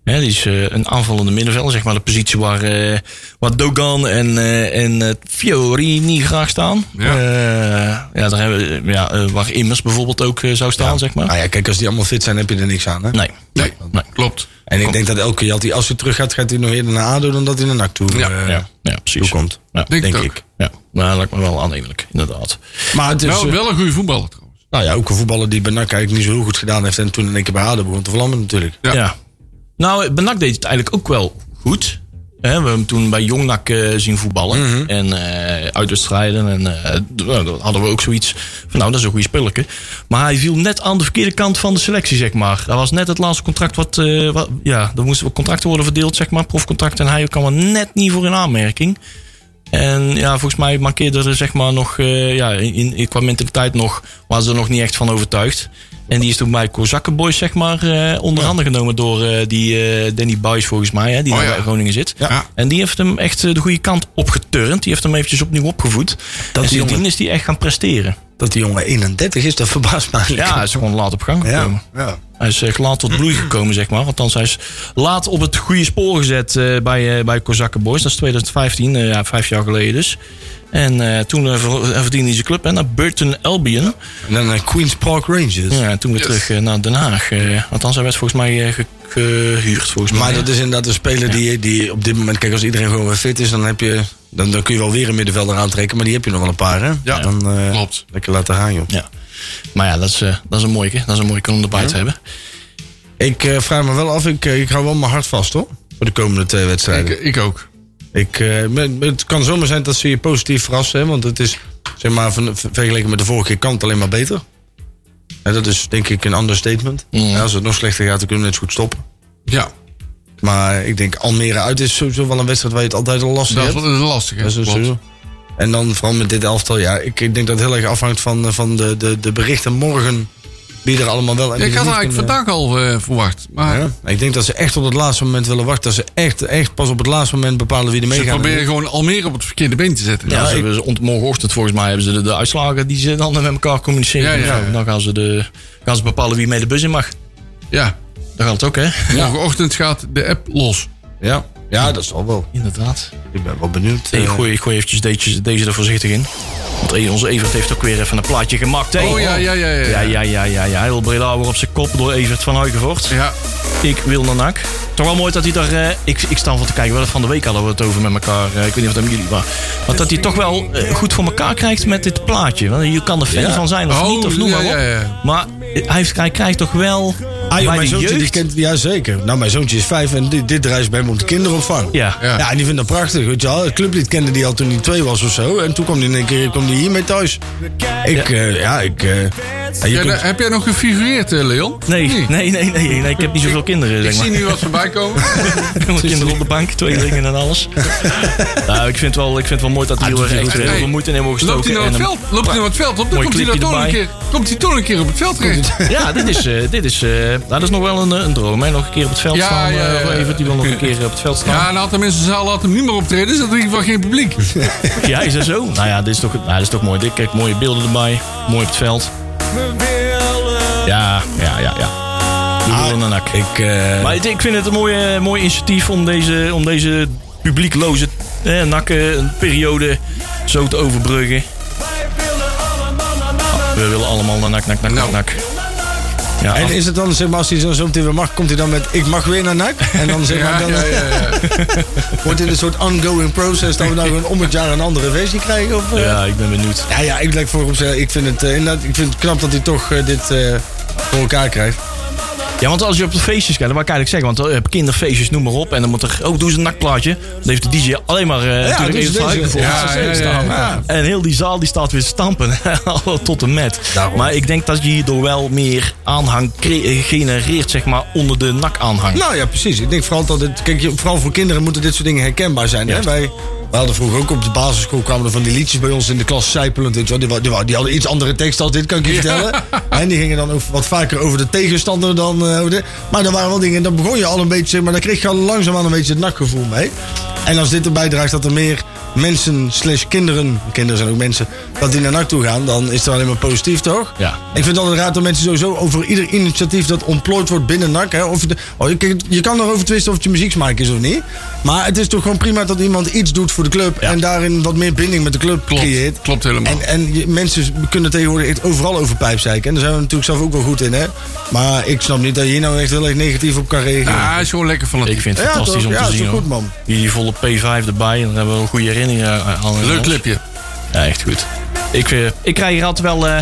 [SPEAKER 3] Hè, die is eh, een aanvallende middenvelder, zeg maar de positie waar, eh, waar Dogan en, eh, en eh, Fiorini graag staan.
[SPEAKER 5] Ja.
[SPEAKER 3] Eh, ja, daar hebben, we- ja, eh, waar Immers bijvoorbeeld ook eh, zou staan, zeg maar.
[SPEAKER 4] nou ja, kijk, als die allemaal fit zijn, heb je er niks aan. Hè?
[SPEAKER 3] Nee.
[SPEAKER 5] Nee,
[SPEAKER 3] Nee.
[SPEAKER 5] klopt.
[SPEAKER 4] En ik denk dat elke Jatti, als hij terug gaat, gaat hij nog eerder naar ADO dan dat hij naar NAC toe,
[SPEAKER 5] Ja,
[SPEAKER 4] eh,
[SPEAKER 3] Ja, ja, precies.
[SPEAKER 4] toe komt.
[SPEAKER 3] Ja,
[SPEAKER 5] Denk,
[SPEAKER 4] Denk
[SPEAKER 5] ik.
[SPEAKER 4] ik.
[SPEAKER 5] ook.
[SPEAKER 3] ja. Nou, lijkt me wel aannemelijk, inderdaad.
[SPEAKER 4] Maar het is,
[SPEAKER 5] Wel,
[SPEAKER 4] eh,
[SPEAKER 5] Nou, wel een goede voetballer trouwens.
[SPEAKER 4] nou ja, ook een voetballer die bij NAC eigenlijk niet zo heel goed gedaan heeft en toen in één keer bij ADO begon te vlammen natuurlijk.
[SPEAKER 5] Ja.
[SPEAKER 3] Ja. Nou, Benak deed het eigenlijk ook wel goed. Hè, we hebben hem toen bij Jongnak eh, zien voetballen. En eh uitwedstrijden. En eh, d- nou, dan hadden we ook zoiets van, nou, dat is een goede spelletje. Maar hij viel net aan de verkeerde kant van de selectie, zeg maar. Dat was net het laatste contract wat... eh, wat ja, er moesten wel contracten worden verdeeld, zeg maar. Profcontracten. En hij kwam er net niet voor in aanmerking. En ja, volgens mij markeerde er zeg maar nog... eh, ja, in, in, qua mentaliteit nog... waren ze er nog niet echt van overtuigd. En die is toen bij Kozakkenboys zeg maar eh onder handen genomen door eh, die eh, Danny Buis volgens mij. Hè, die
[SPEAKER 5] Oh,
[SPEAKER 3] nou
[SPEAKER 5] ja.
[SPEAKER 3] bij Groningen zit.
[SPEAKER 5] Ja.
[SPEAKER 3] En die heeft hem echt eh, de goede kant opgeturnd. Die heeft hem eventjes opnieuw opgevoed.
[SPEAKER 4] die
[SPEAKER 3] en sindsdien
[SPEAKER 4] jongen-
[SPEAKER 3] is die echt gaan presteren.
[SPEAKER 4] Dat die jongen 31 is, dat verbaast mij.
[SPEAKER 3] Ja, hij is gewoon laat op gang gekomen.
[SPEAKER 4] ja. ja.
[SPEAKER 3] Hij is eh, laat tot bloei gekomen, zeg maar. Althans, hij is laat op het goede spoor gezet eh, bij, eh bij Kozakken Boys. Dat is 2015, eh, ja, vijf jaar geleden dus. En eh, toen eh, ver- eh, verdiende hij zijn club hè, naar Burton Albion.
[SPEAKER 4] En dan naar Queen's Park Rangers.
[SPEAKER 3] Ja, en toen weer
[SPEAKER 5] Yes.
[SPEAKER 3] terug eh, naar Den Haag. eh. althans, hij werd volgens mij eh, ge- gehuurd. Volgens
[SPEAKER 4] Maar
[SPEAKER 3] mij.
[SPEAKER 4] dat is inderdaad een speler die, die op dit moment... Kijk, als iedereen gewoon weer fit is, dan, heb je, dan, dan kun je wel weer een middenvelder aantrekken. Maar die heb je nog wel een paar, hè?
[SPEAKER 5] Ja,
[SPEAKER 4] dan, eh,
[SPEAKER 5] klopt.
[SPEAKER 4] Lekker laten gaan, joh.
[SPEAKER 3] Ja. Maar ja, dat is, eh, dat is een mooie. keer. Dat is een mooie om erbij te hebben.
[SPEAKER 4] Ik eh, vraag me wel af, ik, eh, ik hou wel mijn hart vast, hoor. Voor de komende twee
[SPEAKER 5] Ik,
[SPEAKER 4] wedstrijden.
[SPEAKER 5] ik ook.
[SPEAKER 4] Ik, eh, ben- het kan zomaar zijn dat ze je positief verrassen, hè? Want het is, zeg maar, van, vergeleken met de vorige keer, kan het alleen maar beter. En dat is, denk ik, een understatement.
[SPEAKER 5] Mhm.
[SPEAKER 3] Ja.
[SPEAKER 4] Ja, als het nog slechter gaat, dan kunnen we net zo goed stoppen.
[SPEAKER 5] Ja,
[SPEAKER 4] Maar ik denk Almere uit is sowieso wel een wedstrijd waar je het altijd al lastig
[SPEAKER 5] dat is
[SPEAKER 4] hebt.
[SPEAKER 5] wel een lastige.
[SPEAKER 4] Dat is
[SPEAKER 5] klopt.
[SPEAKER 4] sowieso. En dan vooral met dit elftal, ja, ik, ik denk dat het heel erg afhangt van, eh, van de, de, de berichten morgen. Wie er allemaal wel en
[SPEAKER 5] Ja,
[SPEAKER 4] wie
[SPEAKER 5] ik had
[SPEAKER 4] niet
[SPEAKER 5] eigenlijk
[SPEAKER 4] kunnen-
[SPEAKER 5] vandaag al eh, verwacht. Maar
[SPEAKER 4] Ja, maar ik denk dat ze echt op het laatste moment willen wachten. Dat ze echt, echt pas op het laatste moment bepalen wie er
[SPEAKER 5] ze
[SPEAKER 4] meegaan.
[SPEAKER 5] proberen gewoon Almere op het verkeerde been te zetten.
[SPEAKER 3] Ja, ze hebben ze ont- morgenochtend volgens mij hebben ze de, de uitslagen die ze dan met elkaar communiceren. Nou,
[SPEAKER 5] Ja, ja, ja.
[SPEAKER 3] Dan gaan ze, de, gaan ze bepalen wie mee de bus in mag.
[SPEAKER 5] Ja.
[SPEAKER 3] Dan gaat het ook, hè?
[SPEAKER 5] Morgenochtend gaat de app los.
[SPEAKER 4] Ja. ja, dat zal wel.
[SPEAKER 3] Inderdaad.
[SPEAKER 4] Ik ben wel benieuwd.
[SPEAKER 3] Ik
[SPEAKER 4] eh.
[SPEAKER 3] gooi, ik gooi eventjes deze, deze er voorzichtig in. Want eh, onze Evert heeft ook weer even een plaatje gemaakt, hè?
[SPEAKER 5] Oh ja, ja, ja, ja.
[SPEAKER 3] Ja, ja, ja, ja, ja. Hij wil Breda weer op zijn kop door Evert van Huygenvoort.
[SPEAKER 5] Ja,
[SPEAKER 3] Ik wil naar NAC. Toch wel mooi dat hij daar... eh, ik, ik sta van te kijken. Wel, van de week hadden we het over met elkaar. eh, ik weet niet of dat met jullie was. Maar dat hij toch wel eh, goed voor elkaar krijgt met dit plaatje. Want je kan er fan van zijn of
[SPEAKER 5] Oh,
[SPEAKER 3] niet. Of noem
[SPEAKER 5] ja,
[SPEAKER 3] maar op.
[SPEAKER 5] ja, ja.
[SPEAKER 3] Maar eh, hij, heeft- hij krijgt toch wel...
[SPEAKER 4] Ah, joh,
[SPEAKER 3] bij
[SPEAKER 4] mijn
[SPEAKER 3] de
[SPEAKER 4] zoontje die
[SPEAKER 3] jeugd...
[SPEAKER 4] kent, ja zeker. Nou, mijn zoontje is vijf en dit, dit reis bij hem om de kinderopvang.
[SPEAKER 3] Ja.
[SPEAKER 4] ja. en die vindt dat prachtig, weet je wel. Het clublied kende die al toen hij twee was of zo. En toen kwam hij in één keer kwam die hiermee thuis. Ik, ja, ja ik, eh, En je
[SPEAKER 5] Ja,
[SPEAKER 4] kunt-
[SPEAKER 5] daar- heb jij nog gefigureerd, eh, Leon? Of
[SPEAKER 3] Nee,
[SPEAKER 5] niet?
[SPEAKER 3] nee, nee, nee, nee. Ik heb niet zoveel kinderen,
[SPEAKER 5] Ik
[SPEAKER 3] zeg maar.
[SPEAKER 5] zie nu wat voorbij komen.
[SPEAKER 3] Jonge kinderen op de bank, tweelingen en alles. nou, ik vind, wel, ik vind het wel mooi
[SPEAKER 5] Ah,
[SPEAKER 3] dat hij heel erg heeft, eh, heel veel moeite in hebben gestoken.
[SPEAKER 5] Loopt hij nou
[SPEAKER 3] en
[SPEAKER 5] het
[SPEAKER 3] hem-
[SPEAKER 5] veld, loopt hij nou het veld op, dan
[SPEAKER 3] Mooi
[SPEAKER 5] komt hij, nou
[SPEAKER 3] clipje
[SPEAKER 5] toch een
[SPEAKER 3] erbij.
[SPEAKER 5] keer, komt hij toch een keer op het veld terecht.
[SPEAKER 3] Ja, dit is, eh, dit is, eh, nou, dat is nog wel een, eh, een droom. Hè? Nog een keer op het veld
[SPEAKER 5] Ja,
[SPEAKER 3] staan.
[SPEAKER 5] ja,
[SPEAKER 3] eh,
[SPEAKER 5] ja.
[SPEAKER 3] of Evert, die wil nog een keer op het veld staan.
[SPEAKER 5] Ja, en had de mensen zaal laat hem niet meer optreden, dus dat is in ieder geval geen publiek.
[SPEAKER 3] Ja, is dat zo? Nou ja, dit is toch, nou, dit is toch mooi. Dit, kijk, mooie beelden erbij. Mooi op het veld. Ja, ja, ja, ja. Doe wel een nak.
[SPEAKER 4] Ik, eh,
[SPEAKER 3] Ah. Maar het- ik vind het een mooie, mooi initiatief om deze, om deze publiekloze eh, nakken een periode zo te overbruggen. We willen allemaal naar nak, nak, nak, nak,
[SPEAKER 5] Nou.
[SPEAKER 3] nak.
[SPEAKER 5] eh,
[SPEAKER 3] Ja,
[SPEAKER 4] en
[SPEAKER 3] af-
[SPEAKER 4] is het dan, zeg maar, als hij dan zo meteen weer mag, komt hij dan met ik mag weer naar NAC? En dan, zeg maar,
[SPEAKER 5] Ja,
[SPEAKER 4] dan
[SPEAKER 5] ja, ja, ja.
[SPEAKER 4] wordt dit een soort ongoing process dat we nou gewoon om het jaar een andere versie krijgen? Of, eh?
[SPEAKER 3] ja, ik ben benieuwd.
[SPEAKER 4] Ja, ja, ik lijk voorop zeggen, ik vind het, eh, inderdaad, ik vind het knap dat hij toch eh, dit eh, voor elkaar krijgt.
[SPEAKER 3] Ja, want als je op de feestjes kijkt, dan wou ik eigenlijk zeggen, want eh, je hebt kinderfeestjes, noem maar op. En dan moet er, oh, doe eens een nakplaatje. Dan heeft de DJ alleen maar eh natuurlijk
[SPEAKER 4] dus
[SPEAKER 3] even
[SPEAKER 4] deze-
[SPEAKER 3] voor.
[SPEAKER 5] Ja, ja, ja, ja.
[SPEAKER 3] En heel die zaal die staat weer te stampen. Tot en met. Maar ik denk dat je hierdoor wel meer aanhang cre- eh, genereert, zeg maar, onder de nak-aanhang.
[SPEAKER 4] Nou ja, precies. Ik denk vooral dat het, kijk, je- vooral voor kinderen moeten dit soort dingen herkenbaar zijn. Hè?
[SPEAKER 3] Ja.
[SPEAKER 4] Wij, wij hadden vroeger ook op de basisschool kwamen er van die liedjes bij ons in de klas zijpelend. Weet je wel. Die, wa- die, wa- die hadden iets andere tekst als dit, kan ik je vertellen. En die gingen dan ook wat vaker over de tegenstander dan eh, over dit. Maar er waren wel dingen, en dan begon je al een beetje, zeg maar daar kreeg je al langzaamaan een beetje het nakgevoel mee. En als dit erbij draagt dat er meer mensen slash kinderen, kinderen zijn ook mensen, dat die naar NAC toe gaan, dan is dat alleen maar positief, toch?
[SPEAKER 3] Ja.
[SPEAKER 4] Ik vind het altijd raar dat mensen sowieso over ieder initiatief dat ontplooid wordt binnen NAC. Hè, of de, oh, je, kijk, je kan erover twisten of het je muzieksmaak is of niet. Maar het is toch gewoon prima dat iemand iets doet voor de club. En daarin wat meer binding met de club creëert.
[SPEAKER 5] Klopt, klopt helemaal.
[SPEAKER 4] En, en je- mensen kunnen tegenwoordig echt overal over pijp zeiken. En daar zijn we natuurlijk zelf ook wel goed in, hè. Maar ik snap niet dat je hier nou echt heel erg negatief op kan reageren.
[SPEAKER 5] Ah, hij is gewoon lekker van het
[SPEAKER 3] Ik vind het
[SPEAKER 4] Nou, Ja,
[SPEAKER 3] fantastisch
[SPEAKER 4] toch?
[SPEAKER 3] om
[SPEAKER 4] Ja,
[SPEAKER 3] te
[SPEAKER 4] is
[SPEAKER 3] zien.
[SPEAKER 4] toch
[SPEAKER 3] hoor.
[SPEAKER 4] goed, man?
[SPEAKER 3] Die, die volle P5 erbij. En dan hebben we een goede herinnering eh, aan.
[SPEAKER 5] Leuk clipje.
[SPEAKER 3] Ja, echt goed. Ik, eh, ik krijg hier altijd wel eh,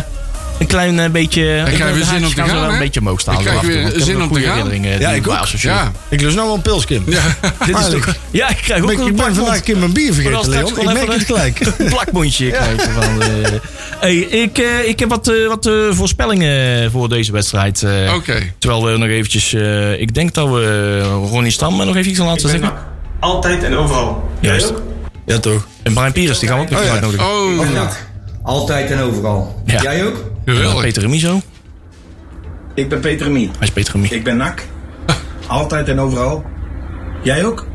[SPEAKER 3] een klein eh, beetje... Ik
[SPEAKER 5] krijg
[SPEAKER 3] de
[SPEAKER 5] weer zin
[SPEAKER 3] haakjes
[SPEAKER 5] om te gaan,
[SPEAKER 3] wel
[SPEAKER 5] hè?
[SPEAKER 3] een beetje omhoog staan.
[SPEAKER 5] Ik krijg
[SPEAKER 3] eraf,
[SPEAKER 5] weer
[SPEAKER 3] want heb
[SPEAKER 5] zin
[SPEAKER 3] wel
[SPEAKER 5] om te
[SPEAKER 3] goede
[SPEAKER 5] gaan.
[SPEAKER 3] herinneringen
[SPEAKER 4] Ja,
[SPEAKER 3] die
[SPEAKER 4] ik
[SPEAKER 3] erbij
[SPEAKER 4] ook.
[SPEAKER 3] associëren.
[SPEAKER 5] Ja.
[SPEAKER 4] Ik lust nou wel een pils, Kim.
[SPEAKER 5] ja.
[SPEAKER 4] Dit is toch...
[SPEAKER 3] Ja, ik krijg ook
[SPEAKER 4] Ik ben-
[SPEAKER 3] een
[SPEAKER 4] ik ben
[SPEAKER 3] plakbond.
[SPEAKER 4] vandaag een keer mijn bier
[SPEAKER 3] Maar dan
[SPEAKER 4] vergeten,
[SPEAKER 3] straks
[SPEAKER 4] Leon.
[SPEAKER 3] gewoon
[SPEAKER 4] Ik
[SPEAKER 3] even
[SPEAKER 4] merk het
[SPEAKER 3] een-
[SPEAKER 4] gelijk.
[SPEAKER 3] Een plakbondje krijg je van... eh. hey, ik, eh, ik heb wat, eh, wat eh, voorspellingen voor deze wedstrijd. eh.
[SPEAKER 5] Oké.
[SPEAKER 3] Terwijl we nog eventjes... eh, ik denk dat we eh, Ronnie Stam nog even iets aan laten zeggen.
[SPEAKER 6] Altijd en overal.
[SPEAKER 3] Juist.
[SPEAKER 4] Ja, toch?
[SPEAKER 3] En Brian Pierce, die gaan we ook nog
[SPEAKER 4] Oh,
[SPEAKER 3] even
[SPEAKER 4] ja. Oh.
[SPEAKER 3] uitnodigen.
[SPEAKER 5] Oh,
[SPEAKER 7] Nacht. Altijd en overal.
[SPEAKER 3] Ja.
[SPEAKER 7] Jij ook?
[SPEAKER 5] geweldig.
[SPEAKER 3] Peter Remizo.
[SPEAKER 6] Ik ben Peter Mie.
[SPEAKER 3] Hij is Peter Remizo.
[SPEAKER 6] Ik ben Nak. Altijd en overal. Jij ook?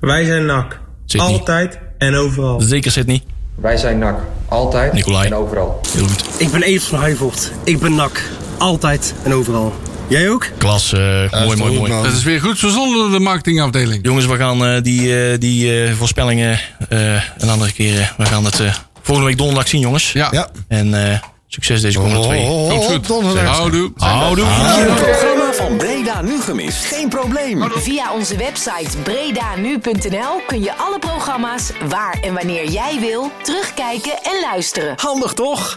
[SPEAKER 6] Wij zijn Nak.
[SPEAKER 3] Sydney.
[SPEAKER 6] Altijd en overal.
[SPEAKER 3] Zeker Sydney.
[SPEAKER 7] Wij zijn NAC. Altijd
[SPEAKER 3] Nicolai.
[SPEAKER 7] en overal.
[SPEAKER 3] Heel goed.
[SPEAKER 8] Ik ben Evert van Huivoort. Ik ben Nak. Altijd en overal. Jij ook?
[SPEAKER 3] Klas. eh, mooi,
[SPEAKER 4] is
[SPEAKER 3] mooi,
[SPEAKER 4] goed,
[SPEAKER 3] mooi.
[SPEAKER 4] man.
[SPEAKER 5] Dat is weer goed verzonnen door de marketingafdeling.
[SPEAKER 3] Jongens, we gaan eh, die, eh, die eh, voorspellingen eh, een andere keer... eh, we gaan het eh, volgende week donderdag zien, jongens.
[SPEAKER 5] Ja.
[SPEAKER 4] Ja. Oh,
[SPEAKER 3] En eh, succes deze komende twee.
[SPEAKER 5] Komt goed. Houdoe.
[SPEAKER 3] Houdoe.
[SPEAKER 2] Het programma van Breda nu gemist. Geen probleem.
[SPEAKER 9] Via onze website bredanu.nl kun je alle programma's waar en wanneer jij wil terugkijken en luisteren.
[SPEAKER 7] Handig toch?